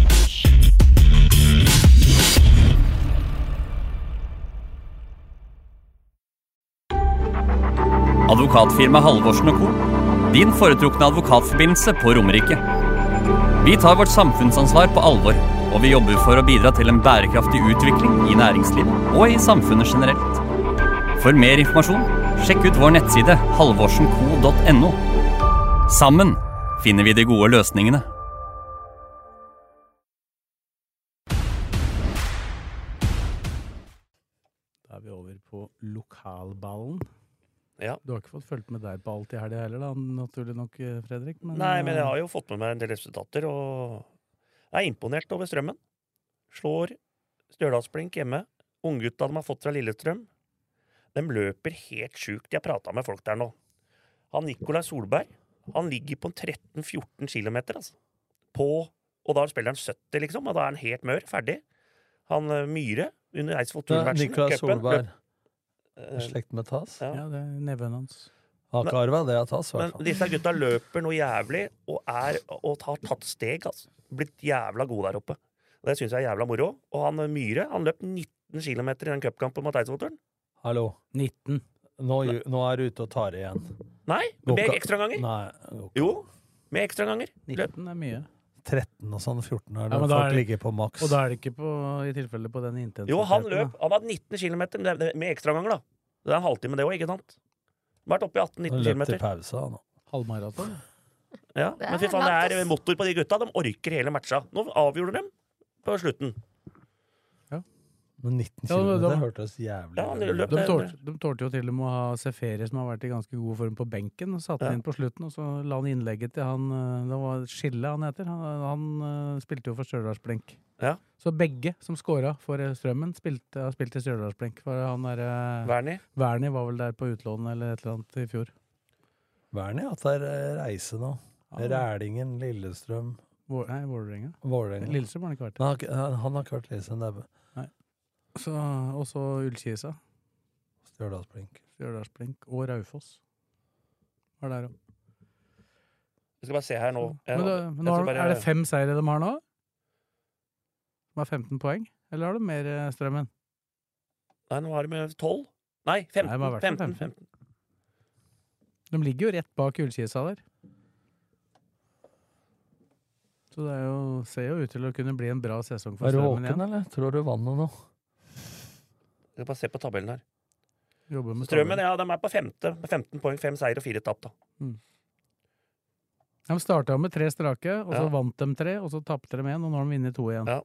Speaker 7: Advokatfirmaet Halvorsen og co. Din foretrukne advokatforbindelse på Romerike. Vi tar vårt samfunnsansvar på alvor, og vi jobber for å bidra til en bærekraftig utvikling i næringslivet og i samfunnet generelt. For mer informasjon, sjekk ut vår nettside halvorsenco.no. Sammen finner vi de gode løsningene.
Speaker 4: Da er vi over på lokalballen.
Speaker 2: Ja.
Speaker 4: Du har ikke fått fulgt med der på alt i helga heller, da, naturlig nok, eh, Fredrik. Men,
Speaker 2: Nei, men jeg
Speaker 5: Mm.
Speaker 4: eh,
Speaker 2: har jo fått med meg en del resultater, og jeg er imponert over strømmen. Slår Stjørdalsblink hjemme. Unggutta de har fått fra Lillestrøm, de løper helt sjukt. Jeg prata med folk der nå. Han Nikolai Solberg, han ligger på en 13-14 km, altså. På Og da spiller han 70, liksom, og da er han helt mør, ferdig. Han eh, Myhre, under Eidsvoll
Speaker 5: Ja,
Speaker 2: Turnvertsen,
Speaker 5: altså. Nicolas
Speaker 2: cupen,
Speaker 5: Solberg.
Speaker 2: løp- eh,
Speaker 5: Slekt med Tas?
Speaker 2: ja.
Speaker 4: Ja, det er nevøen hans.
Speaker 5: Har ikke arva det av Tas, i hvert
Speaker 2: Men
Speaker 5: fall.
Speaker 2: disse gutta løper noe jævlig og, er, og har tatt steg. Altså. Blitt jævla gode der oppe. Det syns jeg er jævla moro. Og han eh, Myhre han løp 19 km i den cupkampen mot Eidsvollturen.
Speaker 5: Hallo.
Speaker 4: 19.
Speaker 5: Nå, ju- nå er du ute og tar igjen.
Speaker 2: Nei,
Speaker 5: Går
Speaker 2: med
Speaker 5: ikke-
Speaker 2: ekstraganger.
Speaker 5: Nei, går ikke.
Speaker 2: Jo, med ekstraganger.
Speaker 4: 19 er mye.
Speaker 5: 13 og sånn, 14 er
Speaker 4: Ja,
Speaker 5: det
Speaker 4: men da
Speaker 5: folk
Speaker 4: er det-
Speaker 5: ligger på maks.
Speaker 4: Og da er det ikke på, i tilfelle på den intensiteten.
Speaker 2: Jo, han
Speaker 4: da.
Speaker 2: løp han hadde 19 km med, med ekstraganger, da. Det er en halvtime, det òg, ikke sant? Vært oppe i
Speaker 5: Han
Speaker 2: 18-19
Speaker 5: løp til
Speaker 2: km.
Speaker 5: pause, han.
Speaker 4: Halvmaraton?
Speaker 2: Ja.
Speaker 6: Det er
Speaker 2: Men fy faen,
Speaker 6: langt,
Speaker 2: det er
Speaker 6: ass.
Speaker 2: motor på de gutta. De orker hele matcha. Nå avgjorde de på slutten.
Speaker 5: Men 19
Speaker 4: Ja, men
Speaker 5: km,
Speaker 4: da-
Speaker 5: det hørtes jævlig
Speaker 2: Ja, han
Speaker 5: ut.
Speaker 2: løp
Speaker 4: De
Speaker 2: der.
Speaker 4: tålte, de tålte jo til og med å ha Seferi, som har vært i ganske god form på benken, og satte
Speaker 2: Ja.
Speaker 4: han inn på slutten, og så la han innlegget til han eh, Det var Skille han heter. Han, han eh, spilte jo for Stjørdalsblink.
Speaker 2: Ja.
Speaker 4: Så begge som scora for eh, Strømmen, spilte, har spilt i Stjørdalsblink. For han eh, derre
Speaker 2: Wernie.
Speaker 4: Wernie var vel der på utlån eller et eller annet i fjor.
Speaker 5: Vern, ja. At det er eh, reise nå. Rælingen, Lillestrøm
Speaker 4: Vår, nei, Vålerenga.
Speaker 5: Vålerenga.
Speaker 4: Lillestrøm har han ikke vært.
Speaker 5: Men Han, har ikke- han han har ikke vært Lillestrøm. Det er bare
Speaker 4: Så, og så Ullkisa.
Speaker 5: Stjørdalsblink.
Speaker 4: Stjørdalsblink. Og Raufoss. Var der òg.
Speaker 2: Jeg skal bare se her nå. Jeg-
Speaker 4: Men, da,
Speaker 2: jeg
Speaker 4: men nå
Speaker 2: skal
Speaker 4: har, de-
Speaker 2: bare-
Speaker 4: er det fem seire de har nå? De har 15 poeng? Eller har de mer eh, strømmen?
Speaker 2: Nei, nå har de med 12. Nei, 15.
Speaker 4: Nei, de har i hvert fall
Speaker 2: 15,
Speaker 4: 15.
Speaker 2: 15.
Speaker 4: De ligger jo rett bak Ullkisa der. Så det er jo, ser jo ut til å kunne bli en bra sesong for
Speaker 5: Er du
Speaker 4: strømmen
Speaker 5: våken,
Speaker 4: igjen.
Speaker 5: eller? Tror du vannet nå?
Speaker 2: Jeg skal bare se på tabellen her.
Speaker 4: Jobber med tallene.
Speaker 2: Strømmen ja, de er på femte med 15 poeng, fem seier og fire tap. da.
Speaker 4: De starta med tre strake, og så
Speaker 2: Ja.
Speaker 4: vant de tre, og så tapte de én, og nå har de vunnet to igjen.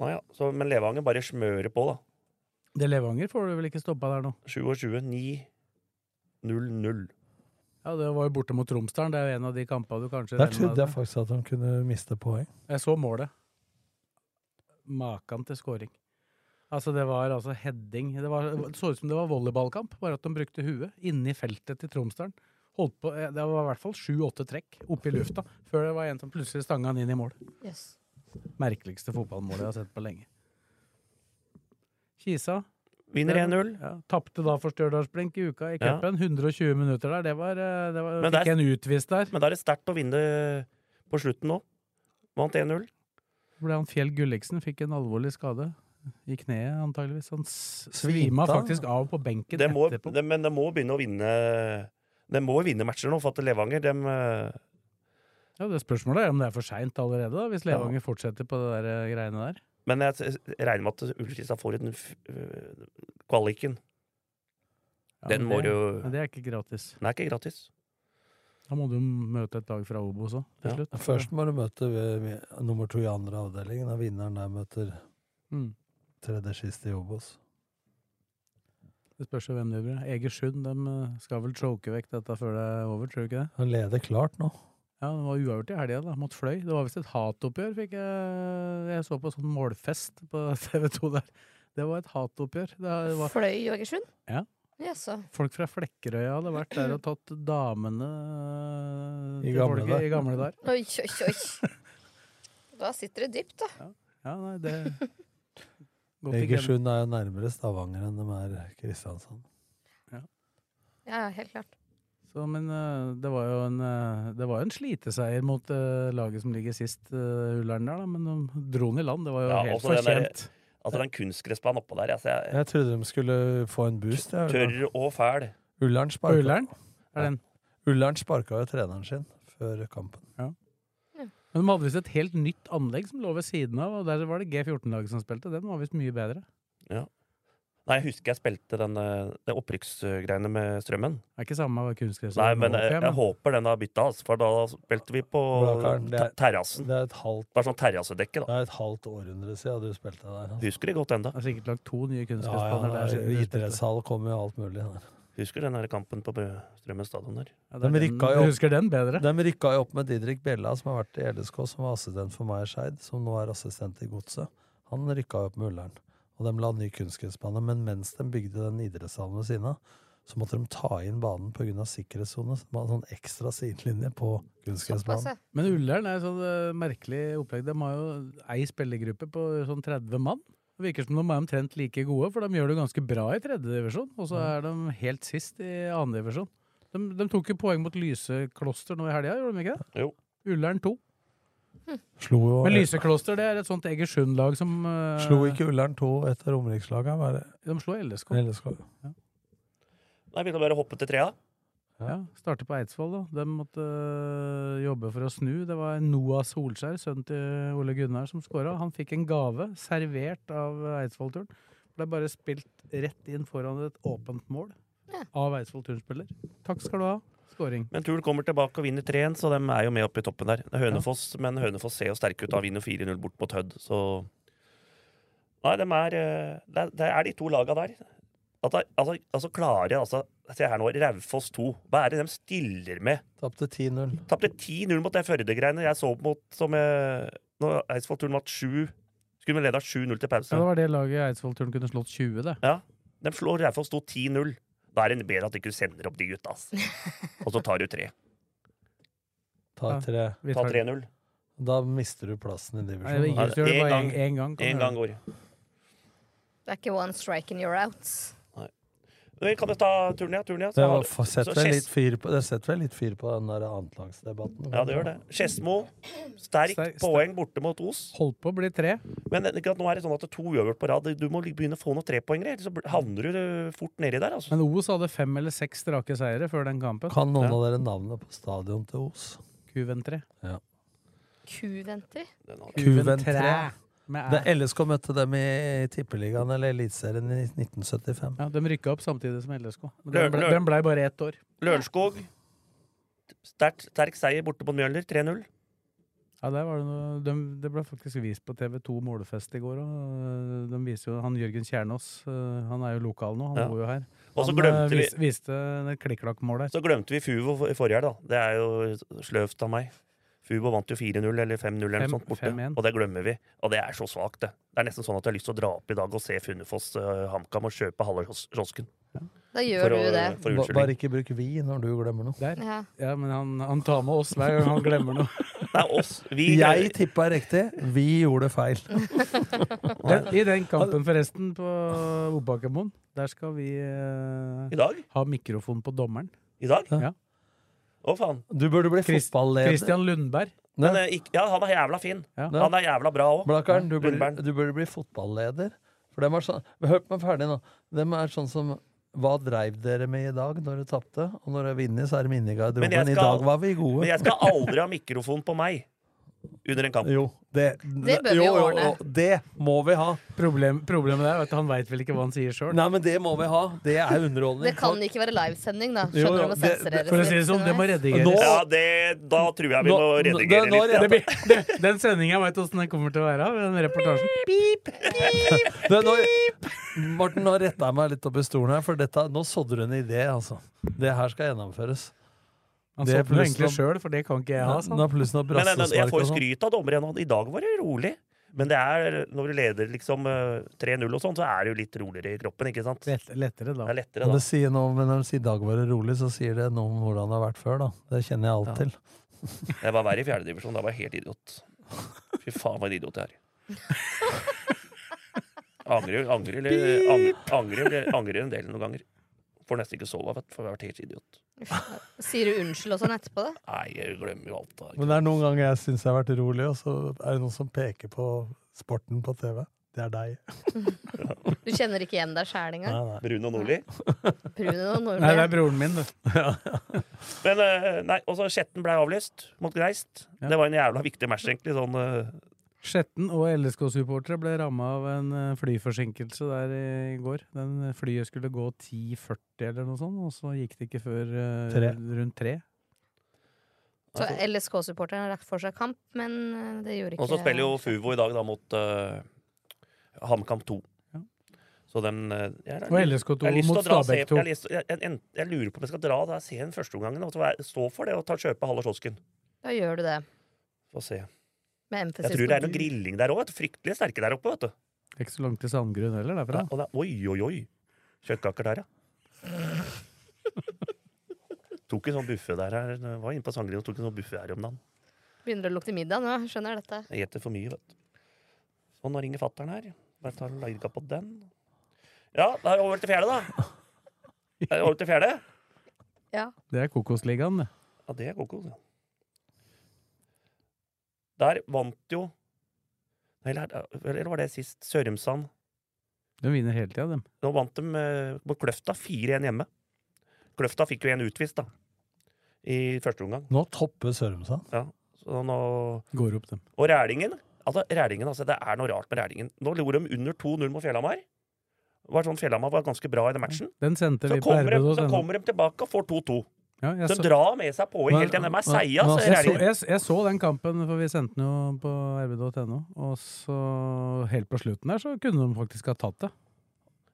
Speaker 2: Nå ja, så, Men Levanger bare smører på, da.
Speaker 4: Det Levanger får du vel ikke stoppa der nå?
Speaker 2: 27, 9, 0, 0.
Speaker 4: Ja, det var jo borte mot Tromsdalen, det er jo en av de kampene du kanskje
Speaker 5: Der
Speaker 4: regner med
Speaker 5: trodde jeg
Speaker 4: at-
Speaker 5: faktisk at han kunne miste poeng.
Speaker 4: Jeg så målet. Makan til scoring. Altså, det var altså heading. Det, var, det så ut som det var volleyballkamp, bare at de brukte huet inni feltet til Tromsdalen. Holdt på, eh, det var i hvert fall sju-åtte trekk oppe i lufta før det var en som plutselig stanga han inn i mål.
Speaker 6: Yes.
Speaker 4: Merkeligste fotballmålet jeg har sett på lenge. Kisa
Speaker 2: Vinner
Speaker 4: Ja,
Speaker 2: 1-0.
Speaker 4: Ja, Tapte da for Stjørdalsblink i uka i
Speaker 2: Ja.
Speaker 4: cupen. 120 minutter der. Det var, eh, det var
Speaker 2: Men
Speaker 4: fikk
Speaker 2: der-
Speaker 4: en utvist der.
Speaker 2: Men da er det sterkt å vinne på slutten nå. Vant 1-0.
Speaker 4: ble han Fjell Gulliksen, fikk en alvorlig skade i kneet antageligvis. Han s-
Speaker 2: Svimte
Speaker 4: svima
Speaker 2: han?
Speaker 4: faktisk av på benken
Speaker 2: Det må,
Speaker 4: etterpå.
Speaker 2: det, men det må begynne å vinne De må jo vinne matcher nå, for at Levanger dem, eh,
Speaker 4: Ja, det Spørsmålet er om det er for seint allerede, da, hvis Levanger fortsetter på det der eh, greiene der.
Speaker 2: Men jeg s- regner med at Ullkisa får en f- øh, kvaliken.
Speaker 4: Ja,
Speaker 2: Den
Speaker 4: men
Speaker 2: må
Speaker 4: det-
Speaker 2: jo
Speaker 4: Men det er ikke gratis.
Speaker 2: Den er ikke gratis.
Speaker 4: Da må du møte et lag fra Obos òg, til slutt.
Speaker 5: Først må du møte eh, nummer to i andre avdeling. Da vinneren der møter
Speaker 4: Mm.
Speaker 5: tredje siste i Obos.
Speaker 4: Det spørs jo hvem du blir. Egersund de eh, skal vel choke vekk dette før det er over, tror du ikke det?
Speaker 5: Han leder klart nå.
Speaker 4: Ja, det var uavgjort i helga, da, mot Fløy. Det var visst et hatoppgjør, fikk jeg Jeg så på sånn målfest på TV 2 der. Det var et hatoppgjør. Det var
Speaker 6: Fløy i Ågersund?
Speaker 4: Ja.
Speaker 6: Jaså.
Speaker 4: Folk fra Flekkerøy hadde vært der og tatt damene eh,
Speaker 5: I
Speaker 4: til
Speaker 5: gamle
Speaker 4: folket
Speaker 5: der.
Speaker 4: i gamle der.
Speaker 6: Oi, oi, oi. Da sitter det dypt, da.
Speaker 4: Ja, nei, det Godt ikke glemme.
Speaker 5: Egersund er jo nærmere Stavanger enn de er Kristiansand.
Speaker 6: Ja, ja, helt klart.
Speaker 4: Så, men eh, det var jo en, eh, det var jo en sliteseier mot eh, laget som ligger sist, uh, Ullern der, da, men de dro den i land. Det var jo
Speaker 2: Ja,
Speaker 4: helt
Speaker 2: altså den der-
Speaker 4: fortjent.
Speaker 2: Altså den kunstgressbanen oppå der, altså, jeg,
Speaker 5: Jeg trodde de skulle få en boost. jeg, eller?
Speaker 2: tørr og fæl.
Speaker 5: Ullern sparka,
Speaker 4: Ullern? Er den?
Speaker 5: Ullern sparka jo treneren sin før kampen.
Speaker 4: Men de hadde visst et helt nytt anlegg som lå ved siden av, og der var det G14-laget som spilte. Den var visst mye bedre.
Speaker 2: Ja. Nei, jeg husker jeg spilte den, eh, det opprykksgreiene med strømmen.
Speaker 4: Det er ikke samme med kunstgress.
Speaker 2: Nei,
Speaker 4: og
Speaker 2: men eh, jeg,
Speaker 4: håp,
Speaker 2: jeg håper den har bytta, altså, for da spilte vi på
Speaker 5: Blakaren, det er-
Speaker 2: te- terrassen.
Speaker 5: Det er et halvt,
Speaker 2: Bare sånn terrassedekke,
Speaker 5: det
Speaker 2: da.
Speaker 5: er et halvt århundre siden du spilte der. Altså.
Speaker 2: Husker det godt enda.
Speaker 4: Det er sikkert lagd to nye
Speaker 5: Ja, ja,
Speaker 4: kunstgressbaner der.
Speaker 5: det er-
Speaker 4: siden du spilte.
Speaker 5: idrettshall kommer jo alt mulig der.
Speaker 2: Husker den der kampen på Bø- Strømmen stadion der.
Speaker 4: Ja, det
Speaker 5: De
Speaker 4: er den-
Speaker 5: rykka
Speaker 4: du
Speaker 5: jo
Speaker 4: husker
Speaker 5: opp,
Speaker 4: den bedre?
Speaker 5: de rykka jo opp med Didrik Bjella, som har vært i LSK, som var assistent for meg i Skeid, som nå er assistent i Godset. Han rykka jo opp med Ullern. Og de la ny kunstgressbane. Men mens de bygde den idrettshallen ved siden av, så måtte de ta inn banen pga. sikkerhetssone. Så de hadde sånn ekstra sidelinje på kunstgressbanen.
Speaker 4: Men Ullern er et sånn eh, merkelig opplegg. De har jo ei spillergruppe på sånn 30 mann. Det virker som de er omtrent like gode, for de gjør det ganske bra i tredjedivisjon. Og så er de helt sist i annendivisjon. De, de tok jo poeng mot Lysekloster nå i helga, gjorde de ikke det?
Speaker 2: Jo.
Speaker 4: Ullern 2.
Speaker 5: Slo jo
Speaker 4: Men Lysekloster det er et sånt Egersund-lag som eh,
Speaker 5: Slo ikke Ullern 2 etter Romerikslaga? Var det
Speaker 4: De slo LSK.
Speaker 5: LSK?
Speaker 2: Nei, vi kan bare hoppe til trea.
Speaker 4: Ja, Starter på Eidsvoll, da. De måtte øh, jobbe for å snu. Det var Noah Solskjær, sønnen til Ole Gunnar, som skåra. Han fikk en gave servert av øh, Eidsvoll-turen. Ble bare spilt rett inn foran et åpent mål av Eidsvoll Turn-spiller. Takk skal du ha. Skåring.
Speaker 2: Men Tull kommer tilbake og vinner 3-1, så de er jo med oppe i toppen der. Det er Hønefoss, Men Hønefoss ser jo sterke ut. Da vinner 4-0 bort mot Hødd, så Nei, de er eh, Det er- det er de to laga der. At, det- altså, altså klare altså, Se her nå, Raufoss 2. Hva er det de stiller med?
Speaker 5: Tapte 10-0.
Speaker 2: Tapte 10-0 mot det Førde-greiene jeg så mot som eh, Når Eidsvoll-turen vant 7 Skulle vi leda 7-0 til pause.
Speaker 4: Ja, det var det laget Eidsvoll Turn kunne slått 20, det.
Speaker 2: Ja, De slår Raufoss 2 10-0. Da er det bedre at du ikke sender opp de gutta, ass. Og så tar du tre.
Speaker 5: Ta
Speaker 4: Ja,
Speaker 5: tre.
Speaker 4: vi
Speaker 2: Ta
Speaker 4: tar-
Speaker 2: 3-0.
Speaker 5: Da mister du plassen i
Speaker 4: Nei, det er
Speaker 5: divisjonen.
Speaker 4: ingen som gjør det,
Speaker 2: En
Speaker 4: bare
Speaker 2: gang.
Speaker 4: en- en gang kan
Speaker 2: En
Speaker 4: du
Speaker 2: gang
Speaker 4: gjøre
Speaker 2: går.
Speaker 6: Det er ikke one strike and you're out.
Speaker 2: Men Kan du ta turen, ja? Turen, ja. Så
Speaker 5: Det
Speaker 2: har
Speaker 5: var-
Speaker 2: du-
Speaker 5: får- setter
Speaker 2: så
Speaker 5: vel
Speaker 2: Skedsmo-
Speaker 5: litt fyr på, det setter vel litt fyr på den der annetlagsdebatten.
Speaker 2: Ja, det gjør det. Skedsmo, sterkt poeng borte mot Os.
Speaker 4: Holdt på å bli tre.
Speaker 2: Men ikke sant, nå er det sånn at det er to uavgjort på rad. Du må begynne å få noen trepoengere, ellers så bl- havner du eh, fort nedi der. altså.
Speaker 4: Men Os hadde fem eller seks strake seire før den kampen.
Speaker 5: Kan noen av dere navnet på stadion til Os?
Speaker 4: Kuventre.
Speaker 5: Ja.
Speaker 6: Kuventer.
Speaker 5: Kuventre.
Speaker 4: Med æ.
Speaker 5: Det LSK møtte dem i Tippeligaen eller Eliteserien i 1975.
Speaker 4: Ja, de rykka opp samtidig som LSK. Men
Speaker 2: Lø-
Speaker 4: Den ble,
Speaker 2: lø-
Speaker 4: den ble bare ett år.
Speaker 2: Lørenskog, sterk, sterk seier borte mot Mjølner, 3-0.
Speaker 4: Ja, der var det, noe, de, det ble faktisk vist på TV2 Målefest i går. Og øh, de viser jo han Jørgen Kjernås. øh, Han er jo lokal nå, han
Speaker 2: Ja.
Speaker 4: bor jo her.
Speaker 2: Og så
Speaker 4: han
Speaker 2: glemte
Speaker 4: øh,
Speaker 2: vi-
Speaker 4: vis, viste et klikk-klakk-mål der.
Speaker 2: Så glemte vi Fuvo for- i forrige helg, da. Det er jo sløvt av meg. Fuvo vant jo 4-0 eller 5-0 eller
Speaker 4: Fem-
Speaker 2: noe sånt borte,
Speaker 4: 5-1.
Speaker 2: og det glemmer vi. Og det er så svakt, det. Det er nesten sånn at jeg har lyst til å dra opp i dag og se Funnefoss eh, HamKam og kjøpe halve kios- kiosken.
Speaker 6: Da
Speaker 2: For
Speaker 6: gjør
Speaker 2: å-
Speaker 6: du det.
Speaker 2: for
Speaker 5: Ba-
Speaker 2: unnskyldning.
Speaker 5: Bare ikke bruk vi når du glemmer noe.
Speaker 4: Der.
Speaker 6: Ja.
Speaker 4: Ja, men han, han tar med oss hver gang han glemmer noe.
Speaker 2: Nei, oss. Vi
Speaker 5: Jeg tippa riktig, vi gjorde feil.
Speaker 4: Den, I den kampen, forresten, på Oppbakkemon, der skal vi øh,
Speaker 2: I dag?
Speaker 4: ha mikrofon på dommeren.
Speaker 2: I dag?
Speaker 4: Ja.
Speaker 2: Å, faen.
Speaker 5: Du burde bli
Speaker 4: Chris-
Speaker 5: fotballeder.
Speaker 4: Christian Lundberg.
Speaker 2: Men, eh, ikk- ja, han er jævla fin. Han er jævla bra òg.
Speaker 5: Blakkaren, du, burde-
Speaker 2: Lundberg.
Speaker 5: du burde bli fotballeder. For dem er sånn, Hør meg ferdig nå. Dem er sånn som Hva dreiv dere med i dag når dere tapte? Og når dere vinner, så er de inne i garderoben.
Speaker 2: Men
Speaker 5: I
Speaker 2: jeg skal-
Speaker 5: dag var vi gode.
Speaker 2: Men jeg skal aldri ha mikrofon på meg under en kamp.
Speaker 5: Jo, det,
Speaker 6: Det bør vi
Speaker 5: jo, jo,
Speaker 6: ordne.
Speaker 5: jo, det må vi ha.
Speaker 4: Problem, problemet er jo at han veit vel ikke hva han sier sjøl.
Speaker 5: Nei, men det må vi ha. Det er underholdning.
Speaker 6: Det kan ikke være livesending, da.
Speaker 5: Jo,
Speaker 6: Skjønner
Speaker 5: jo,
Speaker 6: du å
Speaker 5: det-
Speaker 6: sensurere
Speaker 4: For å si det sånn, det må redigeres.
Speaker 5: Nå-
Speaker 2: Ja, det, da tror jeg vi
Speaker 5: Nå-
Speaker 2: må
Speaker 5: nå-
Speaker 2: redigere
Speaker 5: nå- nå
Speaker 2: litt. ja.
Speaker 4: Det blir, det, den sendinga veit åssen den kommer til å være. Den reportasjen.
Speaker 5: Det, nå, Morten, nå retta jeg meg litt opp i stolen her, for dette, nå sådde du en idé, altså. Det her skal gjennomføres.
Speaker 4: Han
Speaker 5: Det er
Speaker 4: sovner jo
Speaker 5: plutselig
Speaker 4: egentlig sjøl, for det kan ikke jeg ha.
Speaker 5: Nå
Speaker 4: sa han.
Speaker 5: nå er plutselig noe
Speaker 2: Men, men, jeg
Speaker 5: brassespark
Speaker 2: får
Speaker 5: og
Speaker 2: jo
Speaker 5: sånn.
Speaker 2: skryt av dommeren. og I dag var det rolig. Men det er, når du leder liksom eh, 3-0 og sånn, så er det jo litt roligere i kroppen, ikke sant? Det
Speaker 4: Lett, lettere, da.
Speaker 2: er lettere
Speaker 5: Men
Speaker 2: da.
Speaker 5: det sier noe, men når de sier dag var det rolig, så sier det noe om hvordan det har vært før, da. Det kjenner jeg alt
Speaker 2: Ja.
Speaker 5: til.
Speaker 2: Jeg var verre i fjerdedivisjon. Da var jeg helt idiot. Fy faen, hva en idiot jeg er. Angrer, angrer, eller- ang- angrer, eller- angrer en del noen ganger. Får nesten ikke sove, vet du, for jeg har vært helt idiot.
Speaker 6: Sier du unnskyld og sånn etterpå, da?
Speaker 2: Nei, jeg glemmer jo alt. Da.
Speaker 5: Men det er noen ganger jeg syns jeg har vært rolig, og så er det noen som peker på sporten på TV. Det er deg.
Speaker 6: Du kjenner ikke igjen deg sjæl engang?
Speaker 5: Nei, nei.
Speaker 2: Bruno Nordli.
Speaker 6: Bruno og
Speaker 4: Nei, det
Speaker 6: Nordli.
Speaker 4: er broren min, det.
Speaker 2: Men eh, nei, også Skjetten ble avlyst mot Greist. Det var en jævla viktig match, egentlig. Sånn, eh,
Speaker 4: Skjetten og LSK-supportere ble ramma av en eh, flyforsinkelse der i går. Den eh, flyet skulle gå 10.40 eller noe sånt, og så gikk det ikke før eh,
Speaker 5: Tre.
Speaker 4: rundt tre.
Speaker 6: Så LSK-supporteren har lagt for seg kamp, men eh, det gjorde ikke
Speaker 2: altså. og så spiller jo Fuvo i dag da, mot eh, HamKam 2.
Speaker 4: Ja.
Speaker 2: Så den eh, jeg,
Speaker 4: Og LSK 2
Speaker 2: jeg har lyst til
Speaker 4: mot
Speaker 2: å dra og se-
Speaker 4: Stabæk 2.
Speaker 2: Jeg, har lyst- jeg, jeg, jeg lurer på om jeg skal dra der, se den første omgangen og så være- stå for det og ta kjøpe halve kiosken.
Speaker 6: Da gjør du det.
Speaker 2: Få se.
Speaker 6: Med
Speaker 2: Jeg
Speaker 6: emphasis
Speaker 2: tror det er noe
Speaker 6: på du.
Speaker 2: grilling der òg. Fryktelig sterke der oppe. vet du.
Speaker 4: Det er Ikke så langt til Sandgrunn heller derfra.
Speaker 2: Ja, og det er, oi, oi, oi. Kjøttkaker der, ja. Tok en sånn buffé der her. Jeg Var inne på Sangrin og tok en sånn buffé her om dagen.
Speaker 6: Begynner å lukte middag nå, skjønner jeg dette.
Speaker 2: Jeg gjetter for mye, vet du. Sånn, nå ringer fattern her. Bare tar og lager på den. Ja, da er det over til fjerde, da. Er det over til fjerde?
Speaker 6: Ja.
Speaker 4: Det er Kokosligaen, det.
Speaker 2: Ja, det er kokos. ja. Der vant jo Eller, eller var det sist? Sørumsand.
Speaker 4: De vinner hele tida, dem.
Speaker 2: Nå vant de eh, mot Kløfta 4-1 hjemme. Kløfta fikk jo en utvist, da. I første omgang.
Speaker 5: Nå topper Sørumsand.
Speaker 2: Ja. Så nå
Speaker 4: Går opp, dem.
Speaker 2: Og Rælingen altså, Rælingen, altså, Det er noe rart med Rælingen. Nå lå de under 2-0 mot Fjellhamar. Det Var sånn Fjellhamar var ganske bra i den matchen.
Speaker 4: Den sendte
Speaker 2: Så
Speaker 4: vi på
Speaker 2: kommer, de, så
Speaker 4: RBD.no.
Speaker 2: kommer de tilbake og får 2-2.
Speaker 4: Ja, jeg
Speaker 2: De
Speaker 4: så-
Speaker 2: drar med seg poeng hele tiden. De er seige, altså.
Speaker 4: jeg, så,
Speaker 2: Rælingen.
Speaker 4: jeg, jeg så den kampen, for vi sendte den jo på rb.no. Og så helt på slutten der så kunne de faktisk ha tatt det.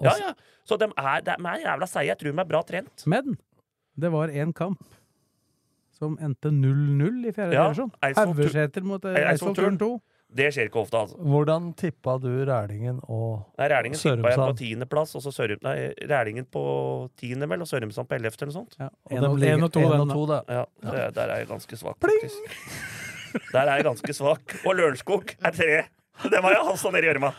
Speaker 2: Ja, ja. Så de er, de er jævla seige. Jeg tror de er bra trent.
Speaker 4: Men det var én kamp som endte 0-0 i fjerde
Speaker 2: Ja,
Speaker 4: divisjon.
Speaker 2: Eidsvoll Tur-
Speaker 4: Haugeseter mot eh,
Speaker 2: Nei, Eidsvoll
Speaker 4: Eidsvoll Turn 2.
Speaker 2: Det skjer ikke ofte, altså.
Speaker 5: Hvordan tippa du Rælingen og
Speaker 2: Nei, Rælingen tippa jeg på
Speaker 5: Sørumsand?
Speaker 2: tiendeplass, og så Sørum... Nei, Rælingen på tiende, vel, og Sørumsand på ellevte, eller noe sånt.
Speaker 5: og dem ligger- En og to, en den, og da. to, da.
Speaker 2: Ja, det- der er jeg ganske svak, faktisk. Der er jeg ganske svak. Og Lørenskog er tre. Det var jeg halsa ned i gjørma.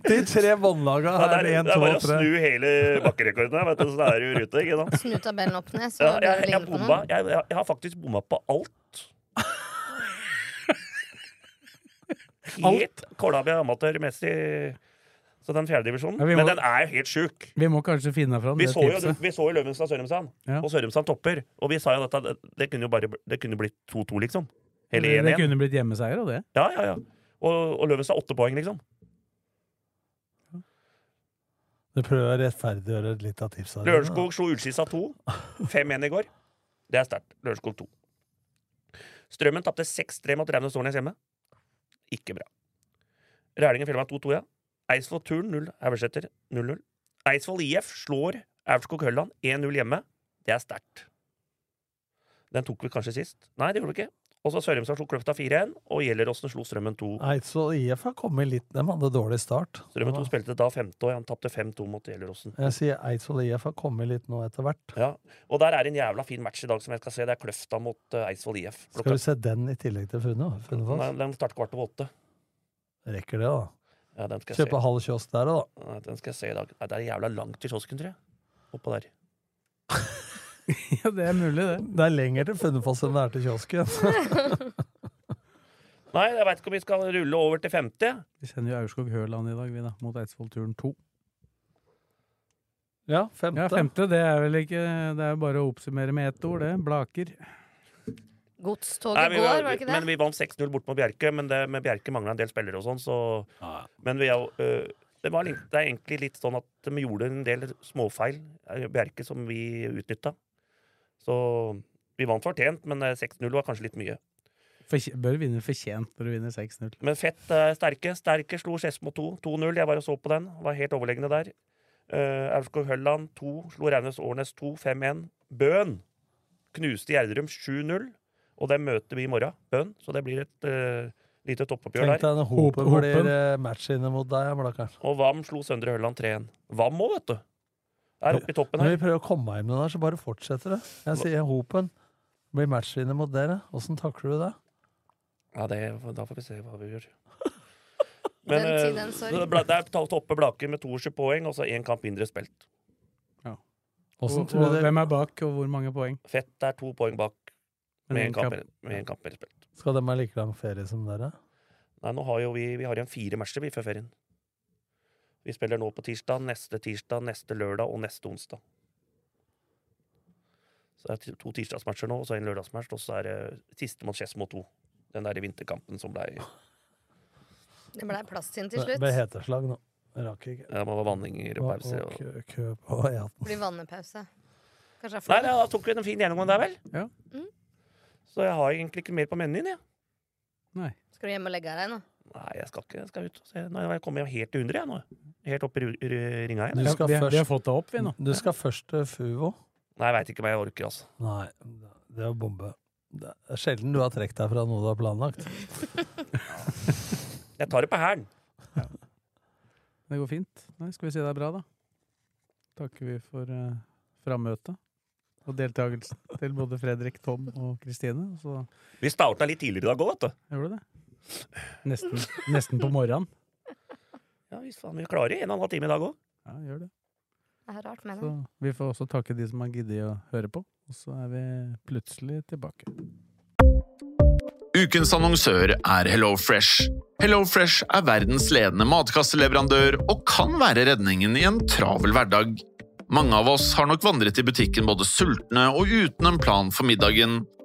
Speaker 5: De tre båndlaga
Speaker 2: Ja,
Speaker 5: her,
Speaker 2: det er
Speaker 5: én,
Speaker 2: det er
Speaker 5: to og
Speaker 2: bare å
Speaker 5: tre.
Speaker 2: snu hele bakkerekorden her, vet du, så da er du i rute. ikke sant?
Speaker 6: Snu tabellen opp ned, så
Speaker 2: Ja,
Speaker 6: blir
Speaker 2: jeg,
Speaker 6: det
Speaker 2: jeg,
Speaker 6: lignende på
Speaker 2: bomba,
Speaker 6: noen.
Speaker 2: jeg, jeg, jeg har faktisk bomma på alt. Helt kålhabbig amatørmessig, så den fjerdedivisjonen.
Speaker 4: Ja, vi må-
Speaker 2: Men den er jo helt sjuk.
Speaker 4: Vi må kanskje finne fram
Speaker 2: Vi
Speaker 4: det
Speaker 2: så jo,
Speaker 4: tipset.
Speaker 2: vi så jo Løvenstad og Sørumsand,
Speaker 4: Ja.
Speaker 2: og Sørumsand topper. Og vi sa jo dette, det- det kunne jo bare det kunne blitt 2-2, liksom. Eller
Speaker 4: Det
Speaker 2: 1-1.
Speaker 4: kunne blitt hjemmeseier av det.
Speaker 2: Ja, ja, ja. Og, og Løvenstad åtte poeng, liksom.
Speaker 5: Du prøver å rettferdiggjøre litt av tipsa dine, da.
Speaker 2: Lørenskog slo Ullskisa 2. 5-1 i går. Det er sterkt. Lørenskog 2. Strømmen tapte 6-3 mot Raunes Tårnes hjemme. Ikke bra. Rælingen Fjellvang 2-2, ja. Eidsvoll Turn 0, Haugeseter 0-0. Eidsvoll IF slår Aurskog Hølland 1-0 hjemme. Det er sterkt. Den tok vi kanskje sist. Nei, det gjorde vi ikke. Og så Sørumsand slo Kløfta 4-1, og Gjelleråsen slo Strømmen 2.
Speaker 5: Eidsvoll IF har kommet litt De hadde dårlig start.
Speaker 2: Strømmen 2 spilte da femte, og han tapte 5-2 mot Gjelleråsen.
Speaker 5: Jeg sier Eidsvoll IF har kommet litt nå etter hvert.
Speaker 2: Ja, og der er en jævla fin match i dag som jeg skal se. Det er Kløfta mot eh, Eidsvoll IF.
Speaker 5: Skal vi se den i tillegg til Funne- Funnefoss?
Speaker 2: Den, den starter kvart over åtte.
Speaker 5: Rekker det, da?
Speaker 2: Ja, den skal jeg
Speaker 5: Kjøpe
Speaker 2: se.
Speaker 5: halv kiosk der, da.
Speaker 2: Nei, Den skal jeg se i dag. Nei, det er jævla langt til kiosken, tror jeg. Oppå der.
Speaker 5: Ja, Det er mulig, det. Det er lenger til Funnefoss enn det er til kiosken.
Speaker 2: Nei, jeg veit ikke om vi skal rulle over til femte.
Speaker 4: Vi sender jo Aurskog-Høland i dag, vi da, mot Eidsvoll-turen 2.
Speaker 5: Ja, femte.
Speaker 4: Ja, femte, det er vel ikke Det er jo bare å oppsummere med ett ord, det. Blaker.
Speaker 6: Godstoget
Speaker 2: Nei, vi
Speaker 6: går,
Speaker 2: var-
Speaker 6: var det ikke det?
Speaker 2: Men vi vant 6-0 bort mot Bjerke, men det, med Bjerke mangla en del spillere og sånn, så Men vi er jo øh, det, var, litt- det er egentlig litt sånn at de gjorde en del småfeil, eh, Bjerke, som vi utnytta. Så vi vant fortjent, men eh, 6-0 var kanskje litt mye.
Speaker 4: Fortje- Bør vinne fortjent når du vinner 6-0.
Speaker 2: Men fett eh, sterke. Sterke slo Skedsmo 2. 2-0. Jeg var og så på den. Var helt overlegne der. Uh, Aurskog Hølland 2. Slo Raunes Årnes 2. 5-1. Bøen knuste Gjerdrum 7-0. Og det møter vi i morgen, Bøen. Så det blir et eh, lite toppoppgjør
Speaker 5: Tenk deg
Speaker 2: der.
Speaker 5: når Hopen blir eh, matchende mot deg, Blakkaren.
Speaker 2: Og Vam slo Søndre Hølland 3-1. Vam òg, vet du. Er oppe i toppen
Speaker 5: Når
Speaker 2: her.
Speaker 5: vi prøver å komme hjem med det der, så bare fortsetter det. Jeg sier Hopen blir matchvinner mot dere. Åssen takler du det?
Speaker 2: Ja, det, da får vi se hva vi gjør.
Speaker 6: Den
Speaker 2: eh,
Speaker 6: tid, den sorg.
Speaker 2: det bla- det er to- toppe Blaker med 22 poeng, og så én kamp mindre spilt.
Speaker 4: Og,
Speaker 5: Åssen
Speaker 4: og,
Speaker 5: tror du det-
Speaker 4: hvem er bak, og hvor mange poeng?
Speaker 2: Fett er to poeng bak
Speaker 4: Men
Speaker 2: med
Speaker 4: en
Speaker 2: en kamp,
Speaker 4: kamp.
Speaker 2: med en kamp mer spilt.
Speaker 5: Skal de ha like lang ferie som dere?
Speaker 2: Nei, nå har jo vi, vi har igjen fire matcher vi før ferien. Vi spiller nå på tirsdag, neste tirsdag, neste lørdag og neste onsdag. Så det er ti- to tirsdagsmatcher nå, og så en lørdagsmatch, og så er det siste mot Skedsmo 2. Den der vinterkampen som blei
Speaker 6: Det ble plass til til
Speaker 5: Det
Speaker 6: slutt.
Speaker 5: ble heteslag nå. Jeg rakk ikke.
Speaker 2: Det var vanninger og pauser
Speaker 5: Og
Speaker 2: og
Speaker 5: kø, kø på E18.
Speaker 6: Blir vannepause. Kanskje det er
Speaker 2: Nei,
Speaker 6: flere?
Speaker 2: nei, da tok vi en fin gjennomgang der, vel?
Speaker 4: Ja.
Speaker 2: Så jeg har egentlig ikke mer på menyen, jeg.
Speaker 6: Skal du hjem og legge deg nå?
Speaker 2: Nei, jeg skal ikke. Jeg skal ut og se. Nå har jeg kommet helt til 100, jeg nå. Helt opp i ru- ru- ringa igjen.
Speaker 5: Du skal først- Mm. Du
Speaker 2: Ja.
Speaker 5: skal først til FUVO.
Speaker 2: Nei, jeg veit ikke hva jeg orker, altså.
Speaker 5: Nei, det er å bombe. Det er sjelden du har trukket deg fra noe du har planlagt.
Speaker 2: Jeg tar det på hælen.
Speaker 4: Det går fint. Nei, skal vi si det er bra, da? Takker vi for uh, frammøtet og deltakelsen til både Fredrik, Tom og Kristine. og Så
Speaker 2: Vi starta litt tidligere i dag òg, vet du.
Speaker 4: gjorde du det. Nesten, nesten på morgenen.
Speaker 2: Ja, visst faen, vi klarer en og en halv time i dag òg.
Speaker 4: Ja, gjør det.
Speaker 6: Det er rart med
Speaker 4: Så
Speaker 6: det.
Speaker 4: vi får også takke de som har giddet å høre på. Og så er vi plutselig tilbake.
Speaker 8: Ukens annonsør er HelloFresh. HelloFresh er verdens ledende matkasseleverandør og kan være redningen i en travel hverdag. Mange av oss har nok vandret i butikken både sultne og uten en plan for middagen,